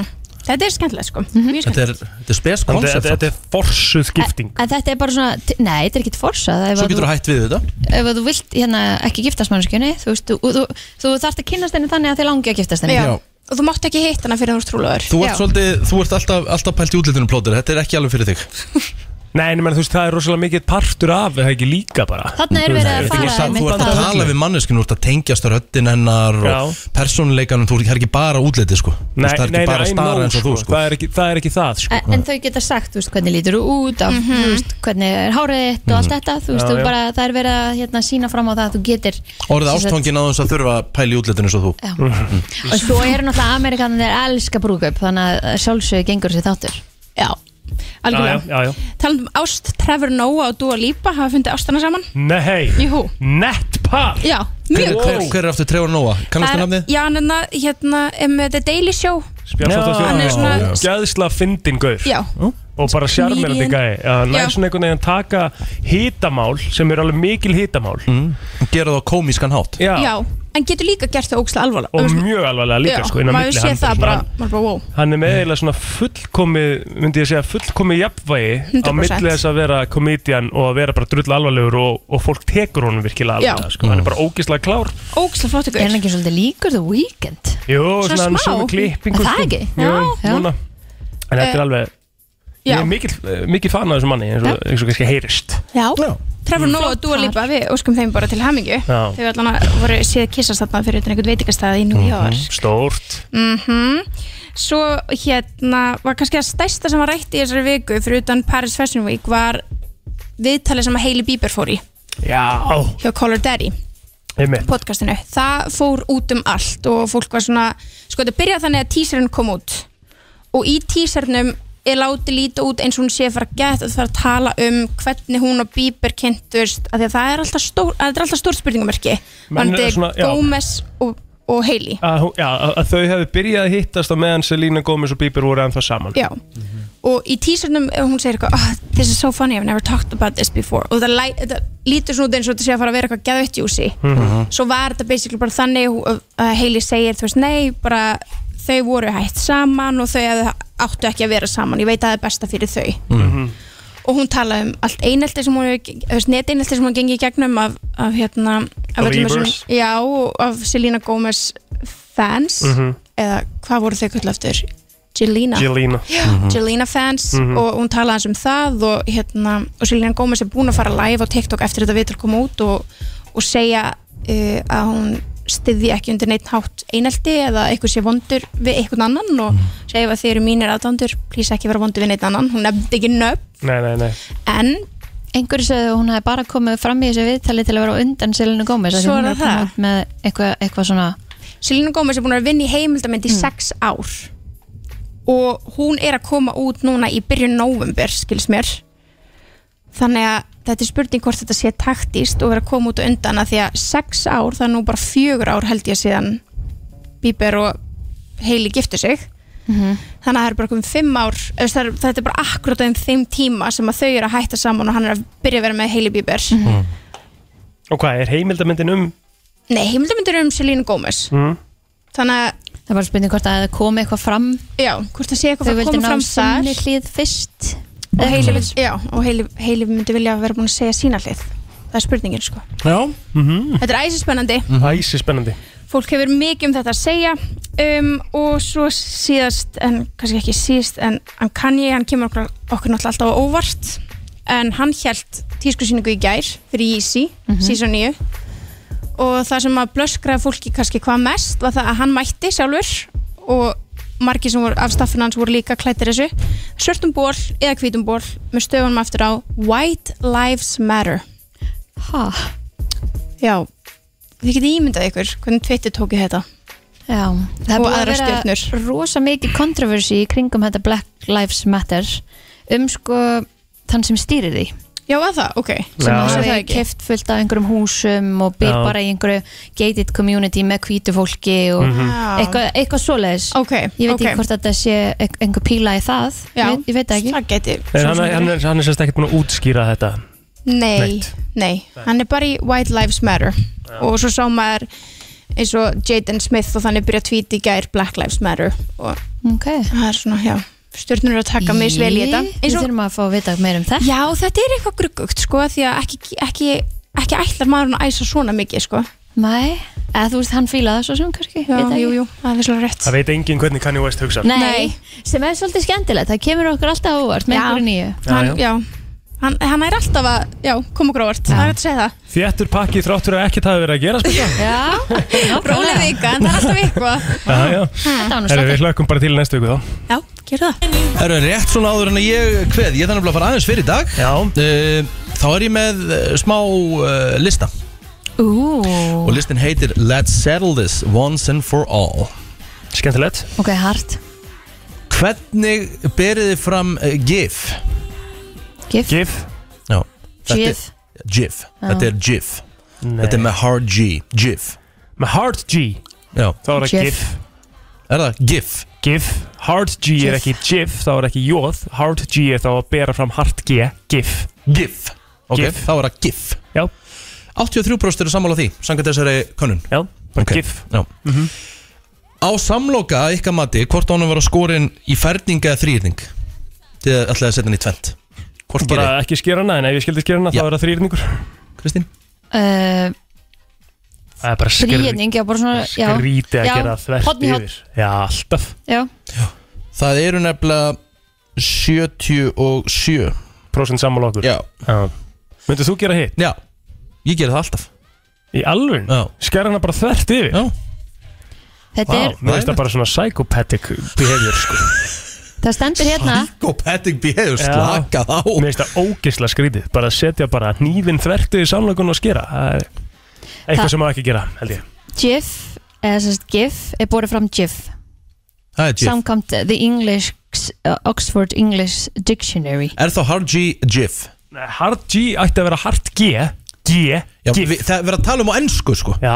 [SPEAKER 11] Þetta er skemmtilegt sko. Mjög
[SPEAKER 4] Þetta
[SPEAKER 11] skemmtilegt.
[SPEAKER 4] er, þetta er spes sko.
[SPEAKER 5] Þannig að
[SPEAKER 4] koncept
[SPEAKER 5] Þetta þetta er forsuð skipting
[SPEAKER 3] En þetta er bara svona, t- nei, þetta er ekkert forsa
[SPEAKER 4] Svo getur þú hætt við þetta
[SPEAKER 3] Ef að þú vilt hérna ekki giftast mannskjunni þú, veist, þú, þú, þú þarft að kynnast henni þannig að þið langi að giftast henni
[SPEAKER 4] Já. Já.
[SPEAKER 11] Og þú mátt ekki hitt hana fyrir þú ert trúlegaður.
[SPEAKER 4] Þú ert, svolítið, þú ert alltaf, alltaf pælt í útlitinu plótur Þetta er ekki alveg fyrir þig
[SPEAKER 5] Nei, en ég meina, þú veist, það er rosalega mikið partur af Það er ekki líka bara
[SPEAKER 3] Þarna er verið að
[SPEAKER 5] Þú veist,
[SPEAKER 3] fara
[SPEAKER 5] það er
[SPEAKER 4] Þú ert
[SPEAKER 5] ekki samband
[SPEAKER 4] að
[SPEAKER 5] að
[SPEAKER 4] tala
[SPEAKER 5] öllu.
[SPEAKER 4] við manneskinu, þú ert að tengjast á röddin hennar og persónuleikanum, þú ert ekki bara útliti sko. Þú
[SPEAKER 5] Nei,
[SPEAKER 4] veist, það er
[SPEAKER 5] nei,
[SPEAKER 4] ekki bara
[SPEAKER 5] nei,
[SPEAKER 4] að stara
[SPEAKER 5] no,
[SPEAKER 4] eins og þú
[SPEAKER 5] sko.
[SPEAKER 4] sko.
[SPEAKER 5] það, er ekki, það er ekki það sko.
[SPEAKER 3] En, en þau geta sagt, þú veist, hvernig lítur þú
[SPEAKER 11] Mhm.
[SPEAKER 3] út af, þú veist, hvernig er hárið þitt og allt þetta, þú
[SPEAKER 4] Mhm.
[SPEAKER 3] veist,
[SPEAKER 4] Já,
[SPEAKER 3] þú
[SPEAKER 4] já.
[SPEAKER 3] bara, það er verið að hérna, sína fram á það að þú getir
[SPEAKER 4] Orðið
[SPEAKER 3] sem sagt-
[SPEAKER 4] ástfangin Mhm. á þess að þurfa að pæla í útlitinu eins og þú
[SPEAKER 3] Já. og svo eru náttúrulega Amerikanir elska brúkup, þannig að sjálfsögur gengur sér þáttur
[SPEAKER 11] Já, algjörlega.
[SPEAKER 5] já, já, já.
[SPEAKER 11] Talandum um ást, Trevor Noah og Dua Lipa hafa fundið ástana saman.
[SPEAKER 5] Nei,
[SPEAKER 11] Jú.
[SPEAKER 5] nett par
[SPEAKER 11] Já,
[SPEAKER 4] hver,
[SPEAKER 11] mjög
[SPEAKER 4] hver, hver er aftur Trevor Noah? Kannast þú nafnið?
[SPEAKER 11] Já, hann er na- hérna, um, The Daily Show
[SPEAKER 5] Bjarnsóttar
[SPEAKER 11] Hann er svona
[SPEAKER 5] þjóðan Gæðsla fyndin gaur
[SPEAKER 11] Já.
[SPEAKER 5] Og bara sjarmerandi
[SPEAKER 11] Comedian.
[SPEAKER 5] gæði Hann
[SPEAKER 11] Já.
[SPEAKER 5] er svona einhvern veginn að taka hitamál Sem er alveg mikil hitamál
[SPEAKER 4] Mm. Gera það á komískan hátt
[SPEAKER 5] Já,
[SPEAKER 11] Já, en getur líka gert það ógslag alvarlega
[SPEAKER 5] og mjög alvarlega líka sko, inn á
[SPEAKER 11] maður
[SPEAKER 5] milli.
[SPEAKER 11] sé
[SPEAKER 5] Hann
[SPEAKER 11] það
[SPEAKER 5] svona-
[SPEAKER 11] bara, maður bara, wow
[SPEAKER 5] Hann er með eiginlega svona fullkomið, myndi ég segja, fullkomið jafnvægi á
[SPEAKER 11] 100%.
[SPEAKER 5] milli þess að vera komedian og að vera bara drull alvarlegur og, og fólk tekur honum virkilega
[SPEAKER 11] Já.
[SPEAKER 5] alvarlega, sko. Hann er bara ógislega klár.
[SPEAKER 11] Ógslag flott ykkur
[SPEAKER 3] Er hann ekki svolítið líkur The Weeknd?
[SPEAKER 5] Jú,
[SPEAKER 3] Svona
[SPEAKER 5] svona hann
[SPEAKER 3] smá.
[SPEAKER 5] sögur klippingu, sko.
[SPEAKER 3] Er það ekki?
[SPEAKER 5] Jú,
[SPEAKER 3] Já.
[SPEAKER 5] núna. En þetta
[SPEAKER 11] Eh,
[SPEAKER 5] er alveg, ég
[SPEAKER 11] já.
[SPEAKER 5] er mikill, eh, mikill fan af þessum manni, eins og, eins og kannski heyrist.
[SPEAKER 11] Já, Trevor
[SPEAKER 4] Mm.
[SPEAKER 11] Noah og Dua
[SPEAKER 3] par.
[SPEAKER 11] Lipa, við óskum þeim bara til hamingju
[SPEAKER 5] Já.
[SPEAKER 11] Þau allan að voru séð kissast þarna fyrir utan einhvern veitingastæði í
[SPEAKER 4] Mhm.
[SPEAKER 11] New York
[SPEAKER 5] Stórt.
[SPEAKER 11] Mhm. Svo hérna var kannski að stærsta sem var rætt í þessari viku fyrir utan Paris Fashion Week var viðtalið sem að Hailey Bieber fór í
[SPEAKER 5] Já.
[SPEAKER 11] hjá Call Her Daddy
[SPEAKER 5] Einmitt.
[SPEAKER 11] podcastinu, það fór út um allt og fólk var svona, sko þetta byrjaði þannig að teaserinn kom út og í teasernum er látið líta út eins og hún sé að fara að geta að fara að tala um hvernig hún og Bieber kynntust af því að það er alltaf stór, að þetta er alltaf stór spurningamerki
[SPEAKER 5] Menn eru
[SPEAKER 11] vandi
[SPEAKER 5] svona- já.
[SPEAKER 11] Gómez og, og Hailey
[SPEAKER 5] Að, hún- já, að að þau hefðu byrjað að hittast á meðan Selena Gomez og Bieber voru ennþá saman.
[SPEAKER 11] Já Og í teasernum eh, hún segir eitthvað oh, This is so funny, I've never talked about this before Og það, læ- það lítur svona út eins og þetta sé að fara að vera eitthvað geðvett júsi
[SPEAKER 5] Mhm.
[SPEAKER 11] Svo var þetta basically bara þannig að að Hailey segir, þú veist, nei, bara þau voru hætt saman og þau hefðu- áttu ekki að vera saman, ég veit að það er besta fyrir þau
[SPEAKER 5] Mhm.
[SPEAKER 11] og hún talaði um allt einelti sem hún hefur, neteinelti sem hún gengi í gegnum af, af hérna af
[SPEAKER 5] Af
[SPEAKER 11] öllum þessum-
[SPEAKER 5] Evers.
[SPEAKER 11] já, og af Selena Gomez fans
[SPEAKER 5] Mhm.
[SPEAKER 11] eða hvað voru þau köllu aftur? Jelena
[SPEAKER 5] Jelena.
[SPEAKER 11] Já,
[SPEAKER 5] Mhm.
[SPEAKER 11] Jelena fans
[SPEAKER 5] Mhm.
[SPEAKER 11] og hún talaði aðeins um það og, hérna, og Selena Gomez er búin að fara live á TikTok eftir þetta vitur koma út og, og segja uh, að hún styði ekki undir neitt hátt einelti eða eitthvað sé vondur við einhvern annan
[SPEAKER 5] Mhm.
[SPEAKER 11] og segja ef að þið eru mínir aðdándur plís ekki vera vondur við neitt annan hún nefndi ekki nöfn
[SPEAKER 5] Nei, nei, nei.
[SPEAKER 11] en
[SPEAKER 3] Einhverju sagði að hún hefði bara komið fram í þessu viðtali til að vera á undan Selinu Gómez af því
[SPEAKER 11] Svo
[SPEAKER 3] hún
[SPEAKER 11] er
[SPEAKER 3] að koma
[SPEAKER 11] það.
[SPEAKER 3] út með eitthvað, eitthvað svona
[SPEAKER 11] Selena Gomez er búin að vinna í heimildamönd í sex ár og hún er að koma út núna í byrjun november, skils mér þannig að þetta er spurning hvort þetta sé taktíst og vera að koma út á undan að því að sex ár, það er nú bara fjögur ár held ég síðan Bieber og Hailey giftu sig þannig að það er bara um fimm ár eða það er, þetta er bara akkurat um þeim tíma sem að þau eru að hætta saman og hann er að byrja að vera með Hailey Bieber
[SPEAKER 5] Og hvað, er heimildamindin um?
[SPEAKER 11] Nei, heimildamindur um Selena Gomez
[SPEAKER 5] Mm.
[SPEAKER 11] þannig að
[SPEAKER 3] Það er bara spurning hvort að það komi eitthvað fram
[SPEAKER 11] Já, hvort það sé eitthvað
[SPEAKER 3] Þau
[SPEAKER 11] að
[SPEAKER 3] vildu
[SPEAKER 11] koma
[SPEAKER 3] ná
[SPEAKER 11] fram þar
[SPEAKER 3] sinni hlið fyrst
[SPEAKER 11] og Hailey, vill- já, og Hailey, Hailey myndi vilja vera búin að segja sína hlið það er spurningin sko
[SPEAKER 5] Já
[SPEAKER 11] Þetta er æsispennandi
[SPEAKER 5] Æsi spennandi
[SPEAKER 11] fólk hefur mikið um þetta að segja um, og svo síðast en kannski ekki síðast en hann Kanye, hann kemur okkur, okkur náttúrulega alltaf á óvart en hann hjælt tískusýningu í gær fyrir Yeezy,
[SPEAKER 3] Mhm.
[SPEAKER 11] season 9 og það sem að blöskraði fólki kannski hvað mest var það að hann mætti sjálfur og margir sem voru af staffinu hans voru líka klættir þessu svörtum ból eða hvítum ból með stöfunum aftur á White Lives Matter
[SPEAKER 3] Ha?
[SPEAKER 11] Já, þið getið ímyndað ykkur hvernig Twitter tóku þetta
[SPEAKER 3] Já, það er
[SPEAKER 11] Og
[SPEAKER 3] búið að
[SPEAKER 11] aðrar
[SPEAKER 3] vera
[SPEAKER 11] stjörnur.
[SPEAKER 3] rosa mikið kontroversi í kringum þetta Black Lives Matter um sko þann sem stýrir því
[SPEAKER 11] Já, að það, ok
[SPEAKER 3] sem
[SPEAKER 11] Já. Vissi það
[SPEAKER 3] hafi
[SPEAKER 11] ekki.
[SPEAKER 3] keft fullt af einhverjum húsum og byr
[SPEAKER 11] Já.
[SPEAKER 3] bara í einhverju gated community með hvítu fólki og
[SPEAKER 11] Mhm. Já.
[SPEAKER 3] eitthvað, eitthvað svoleiðis
[SPEAKER 11] okay,
[SPEAKER 3] ég veit
[SPEAKER 11] ok.
[SPEAKER 3] ekki hvort þetta sé ein- einhver píla í það
[SPEAKER 11] Já,
[SPEAKER 3] ég, ég veit það ekki
[SPEAKER 11] það geti
[SPEAKER 5] En hann, hann, er, hann er sérst ekkert búin að útskýra þetta
[SPEAKER 11] Nei,
[SPEAKER 5] Neitt.
[SPEAKER 11] nei, hann er bara í White Lives Matter og svo sá maður eins og Jaden Smith og þannig byrja að tweeta í gær Black Lives Matter og
[SPEAKER 3] okay.
[SPEAKER 11] það er svona, já stjórnur eru að taka mig svel í þetta
[SPEAKER 3] Við þurfum að fá að vita meira um það
[SPEAKER 11] Já, þetta er eitthvað gruggugt sko því að ekki, ekki, ekki ætlar maður að æsa svona mikið sko
[SPEAKER 3] Nei, eða þú veist hann fílaði það svo sem kannski
[SPEAKER 11] Já, jú, jú, það er svolítið rétt
[SPEAKER 5] Það veit enginn hvernig Kanye West hugsa
[SPEAKER 3] Nei, sem er svolítið skemmtilegt það kemur okkur alltaf á óvart með
[SPEAKER 11] Já.
[SPEAKER 3] einhverju nýju
[SPEAKER 5] Já,
[SPEAKER 11] hann,
[SPEAKER 5] já.
[SPEAKER 11] já. Hann, hann er alltaf að, já, koma gróðvart það er hægt að segja það
[SPEAKER 5] Þéttur pakki þrátt fyrir að ekkert hafi verið að gera sko. spilja
[SPEAKER 11] Já, rólega vika, en það er alltaf eitthvað
[SPEAKER 5] Já, já
[SPEAKER 11] Þetta
[SPEAKER 5] Herru, við hlökkum bara til í næstu viku þá
[SPEAKER 11] Já, gerðu það
[SPEAKER 4] Herru, rétt svona áður en að ég hveð Ég þannig að fara aðeins fyrir í dag Já Þá er ég með eh, smá uh, lista
[SPEAKER 3] Ú,
[SPEAKER 4] Og listin heitir Let's settle this once and for all
[SPEAKER 5] Skemmtilegt
[SPEAKER 3] ok, hart
[SPEAKER 4] Hvernig berið þið fram uh, GIF?
[SPEAKER 3] GIF?
[SPEAKER 5] GIF
[SPEAKER 4] Já þetta er-
[SPEAKER 3] GIF.
[SPEAKER 4] GIF
[SPEAKER 3] Já.
[SPEAKER 4] Þetta
[SPEAKER 5] Ah.
[SPEAKER 4] er GIF
[SPEAKER 5] Nei.
[SPEAKER 4] Þetta er með hard G GIF
[SPEAKER 5] Með hard G?
[SPEAKER 4] Já
[SPEAKER 5] Þá er það
[SPEAKER 4] GIF.
[SPEAKER 5] GIF
[SPEAKER 4] Er það GIF?
[SPEAKER 5] GIF Hard G er
[SPEAKER 4] GIF.
[SPEAKER 5] ekki GIF, þá er ekki jóð Hard G er þá að bera fram hard G GIF
[SPEAKER 4] GIF Ok, þá er það GIF
[SPEAKER 5] Já
[SPEAKER 4] 83% eru sammála því, samkvæmt þessari könnun
[SPEAKER 5] Já, bara GIF Mhm.
[SPEAKER 4] Já Á samloka að ykkar mati, hvort ánum var að skorin í ferning eða þrýrning Þið ætlaði að setja hann í tvent Hvort
[SPEAKER 5] Bara
[SPEAKER 4] gerið?
[SPEAKER 5] ekki skera hana, en ef ég skildi skera hana þá er það þrýrningur
[SPEAKER 4] Kristín?
[SPEAKER 3] uh,
[SPEAKER 5] Það er bara skrýt
[SPEAKER 3] Þrýðning, já, bara svona já.
[SPEAKER 5] skrítið að
[SPEAKER 3] Já,
[SPEAKER 5] gera þvert
[SPEAKER 3] horn í horn.
[SPEAKER 5] yfir Já, alltaf
[SPEAKER 3] Já,
[SPEAKER 4] Það eru nefnilega 77
[SPEAKER 5] Prósent sammála okkur
[SPEAKER 4] Já,
[SPEAKER 5] Já. Myndir þú gera hitt?
[SPEAKER 4] Já, ég gera það alltaf
[SPEAKER 5] Í alvun? Skera hana bara þvert yfir?
[SPEAKER 4] Já
[SPEAKER 3] þetta
[SPEAKER 5] Vá,
[SPEAKER 3] er,
[SPEAKER 5] mér finnst það bara svona psychopathic behavior sko.
[SPEAKER 3] það stendur hérna
[SPEAKER 4] Psychopathic behavior,
[SPEAKER 5] slaka
[SPEAKER 4] þá
[SPEAKER 5] Mér finnst það ógisla skrítið, bara að setja bara hnífin þvertu í samlokun og skera Það er
[SPEAKER 3] Það-
[SPEAKER 5] Eitthvað sem maður ekki gera, held ég
[SPEAKER 3] GIF, eða sérst GIF er borið fram GIF
[SPEAKER 4] Það er GIF
[SPEAKER 3] samkvæmt The English uh, Oxford English Dictionary
[SPEAKER 4] Er þá hard G GIF?
[SPEAKER 5] Nei, Hard G ætti að vera hard G G,
[SPEAKER 4] Já,
[SPEAKER 5] GIF.
[SPEAKER 4] við, það er verið að tala um á ennsku sko
[SPEAKER 5] Já,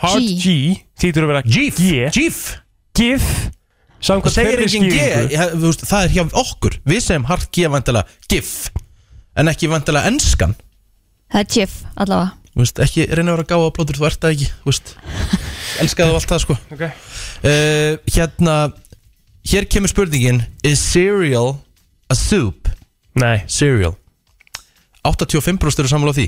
[SPEAKER 5] hard G, þýtur að vera
[SPEAKER 4] GIF
[SPEAKER 5] G
[SPEAKER 4] GIF
[SPEAKER 5] GIF
[SPEAKER 4] Það
[SPEAKER 5] Samkvæmt
[SPEAKER 4] segir
[SPEAKER 5] þeirri
[SPEAKER 4] engin G,
[SPEAKER 5] skýringu.
[SPEAKER 4] ég- þú veist, það er hjá okkur Við segjum hard G vantilega GIF En ekki vantilega ennskan
[SPEAKER 3] Það er GIF allavega
[SPEAKER 4] Þú veist, ekki reyna að vera að gáða á plótur, þú ert það ekki Þú veist, elskaðu allt það sko
[SPEAKER 5] okay.
[SPEAKER 4] Hérna, hér kemur spurningin Is cereal a soup?
[SPEAKER 5] Nei
[SPEAKER 4] Cereal 85% eru sammála á því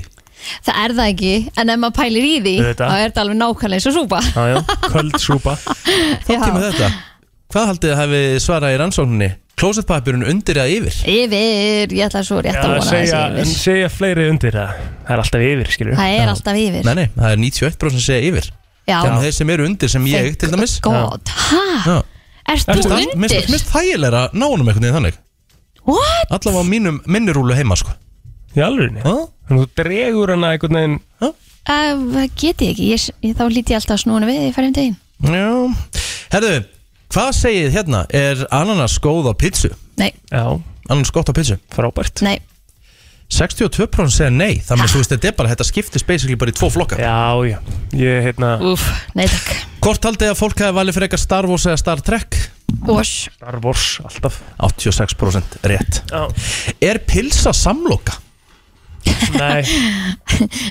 [SPEAKER 3] Það er það ekki, en ef maður pælir í því
[SPEAKER 4] Auðvitað.
[SPEAKER 3] þá er þetta alveg nákvæmlega eins og súpa
[SPEAKER 5] já, köld súpa
[SPEAKER 4] Þá kemur þetta Hvað haldið þið hafi svarað í rannsókninni? Klósetpapirun undir eða yfir?
[SPEAKER 3] Yfir, ég ætla svo rétt
[SPEAKER 5] Já,
[SPEAKER 3] að vona
[SPEAKER 5] segja,
[SPEAKER 3] að það
[SPEAKER 5] en
[SPEAKER 3] sé yfir
[SPEAKER 5] segja fleiri undir það Það er alltaf yfir, skilur
[SPEAKER 3] Það er alltaf yfir
[SPEAKER 4] Nei, nei, það er 91% sem segja yfir
[SPEAKER 3] Já.
[SPEAKER 4] Þannig að þeir sem eru undir sem ég, til dæmis
[SPEAKER 3] God, hæ?
[SPEAKER 4] Já.
[SPEAKER 3] Ert
[SPEAKER 4] Mér
[SPEAKER 3] þú
[SPEAKER 4] finnst- Mér
[SPEAKER 3] undir?
[SPEAKER 4] finnst- mér finnst þægilega að ná honum einhvern veginn þannig
[SPEAKER 3] What?
[SPEAKER 4] Allavega á mínum minnirúlu heima sko
[SPEAKER 5] Í alvörinni? Þannig að þú dregur hana einhvern veginn
[SPEAKER 3] Uh, Það get ég ekki, ég, ég, þá líti ég alltaf snúinu við í færðum degin
[SPEAKER 4] Já Herðu, Hvað segið þið hérna? Er ananas góð á pizzu?
[SPEAKER 3] Nei.
[SPEAKER 5] Já
[SPEAKER 4] Ananas gott á pizzu?
[SPEAKER 5] Frábært
[SPEAKER 3] Nei
[SPEAKER 4] 62% segja nei Þannig að þú veist þetta er bara Þetta skiptist basically bara í tvo flokka
[SPEAKER 5] Já, já Ég, hérna
[SPEAKER 3] Úf, nei takk
[SPEAKER 4] Hvort haldið að fólk hefði valið fyrir eitthvað Star Wars eða Star Trek?
[SPEAKER 3] Ós
[SPEAKER 5] Star Wars, alltaf
[SPEAKER 4] 86% rétt
[SPEAKER 5] Já.
[SPEAKER 4] Er pilsa samloka?
[SPEAKER 5] Nei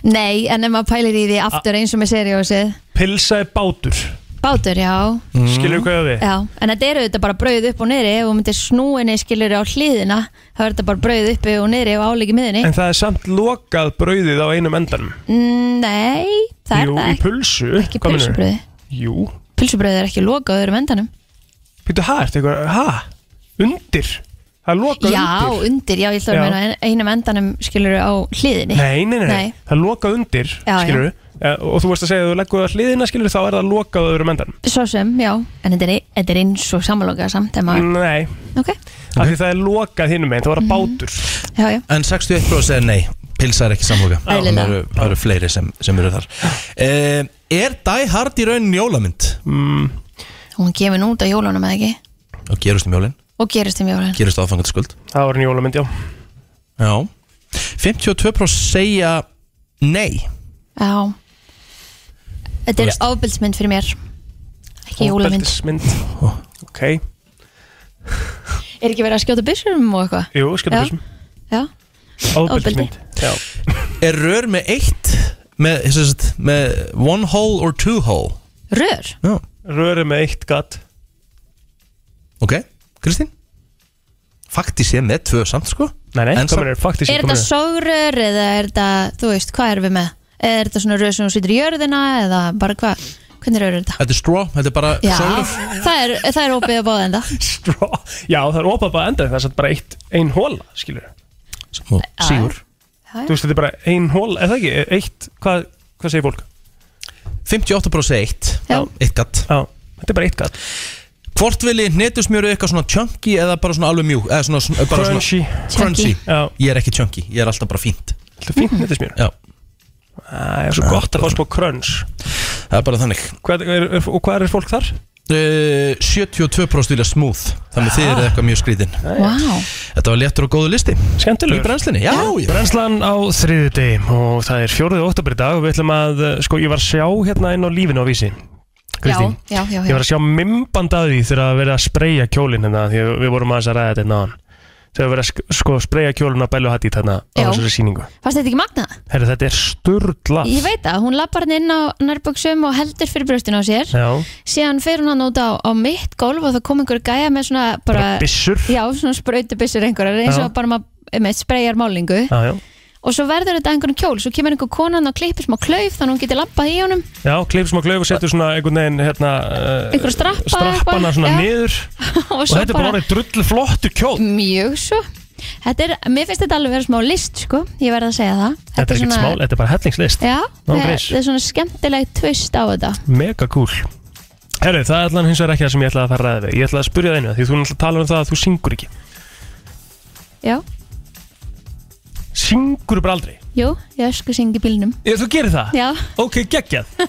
[SPEAKER 3] Nei, en ef maður pælir í því aftur eins og með seriósið
[SPEAKER 5] Pilsa er bátur
[SPEAKER 3] Bátur, já
[SPEAKER 5] Mm. Skilurðu hvað ég á við?
[SPEAKER 3] Já, en þetta eru þetta bara brauð upp og niðri Ef þú myndir snúinni skilur á hliðina þá er þetta bara brauð uppi og niðri og álíki miðinni
[SPEAKER 5] En það er samt lokað brauðið á einum endanum
[SPEAKER 3] Mm, Nei, það
[SPEAKER 5] Jú,
[SPEAKER 3] er það
[SPEAKER 5] í pulsu
[SPEAKER 3] ekki
[SPEAKER 5] Hvað meinarðu?
[SPEAKER 3] pulsubrauði.
[SPEAKER 5] Jú
[SPEAKER 3] Pilsubröð er ekki lokað á öðrum endanum
[SPEAKER 5] Býttu, hæ, ertu eitthvað, hæ Undir Það er lokað
[SPEAKER 3] Já,
[SPEAKER 5] undir
[SPEAKER 3] undir, já, ég ætla að
[SPEAKER 5] Já.
[SPEAKER 3] meina en- einum endanum skilur á hliðinni
[SPEAKER 5] Nei, nei, nei, nei, það er lokað undir,
[SPEAKER 3] Já, já.
[SPEAKER 5] skilur Og þú veist að segja að þú leggur það á hliðina, skilur þá er það lokað á öðrum endanum
[SPEAKER 3] Svo sem, já, en þetta er, þetta er eins og samanlokað samt en maður-
[SPEAKER 5] Nei,
[SPEAKER 3] Ok,
[SPEAKER 5] af því það er lokað hinum meginn,
[SPEAKER 3] Mhm.
[SPEAKER 5] það var að bátur
[SPEAKER 3] já, já
[SPEAKER 4] En 61% segja nei Pilsa er ekki samloka
[SPEAKER 3] Eðlilega.
[SPEAKER 4] Það eru, það eru fleiri sem, sem eru þar uh, Er Die Hard í rauninni jólamynd?
[SPEAKER 5] Mm.
[SPEAKER 3] Hún kemur nú út á jólunum eða ekki
[SPEAKER 4] Og gerust um jólin
[SPEAKER 3] og gerist um jólun
[SPEAKER 4] Gerust aðfangandi skuld
[SPEAKER 5] Það var njólamynd, já
[SPEAKER 4] Já 52% segja nei
[SPEAKER 3] Já Þetta er
[SPEAKER 4] Veist.
[SPEAKER 3] ofbildsmynd fyrir mér Ekki jólamynd
[SPEAKER 5] Ofbeldismynd. Ok,
[SPEAKER 3] Er ekki verið að skjóta byssurum og eitthvað?
[SPEAKER 5] jú, skilur þessum
[SPEAKER 3] Já,
[SPEAKER 5] Ofbeldismynd. Já.
[SPEAKER 4] Er rör með eitt með, sem sagt, með one hole or two hole
[SPEAKER 3] Rör?
[SPEAKER 4] Já.
[SPEAKER 5] Röri með eitt gatt
[SPEAKER 4] Ok, Kristín Faktist ég með tvö samt sko
[SPEAKER 5] Nei, nei,
[SPEAKER 4] En
[SPEAKER 5] hvað
[SPEAKER 4] samt-
[SPEAKER 5] meinarðu? Faktist
[SPEAKER 3] Er þetta sogrör eða er þetta, þú veist, hvað erum við með? Er þetta svona rör sem hún sýtur í jörðina eða bara hvað? Hvernig rör er þetta?
[SPEAKER 4] Þetta er straw, þetta er bara
[SPEAKER 3] Já,
[SPEAKER 4] sólur
[SPEAKER 3] það er, það er opið að bóða enda
[SPEAKER 5] Já, það er opað bara enda, það er samt bara eitt, ein hóla, skilur
[SPEAKER 4] Smá sígur
[SPEAKER 3] já.
[SPEAKER 5] Þú veist, þetta er bara ein hóla, eða ekki, eitt, hvað, hvað segir fólk?
[SPEAKER 4] 58% segja eitt
[SPEAKER 3] Já.
[SPEAKER 4] Eitt gatt
[SPEAKER 5] Já, þetta er bara eitt gatt
[SPEAKER 4] Hvort vilji netusmjöru eitthvað svona chunky eða bara svona alveg mjúk eða svona, svona, bara
[SPEAKER 5] Crunchy.
[SPEAKER 4] svona,
[SPEAKER 5] Chunky.
[SPEAKER 4] crunchy.
[SPEAKER 5] Já.
[SPEAKER 4] Ég er ekki chunky, ég er alltaf bara fínt
[SPEAKER 5] Þetta er fínt netusmjör
[SPEAKER 4] Já.
[SPEAKER 5] Það er svo gott að fá spá kröns
[SPEAKER 4] Það er bara þannig
[SPEAKER 5] hvað er, Og hvað er fólk þar?
[SPEAKER 4] uh, 72% vilja smooth Þannig þið eru eitthvað mjög skrítin
[SPEAKER 3] Vá.
[SPEAKER 4] Þetta var léttur og góðu listi
[SPEAKER 5] Skemmtilegur
[SPEAKER 4] Í brennslinni, já, já.
[SPEAKER 5] Brennslan á þriði degi og það er fjóruði oktober í dag og við ætlum að, eh, sko, ég var að sjá hérna inn á lífinu á vísi Kristín,
[SPEAKER 3] Já, já, já,
[SPEAKER 5] ég var að sjá mymband að því þegar að vera að spreyja kjólinn hérna því að við vorum aðeins að ræða þetta hérna áðan. þegar að vera að sk- sko, spreyja kjólinn á Bellu Hattít hérna á
[SPEAKER 3] Já.
[SPEAKER 5] þessari síningu
[SPEAKER 3] Fannst þetta ekki magnað?
[SPEAKER 5] Herra, þetta er sturla
[SPEAKER 3] Ég veit það, hún lappar hann inn á nærböksum og heldur fyrir brjóstinu á sér
[SPEAKER 5] Já,
[SPEAKER 3] síðan fer hún hann út á, á mitt gólf og það kom einhver gæja með svona bara,
[SPEAKER 5] Bara byssur?
[SPEAKER 3] já, svona sprautubissur einhverjar eins
[SPEAKER 5] Já.
[SPEAKER 3] og bara maður með spreyjar málingu
[SPEAKER 5] já, já,
[SPEAKER 3] og svo verður þetta einhvern kjól svo kemur einhver konan og klippir smá klauf þannig hún getur lappað í honum
[SPEAKER 5] já klipp smá klauf og settur svona einhvern veginn hérna eh,
[SPEAKER 3] Einhverja strappa eða
[SPEAKER 5] strappana
[SPEAKER 3] eitthvað,
[SPEAKER 5] svona
[SPEAKER 3] já.
[SPEAKER 5] niður
[SPEAKER 3] og,
[SPEAKER 5] og,
[SPEAKER 3] svo
[SPEAKER 5] þetta er bara orðið drull flottur kjól
[SPEAKER 3] mjög svo þetta er, mér finnst þetta alveg vera smá list sko ég verð að segja það þetta,
[SPEAKER 5] Þetta er ekkert smál, þetta er bara hellingslist
[SPEAKER 3] já,
[SPEAKER 5] Ná,
[SPEAKER 3] eh,
[SPEAKER 5] grís.
[SPEAKER 3] þetta er svona skemmtilegt tvist á þetta
[SPEAKER 5] Mega cool Herru, það er allan hins vegar ekki það sem ég ætlaði að fara að ræða við Ég ætlaði að spyrja það einu, því þú náttúrulega talar um það að þú syngur ekki
[SPEAKER 3] já,
[SPEAKER 5] Syngur bara aldrei
[SPEAKER 3] jú, ég ösku syngi bílnum
[SPEAKER 5] Ég, þú gerir það?
[SPEAKER 3] já,
[SPEAKER 5] Ok, geggjað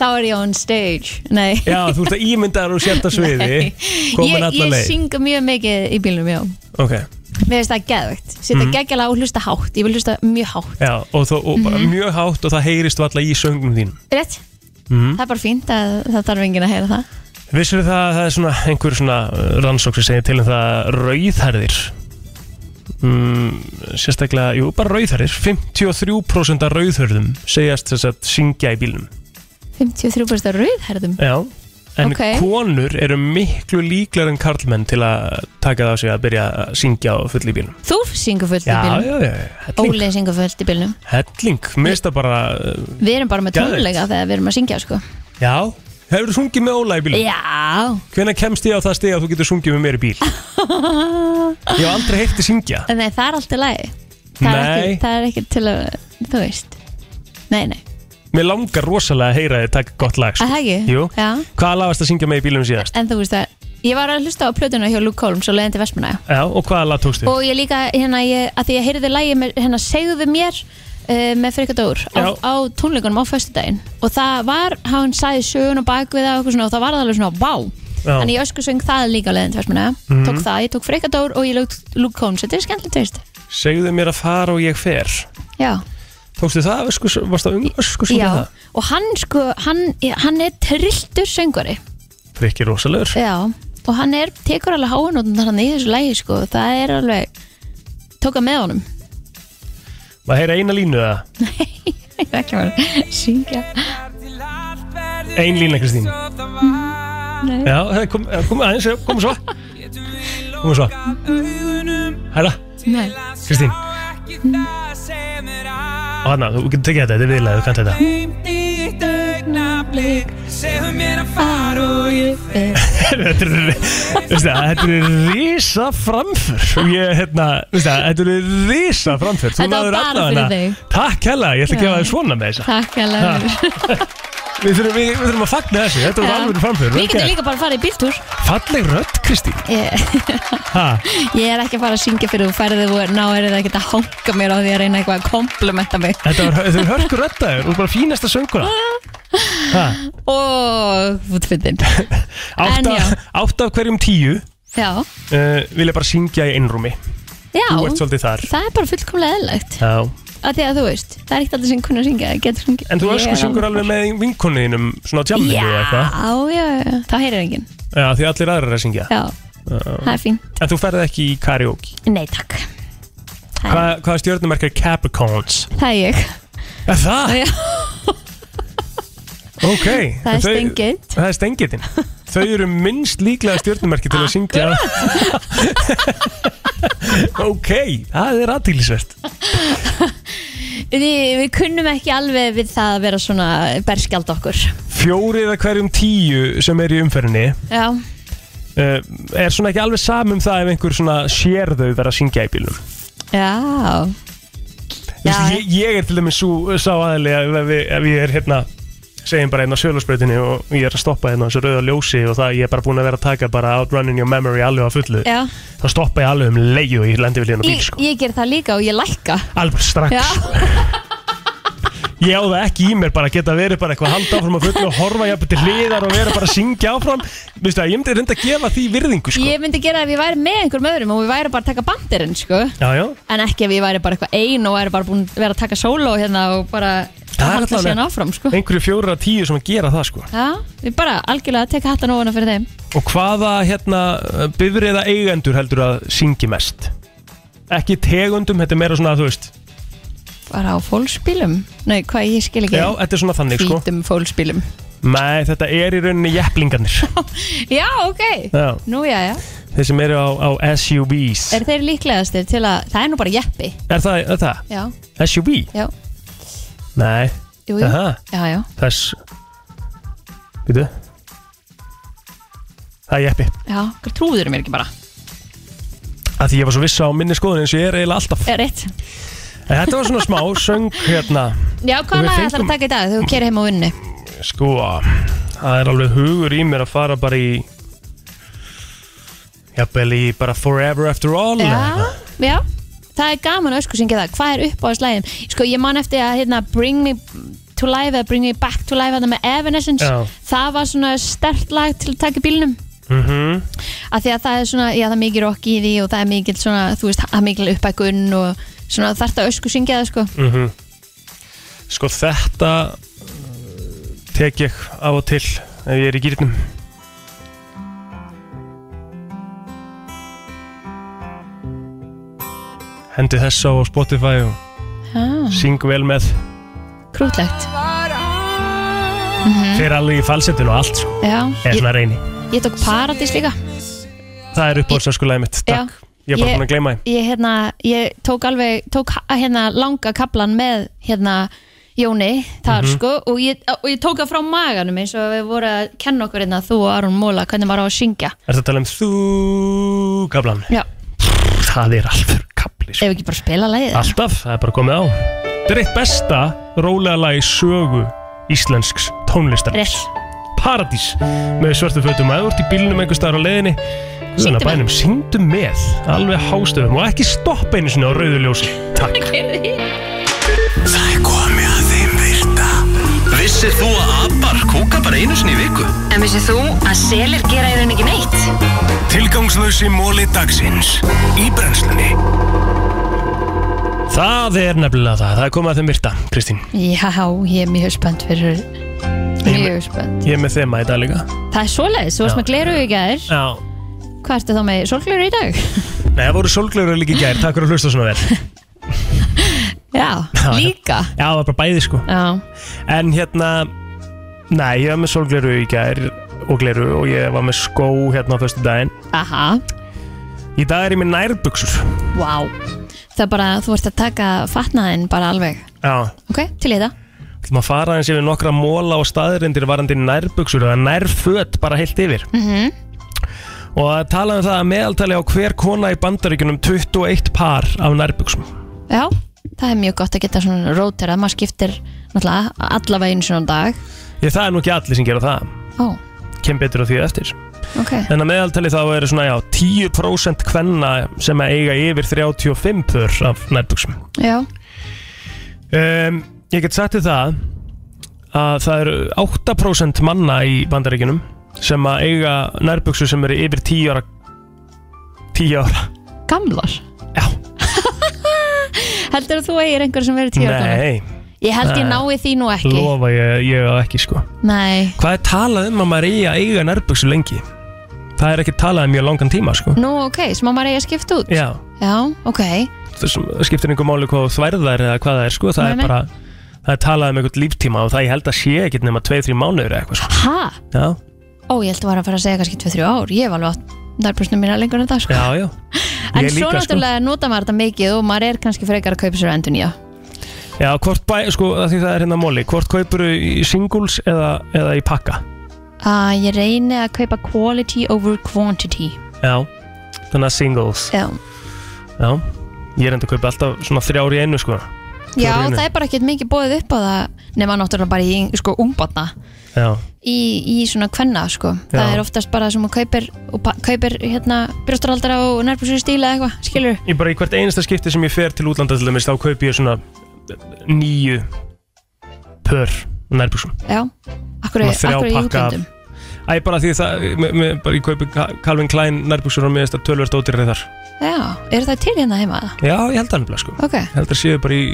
[SPEAKER 3] þá er ég on stage nei
[SPEAKER 5] Já, þú ert að ímynda þér og sérta sviði
[SPEAKER 3] Nei.
[SPEAKER 5] Komin
[SPEAKER 3] ég,
[SPEAKER 5] allan
[SPEAKER 3] ég
[SPEAKER 5] leið
[SPEAKER 3] synga mjög mikið í bílnum, já
[SPEAKER 5] Ok,
[SPEAKER 3] mér finnst það geðvegt, setja
[SPEAKER 5] Mhm.
[SPEAKER 3] mm. geggjala og hlusta hátt ég vil hlusta mjög hátt,
[SPEAKER 5] já, og, þó, og bara
[SPEAKER 3] Mhm.
[SPEAKER 5] mjög hátt og það heyrist valla í söngnum þín
[SPEAKER 3] rétt
[SPEAKER 5] mm.
[SPEAKER 3] það er bara fínt að það þarf enginn að heyra það
[SPEAKER 5] Vissur það að það er svona einhver svona uh, rannsók sem segir til um það að rauðherðir mm, sérstaklega, jú, bara rauðherðir 53% af rauðherðum segjast þess að syngja í bílnum
[SPEAKER 3] 53% rauðherðum
[SPEAKER 5] Já, en
[SPEAKER 3] Ok.
[SPEAKER 5] konur eru miklu líklar en karlmenn til að taka það á sig að byrja að syngja á fulli bílnum
[SPEAKER 3] Þú syngur fullt í
[SPEAKER 5] Já,
[SPEAKER 3] bílnum
[SPEAKER 5] já, já, helling,
[SPEAKER 3] Óli syngur fullt í bílnum
[SPEAKER 5] helling, mér það bara
[SPEAKER 3] Við erum bara með
[SPEAKER 5] Geðveikt.
[SPEAKER 3] tónleika þegar við erum að syngja sko.
[SPEAKER 5] Já, hefur þú sungið með Óla í bílnum?
[SPEAKER 3] Já
[SPEAKER 5] Hvenær kemst ég á það stið að þú getur sungið með mér í bíl? Ég hef aldrei heitt þið syngja
[SPEAKER 3] En nei, það er alltaf lægi það er,
[SPEAKER 5] Nei.
[SPEAKER 3] ekki, það er ekki til að, þú veist Nei, nei,
[SPEAKER 5] Mér langar rosalega að heyra þið taka gott lag sko.
[SPEAKER 3] að það ekki
[SPEAKER 5] Jú,
[SPEAKER 3] Já.
[SPEAKER 5] hvaða lag varst að syngja með í bílnum síðast?
[SPEAKER 3] En þú veist það, ég var að hlusta á plötuna hjá Luke Holmes og leiðin til Vestmanna
[SPEAKER 5] Já, og hvaða lag tókstu?
[SPEAKER 3] Og ég líka, hérna, ég, að því ég heyrði lægi með, hérna, segðu mér uh, með Frikka Dór á,
[SPEAKER 5] Já.
[SPEAKER 3] á tónleikunum á föstudaginn og það var, hann sagði sögun og bakvið það og, eitthvað svona, og það var alveg svona, vá
[SPEAKER 5] Já.
[SPEAKER 3] Þannig ég ösku söng það líka á leiðin tversmunna
[SPEAKER 5] Mhm.
[SPEAKER 3] Tók það, ég tók Freikadór og ég lög Luke Combs Þetta er skemmtilegt tveist
[SPEAKER 5] Segðu mér að fara og ég fer
[SPEAKER 3] Já,
[SPEAKER 5] Tókstu það, ösku, varst það um ösku svo
[SPEAKER 3] já. og hann sko, hann, hann er trilltur söngari
[SPEAKER 5] Frikki rosalegur
[SPEAKER 3] Já, og hann er, tekur alveg háinóttan hann í þessu lægi sko, það er alveg tóka með honum
[SPEAKER 5] Maður heyra eina línu það
[SPEAKER 3] Ég er ekki að vera að syngja
[SPEAKER 5] Ein lína Kristín
[SPEAKER 3] Nei.
[SPEAKER 5] Já, það kom, eh, kom aðeins, kom svo Kom svo Hæra,
[SPEAKER 3] Nei.
[SPEAKER 5] Kristín Og hann, þú getur tekið þetta, þetta er viðlega, þú kannt þetta Þetta er, veistu það, þetta er risa framför og ég, hérna, veistu það, þetta er risa framför Þú
[SPEAKER 3] Þetta var
[SPEAKER 5] náður
[SPEAKER 3] bara
[SPEAKER 5] alla
[SPEAKER 3] fyrir
[SPEAKER 5] hana.
[SPEAKER 3] þig.
[SPEAKER 5] Takk hella, ég ætla að
[SPEAKER 3] Já.
[SPEAKER 5] gefa þér svona með þessa
[SPEAKER 3] Takk alveg
[SPEAKER 5] Við þurfum, við, við þurfum að fagna þessu, þetta var
[SPEAKER 3] Já.
[SPEAKER 5] alveg framför
[SPEAKER 3] Við getum líka bara að fara í bíltúr
[SPEAKER 5] Falleg rödd, Kristín
[SPEAKER 3] ég,
[SPEAKER 5] Ha,
[SPEAKER 3] ég er ekki að fara að syngja fyrir þú færði og ná er það ekki að hanga mér á því að reyna eitthvað að komplementa mig
[SPEAKER 5] Þetta var, þau hörku röddaður, þú er bara fínasta sönguna Ha,
[SPEAKER 3] Og útfyndin En
[SPEAKER 5] átt af-
[SPEAKER 3] já.
[SPEAKER 5] átt af hverjum tíu
[SPEAKER 3] Já,
[SPEAKER 5] uh, vilja bara syngja í einrúmi
[SPEAKER 3] já
[SPEAKER 5] Þú ert svolítið þar
[SPEAKER 3] Það er bara fullkomlega eðlögt
[SPEAKER 5] Já.
[SPEAKER 3] að Því að þú veist, það er ekkert allir sem kunna að syngja getur sungið.
[SPEAKER 5] En þú
[SPEAKER 3] Ég
[SPEAKER 5] ösku
[SPEAKER 3] er
[SPEAKER 5] syngur alveg með vinkonuðinum svona á tjamminu
[SPEAKER 3] Já,
[SPEAKER 5] eða eitthvað
[SPEAKER 3] já, já, þá heyrir enginn
[SPEAKER 5] Já, því allir aðrar er að syngja
[SPEAKER 3] Já, það er fín
[SPEAKER 5] En þú ferð ekki í karaoke
[SPEAKER 3] Nei, takk,
[SPEAKER 5] Hva, Hvaða stjórnumerk er Capricorns?
[SPEAKER 3] það er ég
[SPEAKER 5] Er það?
[SPEAKER 3] Já,
[SPEAKER 5] Ok
[SPEAKER 3] Það er
[SPEAKER 5] Þau-
[SPEAKER 3] steingitt.
[SPEAKER 5] Það er stengitin Þau eru minnst líklega stjórnumerki til að syngja Ok, það er aðtýlisvert
[SPEAKER 3] Við, við kunnum ekki alveg við það að vera svona berskjald okkur
[SPEAKER 5] Fjórið að hverjum tíu sem er í umferðinni
[SPEAKER 3] Já,
[SPEAKER 5] uh, Er svona ekki alveg samum það ef einhver svona sér þau vera að syngja í bílum
[SPEAKER 3] já
[SPEAKER 5] Þú veist, ég, ég er til dæmis svo sá aðli að ef, ef- ef ég er hérna segjum bara einn á sjölusbreytinni og ég er að stoppa hérna á þessu rauða ljósi og það ég er bara búin að vera að taka bara outrunning your memory alveg á fullu
[SPEAKER 3] Já.
[SPEAKER 5] þá stoppa ég alveg um leið og ég lendi við hérna bíl
[SPEAKER 3] Ég,
[SPEAKER 5] sko.
[SPEAKER 3] ég ger það líka og ég lækka
[SPEAKER 5] alveg bara strax
[SPEAKER 3] Já,
[SPEAKER 5] ég á það ekki í mér bara að geta verið bara eitthvað að halda áfram á fullu og horfa jafnvel til hliðar og vera bara að syngja áfram Vistu, að ég myndi reynda að gefa því virðingu sko.
[SPEAKER 3] ég myndi gera ef ég væri með einhverjum öðrum og við væri bara að taka bandirinn sko.
[SPEAKER 5] já, já.
[SPEAKER 3] en ekki ef ég væri bara eitthvað ein og væri bara búin að vera að taka sóló hérna og bara halda
[SPEAKER 5] allavega
[SPEAKER 3] síðan áfram sko.
[SPEAKER 5] einhverju fjóra tíu sem að gera það sko.
[SPEAKER 3] Já, við bara algjörlega að teka hattan ofana fyrir þeim
[SPEAKER 5] Og hvaða hérna bifriða eigendur heldur að syngi mest? Ekki tegundum, þetta er meira svona að þú veist
[SPEAKER 3] bara á fólksbílum Nei, hvað ég skil ekki
[SPEAKER 5] Já, þetta er svona þannig sko
[SPEAKER 3] Hvítum fólksbílum
[SPEAKER 5] Nei, þetta er í rauninni jepplingarnir
[SPEAKER 3] Já, ok
[SPEAKER 5] Já.
[SPEAKER 3] Nú, já, já
[SPEAKER 5] Þeir sem eru á, á SUVs
[SPEAKER 3] Er þeir líklegastir til að Það er nú bara jeppi
[SPEAKER 5] Er það, er það?
[SPEAKER 3] Já,
[SPEAKER 5] SUV?
[SPEAKER 3] já,
[SPEAKER 5] Nei
[SPEAKER 3] jú, jú
[SPEAKER 5] Aha.
[SPEAKER 3] Já, já
[SPEAKER 5] Þess Býtu Það er jeppi
[SPEAKER 3] Já, hvað trúður mér ekki bara
[SPEAKER 5] Af því ég var svo viss á minni skoðun eins og ég er eiginlega alltaf
[SPEAKER 3] Er rétt
[SPEAKER 5] En Þetta var svona smá söng hérna
[SPEAKER 3] Já,
[SPEAKER 5] Og
[SPEAKER 3] hvað
[SPEAKER 5] við
[SPEAKER 3] lag ætlar
[SPEAKER 5] fengum-
[SPEAKER 3] að taka í dag þegar þú kerir heim á vinnu?
[SPEAKER 5] Sko, það er alveg hugur í mér að fara bara í Jafnvel í bara Forever After All eða
[SPEAKER 3] Já,
[SPEAKER 5] eitthvað.
[SPEAKER 3] já Það er gaman að ösku syngja það Hvað er upp á þess lægum? Sko, ég man eftir að hérna Bring Me to Life eða Bring Me Back to Life að það með Evanescence
[SPEAKER 5] Já.
[SPEAKER 3] Það var svona stert lag til að taka í bílnum
[SPEAKER 5] Mhm.
[SPEAKER 3] að því að það er svona, já það er mikið rock í því og það er mikið svona, þú veist, það er mikið uppækun og svona þarft að ösku syngja það sko
[SPEAKER 5] Mhm. Sko þetta uh, tek ég af og til ef ég er í gýrnum Hendi þess á Spotify og
[SPEAKER 3] ah,
[SPEAKER 5] syng vel með
[SPEAKER 3] Krútlegt mm
[SPEAKER 5] Fyrir alveg í falsettinu og allt sko
[SPEAKER 3] Já,
[SPEAKER 5] Eða
[SPEAKER 3] ég,
[SPEAKER 5] svona reyni
[SPEAKER 3] ég tók Paradís líka
[SPEAKER 5] Það er uppbóðsöskulega mitt,
[SPEAKER 3] Já.
[SPEAKER 5] takk Ég er bara búin að gleyma því
[SPEAKER 3] Ég, hérna, ég tók alveg, tók ha- hérna langa kaplan með hérna Jóni þar
[SPEAKER 5] Mhm.
[SPEAKER 3] sko og ég, og ég tók það frá maganum eins og við vorum að kenna okkur hérna þú og Aron Móla hvernig maður á að syngja
[SPEAKER 5] Er þetta að tala um þú kablan?
[SPEAKER 3] Já,
[SPEAKER 5] Það er alveg
[SPEAKER 3] ef við ekki bara spila lagið
[SPEAKER 5] Alltaf, það er bara komið á Þetta er eitt besta rólega lag í sögu íslensks tónlistarins Paradís með svörtu fötum að þú ert í bílnum einhver staðar á leiðinni Þannig
[SPEAKER 3] Syngdu
[SPEAKER 5] að
[SPEAKER 3] með.
[SPEAKER 5] bænum, syngdu með Alveg hástöfum og ekki stoppa einu sinni á rauðu ljósi Takk
[SPEAKER 2] Það er komið að þeim virta Vissir þú að ABBA Sumar kúka bara einu sinni í viku
[SPEAKER 10] En vissið þú að selir gera í raun ekki neitt?
[SPEAKER 2] Tilgangslösi móli dagsins Í brennslunni
[SPEAKER 5] Það er nefnilega það, það er komið að þeim virta, Kristín
[SPEAKER 3] Já, ég er mjög spennt fyrir Mjög spennt
[SPEAKER 5] Ég er með þema í dag líka
[SPEAKER 3] Það er svoleiðis, þú varst
[SPEAKER 5] Já.
[SPEAKER 3] með gleru í gær
[SPEAKER 5] Já
[SPEAKER 3] Hvað ertu þá með solgleru í dag?
[SPEAKER 5] Nei, það voru sólglöru líka í gær, takk fyrir að hlusta svona vel
[SPEAKER 3] Já,
[SPEAKER 5] Já,
[SPEAKER 3] líka
[SPEAKER 5] Já, það var bara bæði sko
[SPEAKER 3] Já.
[SPEAKER 5] En hérna, nei, ég var með sólgleru í gær og gleru og ég var með skó hérna á föstu daginn
[SPEAKER 3] Aha,
[SPEAKER 5] Í dag er ég með nærbuksur
[SPEAKER 3] vá Það er bara, þú ert að taka fatnaðin bara alveg
[SPEAKER 5] Já,
[SPEAKER 3] Ok, til í þetta
[SPEAKER 5] ætlum að fara eins yfir nokkra móla og staðrindir varandi nærbuksur eða nærföt bara heilt yfir
[SPEAKER 3] mm
[SPEAKER 5] og að tala um það að meðaltali á hver kona í bandaríkunum 21 par af nærbuksum
[SPEAKER 3] Já, það er mjög gott að geta svona róterað Maður skiptir náttúrulega allavega einu svona dag
[SPEAKER 5] Ég það er nú ekki allir sem gera það
[SPEAKER 3] Ó,
[SPEAKER 5] kem betur á því á eftir
[SPEAKER 3] ok
[SPEAKER 5] en að meðaltali þá eru svona já 10% kvenna sem að eiga yfir 35 pör af nærbuksum
[SPEAKER 3] Já,
[SPEAKER 5] um, Ég get sagt til það að það eru 8% manna í bandaríkunum sem að eiga nærbuksu sem eru yfir 10 ára 10 ára
[SPEAKER 3] gamlar Já Heldur þú eigir einhver sem verið tíu ára gamall?
[SPEAKER 5] Nei,
[SPEAKER 3] Ég held ég
[SPEAKER 5] Nei.
[SPEAKER 3] nái því nú ekki
[SPEAKER 5] lofa ég, ég á ekki sko
[SPEAKER 3] Nei,
[SPEAKER 5] Hvað er talað um að maður eigi að eiga nærbuksu lengi? Það er ekki talað um mjög langan tíma sko
[SPEAKER 3] nú ok, smá maður eigi að skipta út
[SPEAKER 5] Já,
[SPEAKER 3] Já, ok
[SPEAKER 5] það sem- það skiptir einhver máli hvað þværðar eða hvað það er sko Það
[SPEAKER 3] Nei,
[SPEAKER 5] er
[SPEAKER 3] nei.
[SPEAKER 5] bara, það er talað um einhvern líftíma og það ég held að sé ekkert nema 2-3 mánuður eða eitthvað sko
[SPEAKER 3] Ha?
[SPEAKER 5] Já,
[SPEAKER 3] Ó, ég held að var að fara að segja kannski 2-3 ár Ég hef alveg átt nærbúrsnum mína lengur en það sko.
[SPEAKER 5] já, já
[SPEAKER 3] En
[SPEAKER 5] Ég
[SPEAKER 3] svo
[SPEAKER 5] líka, sko.
[SPEAKER 3] náttúrulega nota maður þetta mikið og maður er kannski frekar að kaupa sér endur nýja
[SPEAKER 5] Já, hvort bæ, sko, af því það er hérna móli Hvort kaupur í singles eða, eða í pakka
[SPEAKER 3] uh, Ég reyni að kaupa quality over quantity
[SPEAKER 5] Já, þannig að singles
[SPEAKER 3] Já,
[SPEAKER 5] Já, ég er enda að kaupa alltaf svona þrjár í einu, sko
[SPEAKER 3] Já
[SPEAKER 5] Fjórir í einu.
[SPEAKER 3] það er bara ekkert mikið bóðið upp á það nema náttúrulega bara í sko, umbotna
[SPEAKER 5] Já,
[SPEAKER 3] í, í svona kvenna sko.
[SPEAKER 5] Já.
[SPEAKER 3] það er oftast bara sem að kaupir, og pa- kaupir hérna, brjóstaraldara og nærbúrsnum stíla eitthvað, skilur
[SPEAKER 5] ég bara í hvert einasta skipti sem ég fer til útlanda til dæmis Þá kaupi ég svona nýju pör nærbuksum
[SPEAKER 3] Já, akkur,
[SPEAKER 5] Svona þrjá
[SPEAKER 3] akkur í
[SPEAKER 5] pakka af-
[SPEAKER 3] útlöndum
[SPEAKER 5] Æ, bara því það, me, me, bara ég kaupi Ka- Calvin Klein nærbuksur og mér finnst það tölvöld ódýrið þar
[SPEAKER 3] Já, er það til hérna heima?
[SPEAKER 5] Já, ég held það nefnilega, sko
[SPEAKER 3] Ok,
[SPEAKER 5] Ég held það séu bara í,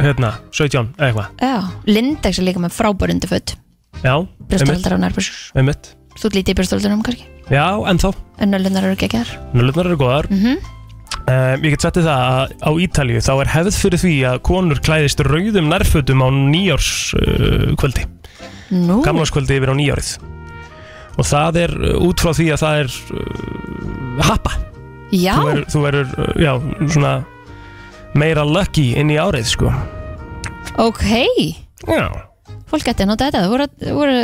[SPEAKER 5] hérna, 17, eða eitthvað
[SPEAKER 3] já, Lindex er líka með frábærundi föt
[SPEAKER 5] Já,
[SPEAKER 3] brjóstaraldara og nærbúrsnum
[SPEAKER 5] einmitt
[SPEAKER 3] Þú ert lítið í brjóstaraldunum kannski,
[SPEAKER 5] Já, ennþá,
[SPEAKER 3] en nölunar eru geggar
[SPEAKER 5] nölunar eru góðar
[SPEAKER 3] mm
[SPEAKER 5] Um, ég get sagt þér það að á Ítalíu þá er hefð fyrir því að konur klæðist rauðum nærfötum á nýjárskvöldi, uh,
[SPEAKER 3] Nú,
[SPEAKER 5] gamlarskvöldi yfir á nýjárið og það er uh, út frá því að það er uh, happa
[SPEAKER 3] já,
[SPEAKER 5] þú verður, þú verður uh, já, svona meira lucky inn í árið sko
[SPEAKER 3] ok
[SPEAKER 5] Já.
[SPEAKER 3] Fólk gæti að nota þetta, þú voru, þú voru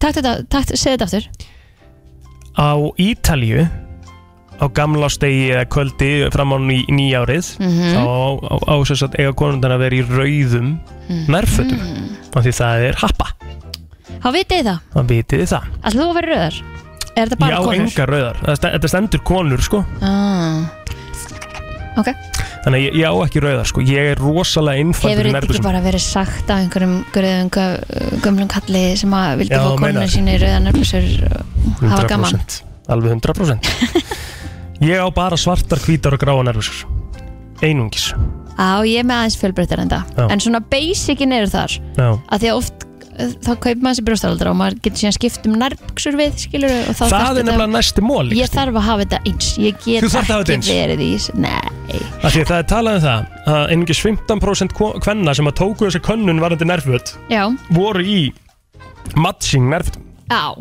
[SPEAKER 3] takt þetta, takt, segðu þetta aftur
[SPEAKER 5] á Ítalíu á gamlástegi eða kvöldi fram á ný, nýjárið
[SPEAKER 3] Mhm.
[SPEAKER 5] þá á, á, á sér satt eiga konundan að vera í rauðum nærfötum af því það er happa,
[SPEAKER 3] Há vitið þið það,
[SPEAKER 5] það vitið þið það
[SPEAKER 3] að þú að vera rauðar Er þetta bara
[SPEAKER 5] Já,
[SPEAKER 3] konur?
[SPEAKER 5] engar rauðar, Það st- þetta stendur konur sko
[SPEAKER 3] ah. Ok,
[SPEAKER 5] Þannig að ég, ég á ekki rauðar sko, ég er rosalega
[SPEAKER 3] hefur
[SPEAKER 5] innfaldur í
[SPEAKER 3] þetta ekki
[SPEAKER 5] nærbúsum
[SPEAKER 3] bara verið sagt af einhverjum gröðum gömlum kalli sem að vildi
[SPEAKER 5] Já,
[SPEAKER 3] fá konunum
[SPEAKER 5] meinar.
[SPEAKER 3] sínu í rauðan örfusur og hafa gaman
[SPEAKER 5] Alveg 100% Ég á bara svartar, hvítar og gráa nærbúsur Einungis
[SPEAKER 3] Á, ég er með aðeins fjölbreyttar en það
[SPEAKER 5] Já.
[SPEAKER 3] En svona basicin eru þar
[SPEAKER 5] Já.
[SPEAKER 3] að því að oft eh, þá kaupir maður sér brjóstaraldra og maður getur síðan skipt um nærbuksur við skilur og þá þarf
[SPEAKER 5] Það, er
[SPEAKER 3] þetta-
[SPEAKER 5] nefnilega næsti mól
[SPEAKER 3] Ég
[SPEAKER 5] þar...
[SPEAKER 3] þarf að hafa þetta eins Ég get
[SPEAKER 5] Þú þarft að hafa þetta
[SPEAKER 3] ekki
[SPEAKER 5] eins.
[SPEAKER 3] verið í þessu Nei
[SPEAKER 5] Því að það er talað um það að einungis 15% ko- kvenna sem að tóku þessi könnun varandi nærföt
[SPEAKER 3] Já,
[SPEAKER 5] voru í matching nærfötum
[SPEAKER 3] á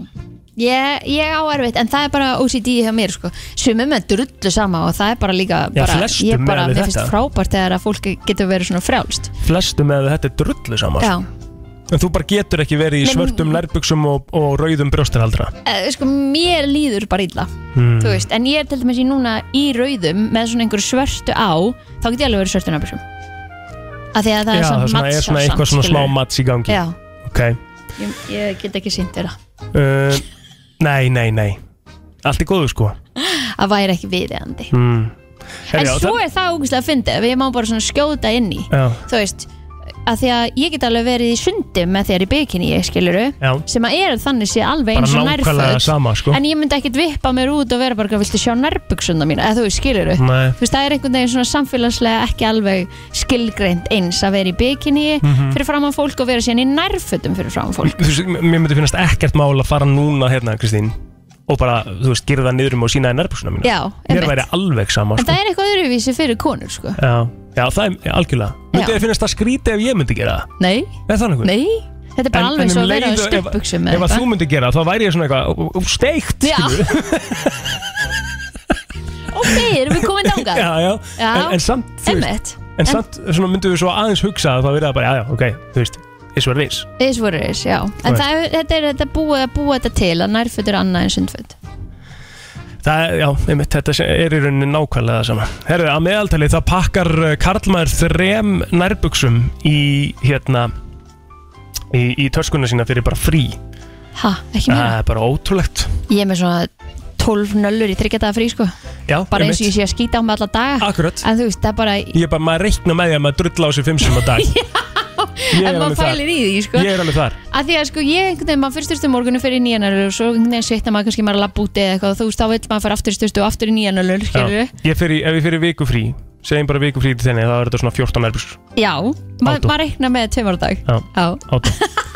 [SPEAKER 3] Ég, ég á erfitt, en það er bara OCD hjá mér sko. sumum er drullu sama og það er bara líka
[SPEAKER 5] Já,
[SPEAKER 3] bara,
[SPEAKER 5] flestum
[SPEAKER 3] ég bara,
[SPEAKER 5] miðað við
[SPEAKER 3] mér finnst
[SPEAKER 5] þetta.
[SPEAKER 3] frábært þegar að fólk getur verið svona frjálst
[SPEAKER 5] Flestum eða þetta er drullu saman
[SPEAKER 3] Já,
[SPEAKER 5] En þú bara getur ekki verið í
[SPEAKER 3] Nei, men-
[SPEAKER 5] svörtum nærbuksum og, og rauðum brjóstaraldra
[SPEAKER 3] e, sko, mér líður bara illa
[SPEAKER 5] Mm.
[SPEAKER 3] þú veist, en ég er til dæmis í núna í rauðum með svona einhverju svörtu á þá get ég alveg verið svörtu nábjörsum af því að það
[SPEAKER 5] Já,
[SPEAKER 3] er
[SPEAKER 5] það
[SPEAKER 3] svona
[SPEAKER 5] svona, er svona
[SPEAKER 3] match á
[SPEAKER 5] eitthvað
[SPEAKER 3] samt,
[SPEAKER 5] svona smá
[SPEAKER 3] skilurðu.
[SPEAKER 5] mats í gangi
[SPEAKER 3] Já,
[SPEAKER 5] Ok
[SPEAKER 3] ég, ég get ekki sýnt þér það
[SPEAKER 5] uh, Nei, nei, nei Allt er góðu sko
[SPEAKER 3] að væri ekki viðeigandi
[SPEAKER 5] mm.
[SPEAKER 3] en svo er það ógæslega að fyndi ef ég má bara svona skjóta inn í
[SPEAKER 5] Já.
[SPEAKER 3] þú veist, að því að ég get alveg verið í sundi með þér í bikini, ég skiluru
[SPEAKER 5] Já.
[SPEAKER 3] sem að er þannig sé alveg
[SPEAKER 5] Bara
[SPEAKER 3] eins og
[SPEAKER 5] nákvæmlega
[SPEAKER 3] nærföld
[SPEAKER 5] sama, sko.
[SPEAKER 3] en ég myndi ekkit vippa mér út og vera bara eitthvað, viltu sjá nærbuksunda mín eða þú skiluru,
[SPEAKER 5] Nei.
[SPEAKER 3] þú veist það er einhvern veginn svona samfélagslega ekki alveg skilgreint eins að vera í bikini
[SPEAKER 5] Mhm.
[SPEAKER 3] fyrir framan fólk og vera síðan í nærföldum fyrir framan fólk
[SPEAKER 5] Þú veist, m- mér myndi finnast ekkert mál að fara núna hérna, Kristín og bara, þú veist, gera það niður um og sína í nærbúsuna mína
[SPEAKER 3] Já,
[SPEAKER 5] Mér
[SPEAKER 3] einmitt.
[SPEAKER 5] væri alveg sama,
[SPEAKER 3] en
[SPEAKER 5] sko
[SPEAKER 3] það er eitthvað öðruvísi fyrir konur sko.
[SPEAKER 5] Já, já það er já, algjörlega Myndi
[SPEAKER 3] Já.
[SPEAKER 5] þið finnast það skrítið ef ég myndi gera það?
[SPEAKER 3] Nei,
[SPEAKER 5] Er það nokkuð? um
[SPEAKER 3] nei, þetta er bara alveg svo að vera á stuttbuksum
[SPEAKER 5] Ef, ef að þú myndi gera það, þá væri ég svona eitthvað Steikt,
[SPEAKER 3] Já.
[SPEAKER 5] skilur
[SPEAKER 3] Ok, erum við komin dangað?
[SPEAKER 5] já, já.
[SPEAKER 3] Já.
[SPEAKER 5] En, en samt, þú
[SPEAKER 3] Einmitt.
[SPEAKER 5] veist, en samt svona myndum við svo aðeins hugsa að það verið að bara, já, já, ok, þú veist, is what it is.
[SPEAKER 3] Is what it is, já En
[SPEAKER 5] veist.
[SPEAKER 3] það, er- þetta er þetta er búið að búa þetta til að nærföt er annað en sundföt
[SPEAKER 5] Það, er- já, einmitt, þetta sé- er í rauninni nákvæmlega það sama. Herru, að meðaltali það pakkar uh, karlmaður þrem nærbuksum í, hérna, í, í törskuna sína fyrir bara frí.
[SPEAKER 3] Ha, ekki
[SPEAKER 5] Það
[SPEAKER 3] mér
[SPEAKER 5] er bara ótrúlegt.
[SPEAKER 3] Ég er með svona 12 nöllur í þryggjadaða frí sko
[SPEAKER 5] Já,
[SPEAKER 3] Bara eins og
[SPEAKER 5] einmitt.
[SPEAKER 3] ég sé að skýta á mig alla daga
[SPEAKER 5] Akkurat.
[SPEAKER 3] En þú veist, það er bara
[SPEAKER 5] Ég er bara, maður reikna með því að maður drull á sig fimm sem á dag. Ég er
[SPEAKER 3] En
[SPEAKER 5] alveg
[SPEAKER 3] maður
[SPEAKER 5] þar.
[SPEAKER 3] pælir í því sko
[SPEAKER 5] Ég er alveg þar.
[SPEAKER 3] að því að sko ég einhvern veginn, maður fyrstustu morgunu fyrir nýjanölur og svo einhvern veginn svitna maður kannski maður að labba úti eða eitthvað og þú veist, þá vill maður fara aftur í sturtu og aftur í nýjanölur, skilur
[SPEAKER 5] Já. Ég fer í, ef ég fyrir viku frí, segjum bara viku frí til þenni, þá er þetta svona 14 nærbuksur.
[SPEAKER 3] Já, ma
[SPEAKER 5] Átó.
[SPEAKER 3] maður reikna með tveimur á dag
[SPEAKER 5] Já.
[SPEAKER 3] Já,
[SPEAKER 5] Átó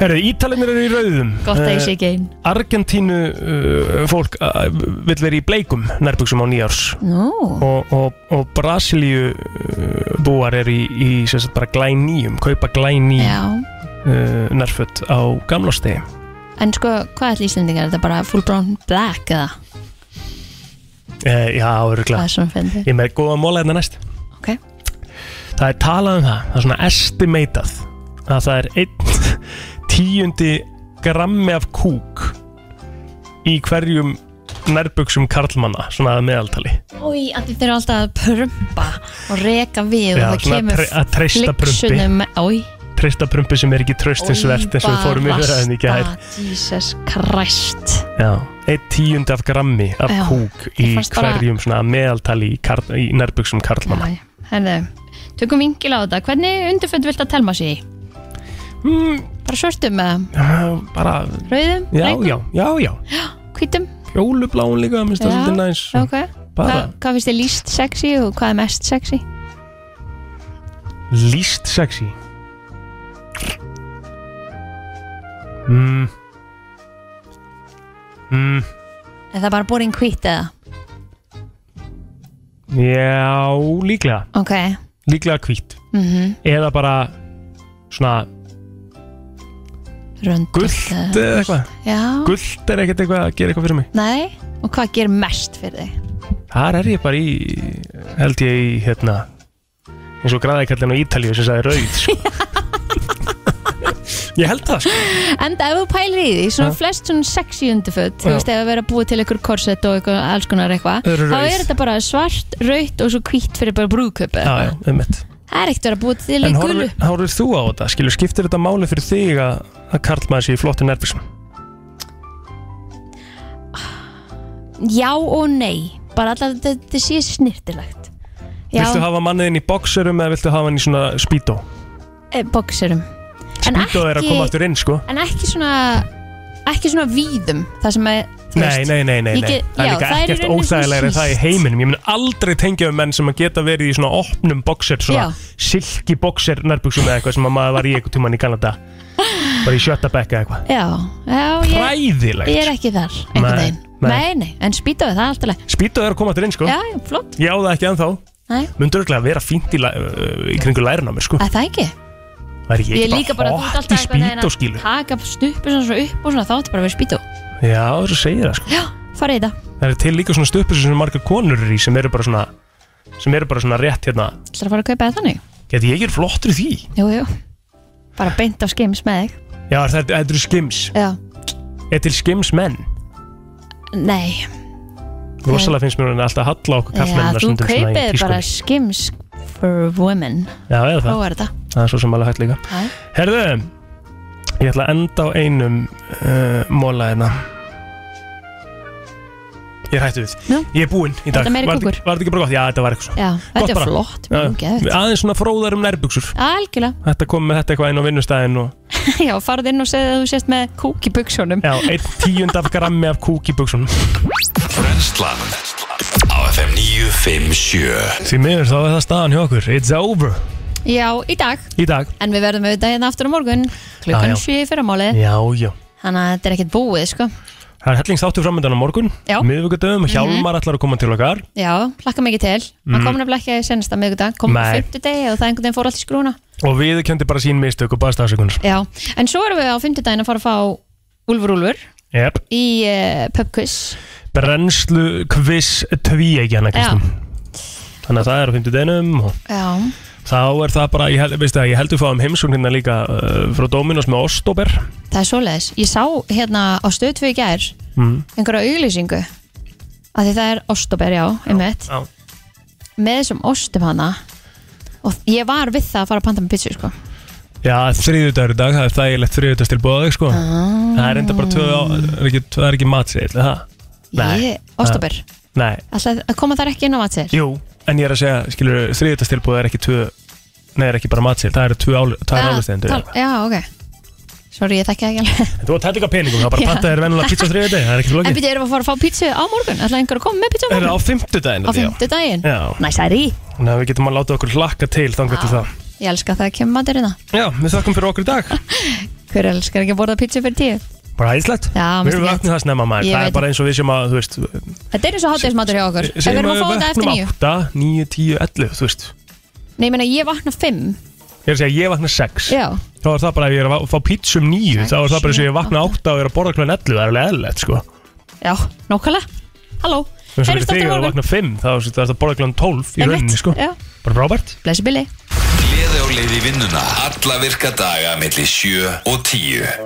[SPEAKER 5] Herðu, Ítalinir eru í rauðum
[SPEAKER 3] gott að ég
[SPEAKER 5] Eh,
[SPEAKER 3] sé ekki einn
[SPEAKER 5] Argentínu uh, fólk uh, vill verið í bleikum nærbuksum á nýjárs
[SPEAKER 3] Nú,
[SPEAKER 5] og, og, og Brasilíu uh, búar er í, í sem sagt, bara glænýjum, kaupa glæný
[SPEAKER 3] já
[SPEAKER 5] uh, nærfött á gamlástegi
[SPEAKER 3] En sko, hvað ætli Íslendingar? Er þetta bara full brown black eða?
[SPEAKER 5] uh, Já,
[SPEAKER 3] Hvað
[SPEAKER 5] örgulega
[SPEAKER 3] er svona fyndið?
[SPEAKER 5] Ég er með góða móla hérna næst
[SPEAKER 3] Ok.
[SPEAKER 5] Það er talað um það, það er svona estimatað að það er einn tíundi grammi af kúk í hverjum nærbuksum karlmanna, svona að meðaltali
[SPEAKER 3] Úi, að þeir eru alltaf að prumpa og reka við og
[SPEAKER 5] Já,
[SPEAKER 3] það
[SPEAKER 5] svona að
[SPEAKER 3] kemur
[SPEAKER 5] tre- að treysta prumpi.
[SPEAKER 3] Úi,
[SPEAKER 5] treysta prumpi sem er ekki tröstinsvert eins og við fórum yfir það en ekki hær
[SPEAKER 3] Jesus Christ
[SPEAKER 5] Já, einn tíundi af grammi af
[SPEAKER 3] Já,
[SPEAKER 5] kúk í
[SPEAKER 3] ég fannst bara-
[SPEAKER 5] hverjum svona að meðaltali í, kar, í nærbuksum karlmanna
[SPEAKER 3] Henni, tökum vingil á þetta Hvernig undirfönd vilt að telma sig í?
[SPEAKER 5] Mm.
[SPEAKER 3] Bara svörtum með
[SPEAKER 5] Já, bara,
[SPEAKER 3] rauðum,
[SPEAKER 5] já,
[SPEAKER 3] bleikum,
[SPEAKER 5] já, já, já
[SPEAKER 3] hvítum
[SPEAKER 5] fjólubláun líka, minnst það
[SPEAKER 3] Já,
[SPEAKER 5] svolítið næs
[SPEAKER 3] ok. Hva,
[SPEAKER 5] bara
[SPEAKER 3] Hvað finnst þið líst sexy og hvað er mest sexy?
[SPEAKER 5] líst sexy mm. Mm.
[SPEAKER 3] Er það bara boring hvít eða?
[SPEAKER 5] Já, líklega
[SPEAKER 3] Ok,
[SPEAKER 5] Líklega hvít
[SPEAKER 3] mhm
[SPEAKER 5] Eða bara svona
[SPEAKER 3] Rönd
[SPEAKER 5] gullt eða eitthvað
[SPEAKER 3] Já,
[SPEAKER 5] Gullt er ekkert eitthvað að gera eitthvað fyrir mig
[SPEAKER 3] nei Og hvað ger mest fyrir þig?
[SPEAKER 5] Þar er ég bara í, held ég í, hérna eins og græðikallin á Ítalíu sem sagði rauð sko. Ég held það sko.
[SPEAKER 3] Enda ef þú pælir í því, svona
[SPEAKER 5] Ha?
[SPEAKER 3] flest svona sexy undirföt Þú
[SPEAKER 5] Já.
[SPEAKER 3] veist, ef það verið að búa til einhver korsett og eitthvað, alls konar eitthvað
[SPEAKER 5] Þau eru
[SPEAKER 3] Þá
[SPEAKER 5] rauð.
[SPEAKER 3] er þetta bara svart, rautt og svo hvítt fyrir bara brúðköpi
[SPEAKER 5] Já, já, um mitt
[SPEAKER 3] Það er ekkert verið að búa til í
[SPEAKER 5] En
[SPEAKER 3] gulu
[SPEAKER 5] horfir, horfir þú á þetta? Skilur, skiptir þetta máli fyrir þig að, að karlmaður sé í flottu nervisum?
[SPEAKER 3] Já og nei, bara alltaf þetta, þetta sé snirtilegt Já,
[SPEAKER 5] Viltu hafa manniðinn í boxerum eða viltu hafa hann í svona speedo?
[SPEAKER 3] e, boxerum En
[SPEAKER 5] Speedo er að
[SPEAKER 3] ekki-
[SPEAKER 5] koma aftur inn, sko
[SPEAKER 3] En ekki svona, ekki svona víðum Það sem að, þú
[SPEAKER 5] Nei, nei, nei, nei,
[SPEAKER 3] ég
[SPEAKER 5] nei.
[SPEAKER 3] get-
[SPEAKER 5] Það er
[SPEAKER 3] já, það
[SPEAKER 5] líka
[SPEAKER 3] er í
[SPEAKER 5] ekkert
[SPEAKER 3] rauninni svona
[SPEAKER 5] óþægilegri en það í
[SPEAKER 3] hlýtt.
[SPEAKER 5] heiminum Ég mun aldrei tengja um menn sem að geta verið í svona opnum boxer svona
[SPEAKER 3] Já.
[SPEAKER 5] silki boxer nærbuksum eða eitthvað sem að maður var í eitthvað tíman í Kanada bara í sjötta bekka eitthvað
[SPEAKER 3] Já, já, ég
[SPEAKER 5] Hræðilegt
[SPEAKER 3] Ég er ekki þar, einhvern
[SPEAKER 5] Nei,
[SPEAKER 3] veginn
[SPEAKER 5] nei.
[SPEAKER 3] Nei, nei, en spýtaðu það er alltaf leið
[SPEAKER 5] Spýta er að koma aftur inn sko
[SPEAKER 3] Já, já, flott,
[SPEAKER 5] Ég á það ekki ennþá
[SPEAKER 3] nei,
[SPEAKER 5] Mun dörglega vera fínt í, læ- uh, í kringu lærin á mér sko
[SPEAKER 3] að það ekki
[SPEAKER 5] Var ég
[SPEAKER 3] er
[SPEAKER 5] ekki bara hótt í
[SPEAKER 3] hérna
[SPEAKER 5] spýta skilu
[SPEAKER 3] Taka stuppu svona svona upp og svona Þá ætti bara að vera spýtu
[SPEAKER 5] Já, þú segir það sko
[SPEAKER 3] Já, farið í þetta
[SPEAKER 5] Það er til líka svona stöpur sem margar konur eru í sem eru bara svona sem eru bara svona rétt hérna
[SPEAKER 3] Það er að fara að kaupa það þannig
[SPEAKER 5] Geti ég er flottur í því
[SPEAKER 3] Jú, jú Bara beint á skims með þig
[SPEAKER 5] Já, það er, það er skims
[SPEAKER 3] Já,
[SPEAKER 5] Er til skims menn
[SPEAKER 3] nei
[SPEAKER 5] Rosalega finnst mér hún alltaf að halla á okkur
[SPEAKER 3] Já,
[SPEAKER 5] kallmenn
[SPEAKER 3] þú kaupið bara skims for women
[SPEAKER 5] Já, eða það,
[SPEAKER 3] Prófaðu þetta
[SPEAKER 5] það er svo sem alveg hægt líka
[SPEAKER 3] Já.
[SPEAKER 5] Herðu, ég ætla að enda á einum uh, móla hérna ég er hættu við
[SPEAKER 3] Já.
[SPEAKER 5] Ég er búinn í
[SPEAKER 3] Var
[SPEAKER 5] dag
[SPEAKER 3] þetta meiri
[SPEAKER 5] Var
[SPEAKER 3] kúkur?
[SPEAKER 5] þetta ekki bara gott? Já, þetta var eitthvað svo
[SPEAKER 3] Já,
[SPEAKER 5] Gott
[SPEAKER 3] þetta er
[SPEAKER 5] bara.
[SPEAKER 3] flott,
[SPEAKER 5] Já,
[SPEAKER 3] mjög geðvægt
[SPEAKER 5] Aðeins svona fróðar um nærbuksur
[SPEAKER 3] Algjörlega,
[SPEAKER 5] Þetta kom með þetta eitthvað inn á vinnustæðin og
[SPEAKER 3] já, farð inn og segðu að þú sést með kúk í buksunum
[SPEAKER 5] Já, einn tíund af grammi af kúk í buksunum
[SPEAKER 2] Brenslan Á FM 957
[SPEAKER 5] Því miður þá er það staðan hjá okkur It's over
[SPEAKER 3] Já, í dag,
[SPEAKER 5] Í dag
[SPEAKER 3] en við verðum auðvitað hérna aftur á morgun
[SPEAKER 5] Já, já.
[SPEAKER 3] klukkan 7 fyrir málið
[SPEAKER 5] Já, já
[SPEAKER 3] Þannig að þetta er ekkert búið, sko
[SPEAKER 5] Það er hellingstáttu framöndan á morgun
[SPEAKER 3] Já.
[SPEAKER 5] Miðvíkudöfum
[SPEAKER 3] Mhm.
[SPEAKER 5] Hjálmar ætlar að koma til okkar
[SPEAKER 3] Já, hlakka mikið til
[SPEAKER 5] Mm.
[SPEAKER 3] Það kom nefnilega ekki að senast að miðgudag kom á
[SPEAKER 5] Nei.
[SPEAKER 3] fymtudegi og það einhvern veginn fór allt í skrúna
[SPEAKER 5] Og við kendi bara sín mistök og baðst afsökunar
[SPEAKER 3] Já, en svo erum við á fymtudaginn að fara að fá Úlfur Úlfur
[SPEAKER 5] yep.
[SPEAKER 3] í uh, pubquiz
[SPEAKER 5] Brennslu kviss tvíeggjana
[SPEAKER 3] Já.
[SPEAKER 5] Kristín Þannig að það er á 50 deginum og
[SPEAKER 3] Já,
[SPEAKER 5] þá er það bara, ég, held, veistu það, ég heldur fáum heimsókn hérna líka uh, frá Dominos með Ostober
[SPEAKER 3] það er svoleiðis Ég sá hérna á stöð 2 í gær
[SPEAKER 5] mm.
[SPEAKER 3] einhverja auglýsingu að því það er ostober, já, einmitt
[SPEAKER 5] já.
[SPEAKER 3] með þessum ostum hana og ég var við það að fara að panta með pizza sko.
[SPEAKER 5] Já, þriðjudagur í dag, það er þægilegt þriðjudags tilbúið sko.
[SPEAKER 3] Ah.
[SPEAKER 5] Það er enda bara tvö á, er ekki, það er ekki matsið, það?
[SPEAKER 3] Ég- Ostober.
[SPEAKER 5] Það- Nei,
[SPEAKER 3] Alltaf að koma þar ekki inn á matsel
[SPEAKER 5] jú, en ég er að segja, skilur, þriðjudags tilbúið er ekki tvö, nei, er ekki bara matsið, það eru tvö
[SPEAKER 3] Ah,
[SPEAKER 5] álustendur
[SPEAKER 3] tal, Já, ok Sorry, ég þekki það ekki alveg
[SPEAKER 5] Þú ert hætti ekki að peningum, það bara
[SPEAKER 3] Já.
[SPEAKER 5] panta þér venjulega pizza á þriðjudagi, það er ekki
[SPEAKER 3] En
[SPEAKER 5] flókið
[SPEAKER 3] byrju, erum við að fara að fá pizza á morgun? Ætlaði einhver að koma með pizza á
[SPEAKER 5] Er það á
[SPEAKER 3] morgun?
[SPEAKER 5] fimmtudaginn?
[SPEAKER 3] Á fimmtudaginn?
[SPEAKER 5] Já,
[SPEAKER 3] Næsari
[SPEAKER 5] þannig að við getum að láta okkur hlakka til þangar til það
[SPEAKER 3] Ég elska það að kemur matur hérna
[SPEAKER 5] Já, við þakkum fyrir okkur í dag
[SPEAKER 3] Hver elskar ekki að borða pizza fyrir tíu?
[SPEAKER 5] Bara æðislegt
[SPEAKER 3] Já,
[SPEAKER 5] Við
[SPEAKER 3] mest
[SPEAKER 5] erum
[SPEAKER 3] ekki.
[SPEAKER 5] vaknið það snemma maður
[SPEAKER 3] Ég
[SPEAKER 5] Það
[SPEAKER 3] veit
[SPEAKER 5] er bara eins og við sem að, þú veist
[SPEAKER 3] Þetta er eins og hátæðismatur hjá okkur En við erum að fá þetta eftir nýju
[SPEAKER 5] 8, 9, 10, 11, þú veist
[SPEAKER 3] Nei, ég meina, ég vakna fimm
[SPEAKER 5] Ég er að segja, ég vakna 6
[SPEAKER 3] Já,
[SPEAKER 5] Þá er það bara ef ég er að fá pítsum 9 Þá er það bara eins og ég vakna 8 og er að borða klæðan 11 Það er alveg eðlilegt, sko
[SPEAKER 3] já, nákvæmlega Halló,
[SPEAKER 5] Þú veist,
[SPEAKER 3] heyrjumst aftur
[SPEAKER 5] þegar ég
[SPEAKER 3] á
[SPEAKER 5] er að
[SPEAKER 3] morgun
[SPEAKER 5] vakna 5 Þá er það að borða klæðan 12 í
[SPEAKER 3] Einmitt,
[SPEAKER 5] rauninni, sko
[SPEAKER 3] já.
[SPEAKER 5] Bara frábært
[SPEAKER 3] Blessi Billy
[SPEAKER 2] Gleði á leið í vinnuna Alla virka daga millir 7 og 10